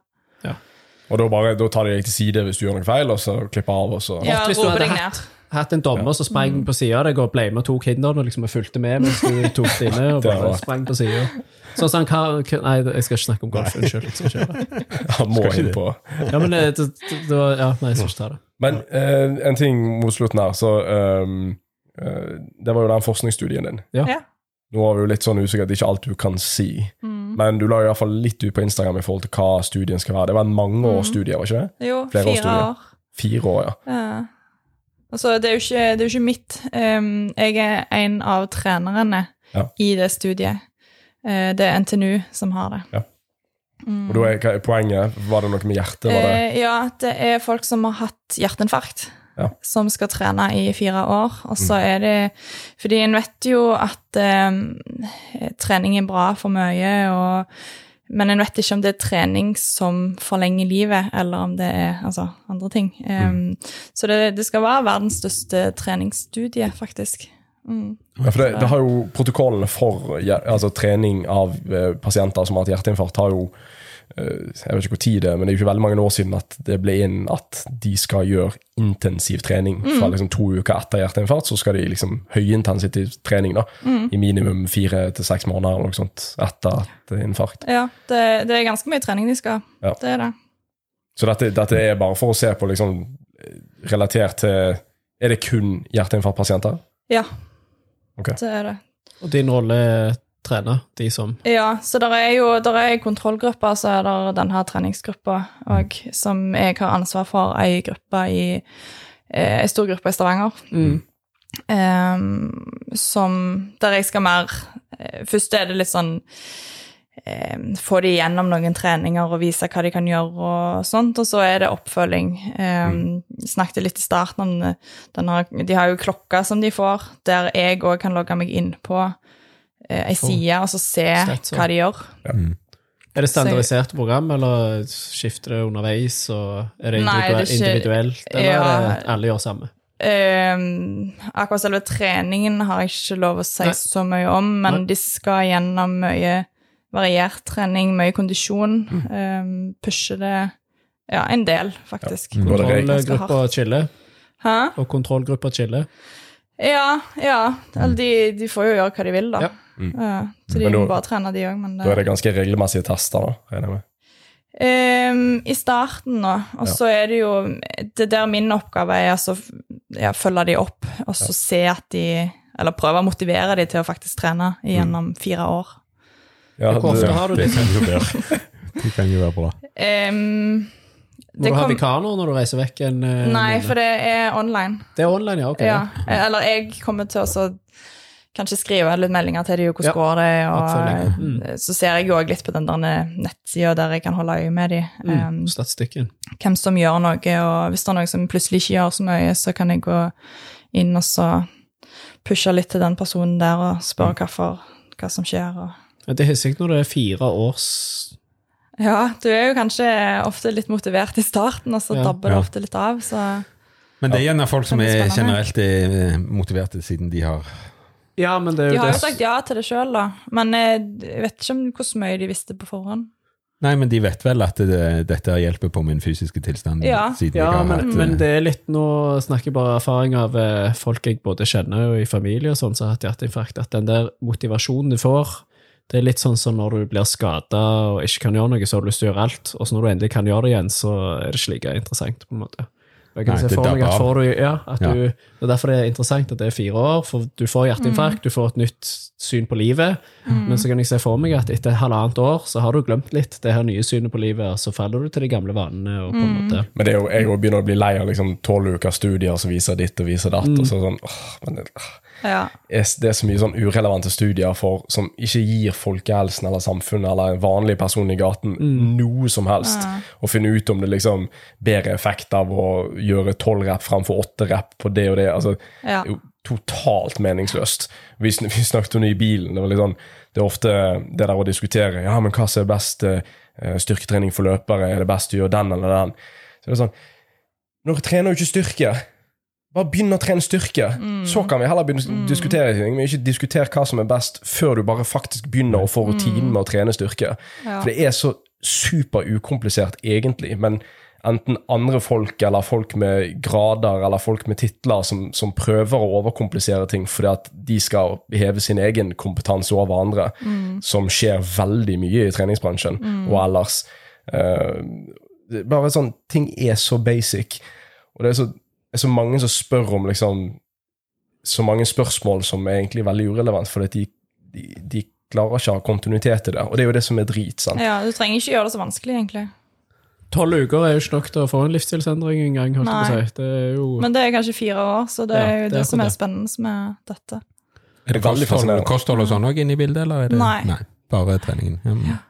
Speaker 1: Og da, bare, da tar de deg til side hvis du gjør noe feil, og så klipper av, og så
Speaker 4: Ja,
Speaker 3: hvis du
Speaker 4: roper
Speaker 3: hadde
Speaker 4: deg
Speaker 3: hatt-
Speaker 4: ned.
Speaker 3: hatt en dommer som sprang på sida av deg og ble med og tok hinderen og liksom fulgte med mens du tok dine og
Speaker 1: Det
Speaker 3: bare
Speaker 1: var-
Speaker 3: sprang på sida. Sånn som han Kar- K- Nei, jeg skal ikke snakke om golf. Unnskyld. jeg skal ikke gjøre det.
Speaker 1: han [LAUGHS] må inn på.
Speaker 3: Ja, men eh, det, det, det var, ja, nei, jeg skal ikke ta det.
Speaker 1: Men eh, en ting mot slutten her, så eh, eh, Det var jo den forskningsstudien din.
Speaker 4: Ja.
Speaker 1: Nå var vi jo litt sånn usikker, det er ikke alt du kan si.
Speaker 4: Mm.
Speaker 1: Men du la i hvert fall litt ut på Instagram i forhold til hva studien skal være. Det var en
Speaker 4: Mm.
Speaker 1: mangeårsstudie, var ikke det?
Speaker 4: Jo,
Speaker 1: Flere års
Speaker 4: fire
Speaker 1: studie.
Speaker 4: år.
Speaker 1: Fire år, ja.
Speaker 4: Ja. Altså, det er jo ikke, det er jo ikke mitt. Em, jeg er en av trenerne
Speaker 1: Ja.
Speaker 4: i det studiet. Eh, det er NTNU som har det.
Speaker 1: Og da er hva er poenget Var det noe med hjertet? Var det?
Speaker 4: Mm. Eh, ja, det er folk som har hatt hjerteinfarkt,
Speaker 1: Ja. Mm.
Speaker 4: som skal trene i fire år. Og så er det Fordi en vet jo at eh, trening er bra for mye, og men en vet ikke om det er trening som forlenger livet, eller om det er altså, andre ting. Eh,
Speaker 1: Mm.
Speaker 4: Så det, det skal være verdens største treningsstudie, faktisk. Mm.
Speaker 1: Ja, for det, det har jo Protokollene for hjer- altså, trening av eh, pasienter som har hatt hjerteinfarkt, har jo eh, Jeg vet ikke hvor tid det er, men det er jo ikke veldig mange år siden at det ble inn at de skal gjøre intensiv trening. Fra liksom to uker etter hjerteinfarkt så skal de liksom høyintensiv trening da, i minimum fire til seks måneder eller noe sånt etter et infarkt.
Speaker 4: Ja, det, det er ganske mye trening de skal.
Speaker 1: Ja.
Speaker 4: Det er det.
Speaker 1: Så dette, dette er bare for å se på liksom eh, relatert til Er det kun hjerteinfarktpasienter?
Speaker 4: Ja.
Speaker 1: Ok.
Speaker 4: Det er det.
Speaker 3: Og din rolle er trener, de som
Speaker 4: Ja, så der er jo der er kontrollgrupper, så er der denne treningsgruppa òg, som jeg har ansvar for ei gruppe i eh, en stor gruppe i Stavanger.
Speaker 3: Mm.
Speaker 4: eh, som Der jeg skal mer eh, Først er det litt sånn eh, Få de gjennom noen treninger og vise hva de kan gjøre og sånt, og så er det oppfølging. Eh, Snakket litt i starten om eh, den har, De har jo klokka som de får, der jeg òg kan logge meg inn på eh, ei side og så se
Speaker 3: Stats, ja.
Speaker 4: hva de gjør.
Speaker 3: Er det standardiserte program, eller skifter det underveis? Og er det,
Speaker 4: Nei, det er
Speaker 3: individue-
Speaker 4: ikke-
Speaker 3: individuelt, eller
Speaker 4: Ja.
Speaker 3: er det alle gjør samme?
Speaker 4: Ehm, akkurat selve treningen har jeg ikke lov å si
Speaker 3: Nei.
Speaker 4: så mye om, men
Speaker 3: Nei.
Speaker 4: de skal gjennom mye variert trening, mye kondisjon. ehm, pushe det Ja, en del, faktisk.
Speaker 2: Ja. Mm.
Speaker 1: Nå er det regn.
Speaker 4: Ganske
Speaker 3: Kontrollgruppa
Speaker 4: hardt.
Speaker 3: chiller,
Speaker 4: Hæ?
Speaker 3: og kontrollgruppa chiller.
Speaker 4: Ja, ja. Eller de, de får jo gjøre hva de vil, da.
Speaker 3: Ja.
Speaker 1: Mm.
Speaker 4: Ja, så de
Speaker 1: Men da-
Speaker 4: må bare trene, de òg, men det,
Speaker 1: Da er det ganske regelmessige tester, da, regner jeg med.
Speaker 4: Ehm, I starten nå. Og
Speaker 1: Ja.
Speaker 4: så er det jo Det der min oppgave er altså ja, følge de opp, og så se at de Eller prøve å motivere de til å faktisk trene
Speaker 3: Mm.
Speaker 4: gjennom fire år.
Speaker 1: Ja,
Speaker 3: Hvor ofte
Speaker 1: det,
Speaker 3: har du
Speaker 2: Det
Speaker 3: det?
Speaker 2: kan jo være, det kan jo være bra.
Speaker 4: Ehm,
Speaker 3: Må
Speaker 4: det
Speaker 3: du ha
Speaker 4: kom-
Speaker 3: vikar nå når du reiser vekk en eh,
Speaker 4: Nei,
Speaker 3: måned?
Speaker 4: for det er online.
Speaker 3: Det er online, ja. ok.
Speaker 4: Ja. Eller jeg kommer til å så kanskje skrive litt meldinger til dem, hvordan
Speaker 3: Ja.
Speaker 4: går det, og
Speaker 3: Oppfølging. Mm.
Speaker 4: eh, så ser jeg jo òg litt på den der nettsida der jeg kan holde øye med Ehm, dem.
Speaker 3: Mm. Statistikken.
Speaker 4: hvem som gjør noe, og hvis det er noen som plutselig ikke gjør så mye, så kan jeg gå inn og så pushe litt til den personen der og spørre hvorfor, hva som skjer. Og
Speaker 3: Men Det er hissig når det er fire års
Speaker 4: ja, du er jo kanskje ofte litt motivert i starten, og så
Speaker 3: Ja.
Speaker 4: dabber det
Speaker 2: Ja.
Speaker 4: ofte litt av. Så
Speaker 2: Men det er gjerne folk som er
Speaker 4: Kjempespennende.
Speaker 2: generelt eh, motiverte siden de har
Speaker 3: Ja, men det er
Speaker 4: de
Speaker 3: jo
Speaker 4: har jo
Speaker 3: det
Speaker 4: sagt ja til det sjøl, da. Men eh, jeg vet ikke om hvor mye de visste på forhånd.
Speaker 2: Nei, men de vet vel at det, dette hjelper på min fysiske tilstand.
Speaker 4: Ja.
Speaker 2: siden jeg
Speaker 3: Ja,
Speaker 2: har
Speaker 3: men,
Speaker 2: hatt,
Speaker 3: men
Speaker 2: eh,
Speaker 3: det er litt Nå snakker jeg bare av erfaring av eh, folk jeg både kjenner og i familie, og sånn, som har hatt hjerteinfarkt, at den der motivasjonen du får det er litt sånn som når du blir skada og ikke kan gjøre noe, så har du lyst til å gjøre alt. Og så når du endelig kan gjøre det igjen, så er det ikke like interessant. på en måte. Og Jeg kan
Speaker 2: Nei,
Speaker 3: se
Speaker 2: det
Speaker 3: for meg
Speaker 2: dabber
Speaker 3: at
Speaker 2: av.
Speaker 3: får du, ja, at
Speaker 2: Ja.
Speaker 3: du, det er derfor det er interessant at det er fire år, for du får hjerteinfarkt, du får et nytt syn på livet. Men så kan jeg se for meg at etter halvannet år så har du glemt litt det her nye synet på livet, og så faller du til de gamle vanene. og på en måte...
Speaker 1: men det er jo, jeg også begynner å bli lei av liksom tolv uker studier som viser ditt og viser datt. og så sånn, åh, men det, åh.
Speaker 4: Ja.
Speaker 1: er- det er så mye sånn urelevante studier for, som ikke gir folkehelsen eller samfunnet eller en vanlig person i gaten noe som helst. Og finne ut om det liksom bedre effekt av å gjøre tolv rep framfor åtte rep på det og det. altså
Speaker 4: Ja.
Speaker 1: det er jo totalt meningsløst. Vi, sn [LAUGHS] vi snakket om det i bilen. Det, var litt sånn, det er ofte det der å diskutere ja, men hva som er best eh, styrketrening for løpere. Er det best å gjøre den eller den? Så det er sånn, Når trener du ikke styrke? Bare begynn å trene styrke. Så kan vi heller begynne å diskutere ting. Men ikke diskuter hva som er best, før du bare faktisk begynner å få rutinen med å trene styrke.
Speaker 4: Ja.
Speaker 1: For det er så super ukomplisert egentlig, men enten andre folk, eller folk med grader, eller folk med titler som, som prøver å overkomplisere ting fordi at de skal heve sin egen kompetanse over andre, som skjer veldig mye i treningsbransjen og ellers. Eh, det er bare sånn, ting er så basic, og det er så, det er så mange som spør om liksom, så mange spørsmål som er egentlig veldig urelevant, fordi at de, de, de klarer ikke å ha kontinuitet i det, og det er jo det som er drit, sant?
Speaker 4: ja, du trenger ikke gjøre det så vanskelig, egentlig.
Speaker 3: Tolv uker er jo ikke nok til å få en livsstilsendring engang. holdt jeg på
Speaker 4: Nei.
Speaker 3: å si. Det er jo...
Speaker 4: Men det er kanskje fire år, så det
Speaker 3: Ja,
Speaker 4: er jo
Speaker 3: det
Speaker 4: det,
Speaker 3: er
Speaker 4: som er
Speaker 3: akkurat
Speaker 4: spennende med dette.
Speaker 1: Er det veldig
Speaker 2: kosthold,
Speaker 1: fascinerende?
Speaker 2: kosthold og sånn òg inne i bildet, eller? Er det?
Speaker 4: Nei.
Speaker 2: Bare treningen. Ja. men-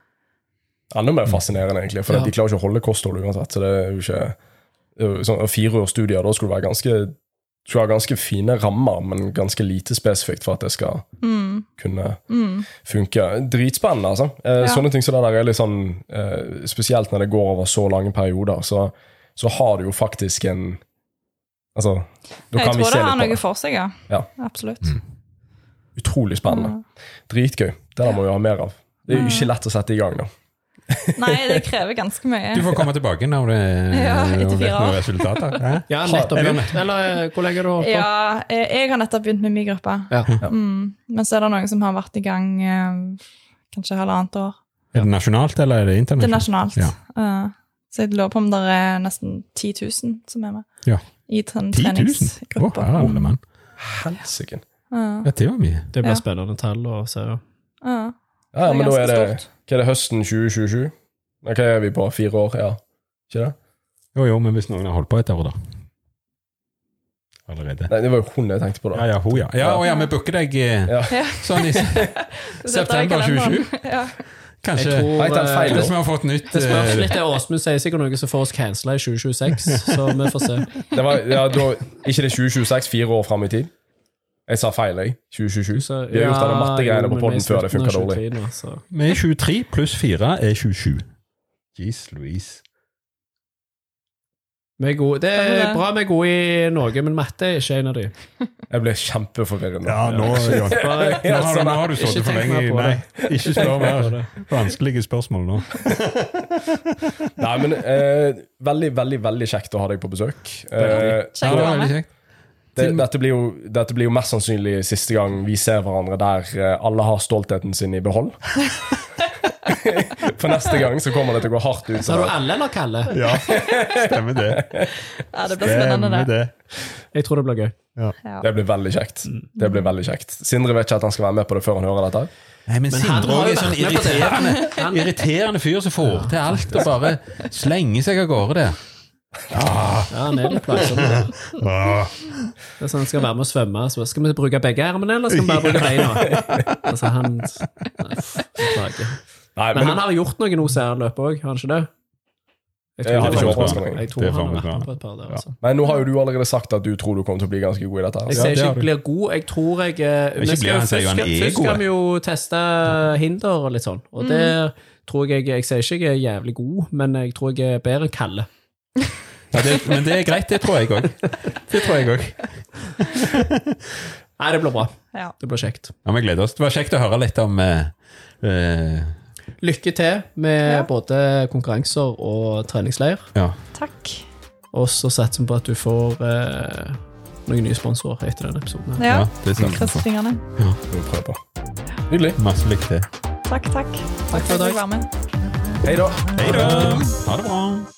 Speaker 1: Enda mer fascinerende, egentlig, for
Speaker 3: Ja.
Speaker 1: de klarer ikke å holde kosthold uansett. så det er jo ikke... det er jo Sånn, fire års studier, da skulle du være ganske skulle ha ganske fine rammer, men ganske lite spesifikt for at det skal
Speaker 4: Mm.
Speaker 1: kunne
Speaker 4: Mm.
Speaker 1: funke. Dritspennende, altså. Eh,
Speaker 4: Ja.
Speaker 1: Sånne ting som det der er litt sånn eh, Spesielt når det går over så lange perioder, så, så har du jo faktisk en Altså, da
Speaker 4: Jeg
Speaker 1: kan vi
Speaker 4: tror
Speaker 1: se
Speaker 4: det har
Speaker 1: litt på
Speaker 4: noe
Speaker 1: det.
Speaker 4: for seg, ja.
Speaker 1: Ja.
Speaker 4: Absolutt.
Speaker 1: Utrolig
Speaker 4: Mm.
Speaker 1: spennende. Dritgøy. Det der må vi ha mer av. Det er jo ikke lett å sette i gang, da.
Speaker 4: Nei, det krever ganske mye.
Speaker 2: Du får komme tilbake når du
Speaker 4: Ja,
Speaker 2: når
Speaker 4: etter
Speaker 2: du vet
Speaker 4: fire år.
Speaker 2: noen resultater. Hæ?
Speaker 3: Ja, nettopp.
Speaker 2: Eller-
Speaker 3: begynt. Eller eh, hvor lenge har du holdt på?
Speaker 4: Ja, eh, jeg har nettopp begynt med min gruppe.
Speaker 3: Ja.
Speaker 4: Mm. Men så er det noen som har vært i gang eh, kanskje halvannet år.
Speaker 2: Er det nasjonalt, eller er det
Speaker 4: Det er
Speaker 2: internasjonalt?
Speaker 4: nasjonalt.
Speaker 2: Ja.
Speaker 4: Eh, så jeg lurer på om det er nesten 10 000 som er med
Speaker 2: Ja.
Speaker 4: i den
Speaker 2: 10 000? Å,
Speaker 4: treningsgruppa.
Speaker 2: herre mann.
Speaker 1: Helsike.
Speaker 4: Ja.
Speaker 2: Ja, det var mye.
Speaker 3: Det blir
Speaker 4: Ja.
Speaker 3: spennende tall å se. ja.
Speaker 4: Ja.
Speaker 1: Ja, ja,
Speaker 4: Det er
Speaker 1: men da er
Speaker 4: ganske
Speaker 1: det,
Speaker 4: stort.
Speaker 1: hva er det høsten 2027? Nei, Hva er vi på? Fire år? Ja. Ikke det?
Speaker 2: Jo, jo, men hvis noen har holdt på et år, da. allerede.
Speaker 1: Nei, det var jo hun jeg tenkte på,
Speaker 2: Ja,
Speaker 1: da.
Speaker 2: ja, hun, ja. Ja, og ja, vi booker deg eh,
Speaker 1: Ja.
Speaker 4: Ja.
Speaker 2: sånn
Speaker 3: [LAUGHS]
Speaker 2: i september 2020.
Speaker 4: Ja.
Speaker 2: Kanskje.
Speaker 3: Jeg tror
Speaker 1: Nei, ta en feil,
Speaker 3: eh,
Speaker 2: Hvis vi har fått nytt
Speaker 3: Det spørs
Speaker 2: eh,
Speaker 3: litt det Åsmund sier sikkert noe som får oss cancela i 2026, [LAUGHS] så vi får se.
Speaker 1: Det var, ja, da, ikke det 2026, fire år fram i tid? Jeg sa feil, jeg. 2027.
Speaker 3: Så,
Speaker 1: Vi har gjort alle mattegreiene
Speaker 3: jo,
Speaker 1: på
Speaker 3: men vi
Speaker 1: podden
Speaker 3: er
Speaker 1: før det
Speaker 3: slutten av
Speaker 1: funka dårlig.
Speaker 3: 23 nå, så.
Speaker 2: Vi er 23 pluss 4 er 27. Jeez Louise.
Speaker 3: Vi er gode. Det
Speaker 4: Stemmer
Speaker 3: er
Speaker 4: det.
Speaker 3: bra vi er gode i noe, men matte er ikke en av de.
Speaker 1: Jeg ble kjempeforvirrende.
Speaker 2: Ja, nå, ja.
Speaker 3: [LAUGHS] Bare,
Speaker 2: Nå har du, nå har du
Speaker 3: Ikke
Speaker 2: sittet for
Speaker 3: tenk
Speaker 2: lenge
Speaker 3: mer
Speaker 2: i
Speaker 3: på
Speaker 2: Nei,
Speaker 3: det.
Speaker 2: ikke spør mer. Vanskelige spørsmål nå.
Speaker 1: Nei, men eh, veldig, veldig veldig kjekt å ha deg på besøk. Eh,
Speaker 2: Ja,
Speaker 4: Kjekt å være med.
Speaker 2: kjekt.
Speaker 1: det, dette, blir jo, dette blir jo mest sannsynlig siste gang vi ser hverandre der eh, alle har stoltheten sin i
Speaker 3: [LAUGHS]
Speaker 1: behold. For neste gang så kommer det til å gå hardt ut.
Speaker 3: Sa du alle eller Kalle?
Speaker 2: Ja, stemmer det.
Speaker 4: ja, det blir spennende,
Speaker 2: Stemmer
Speaker 4: det.
Speaker 2: det.
Speaker 3: Jeg tror det blir gøy.
Speaker 4: Ja.
Speaker 1: Det blir veldig kjekt. Det blir veldig kjekt. Sindre vet ikke at han skal være med på det før han hører dette.
Speaker 2: Nei, men
Speaker 3: han
Speaker 2: Sindre
Speaker 3: har
Speaker 2: også
Speaker 3: jo
Speaker 2: er sånn
Speaker 3: vært med på det.
Speaker 2: irriterende,
Speaker 3: Han-
Speaker 2: irriterende fyr som får til alt og bare slenger seg av gårde der.
Speaker 3: Ja, han er litt plagsom. Det er sånn, skal være med å svømme, så skal vi bruke begge ermene, eller skal vi bare bruke beina? Altså, han Nei, beklager.
Speaker 1: Nei,
Speaker 3: Men han har gjort noen OCR-løp òg, har han ikke det?
Speaker 1: Jeg har
Speaker 2: ikke
Speaker 3: han-
Speaker 2: overrasket
Speaker 1: meg.
Speaker 3: Jeg tror
Speaker 2: Det er
Speaker 3: han har
Speaker 2: faen meg
Speaker 3: vært med
Speaker 2: bra.
Speaker 3: på et par der,
Speaker 2: Ja.
Speaker 3: altså.
Speaker 1: men nå har jo du allerede sagt at du tror du kommer til å bli ganske god i dette. her.
Speaker 3: Jeg
Speaker 2: Ja,
Speaker 3: sier
Speaker 2: det
Speaker 3: ikke
Speaker 2: har
Speaker 3: jeg
Speaker 2: du.
Speaker 3: blir god, jeg tror jeg eh,
Speaker 2: Ikke
Speaker 3: vi skal-
Speaker 2: blir han, sier jo han
Speaker 3: først skal-
Speaker 2: er
Speaker 3: Først skal
Speaker 2: god.
Speaker 3: vi jo teste hinder og litt sånn, og det tror jeg jeg sier ikke jeg er jævlig god, men jeg tror jeg er bedre enn Kalle.
Speaker 2: Ja, det, men det er greit, det tror jeg òg. Det tror jeg òg.
Speaker 3: Nei, det blir bra.
Speaker 4: Ja.
Speaker 3: Det blir kjekt.
Speaker 2: Ja, vi gleder oss. Det var kjekt å høre litt om eh, eh,
Speaker 3: Lykke til med
Speaker 4: Ja.
Speaker 3: både konkurranser og treningsleir,
Speaker 2: Ja.
Speaker 4: Takk.
Speaker 3: og så satser vi på at du får eh, noen nye sponsorer etter denne episoden. her.
Speaker 4: Ja.
Speaker 2: ja, det snakker vi
Speaker 4: Kryss
Speaker 2: for.
Speaker 4: fingrene.
Speaker 1: Det får vi prøve på. Nydelig.
Speaker 2: Masse lykke til.
Speaker 4: Takk, takk. Takk for at jeg fikk være med.
Speaker 1: Hei da.
Speaker 2: Ha det bra.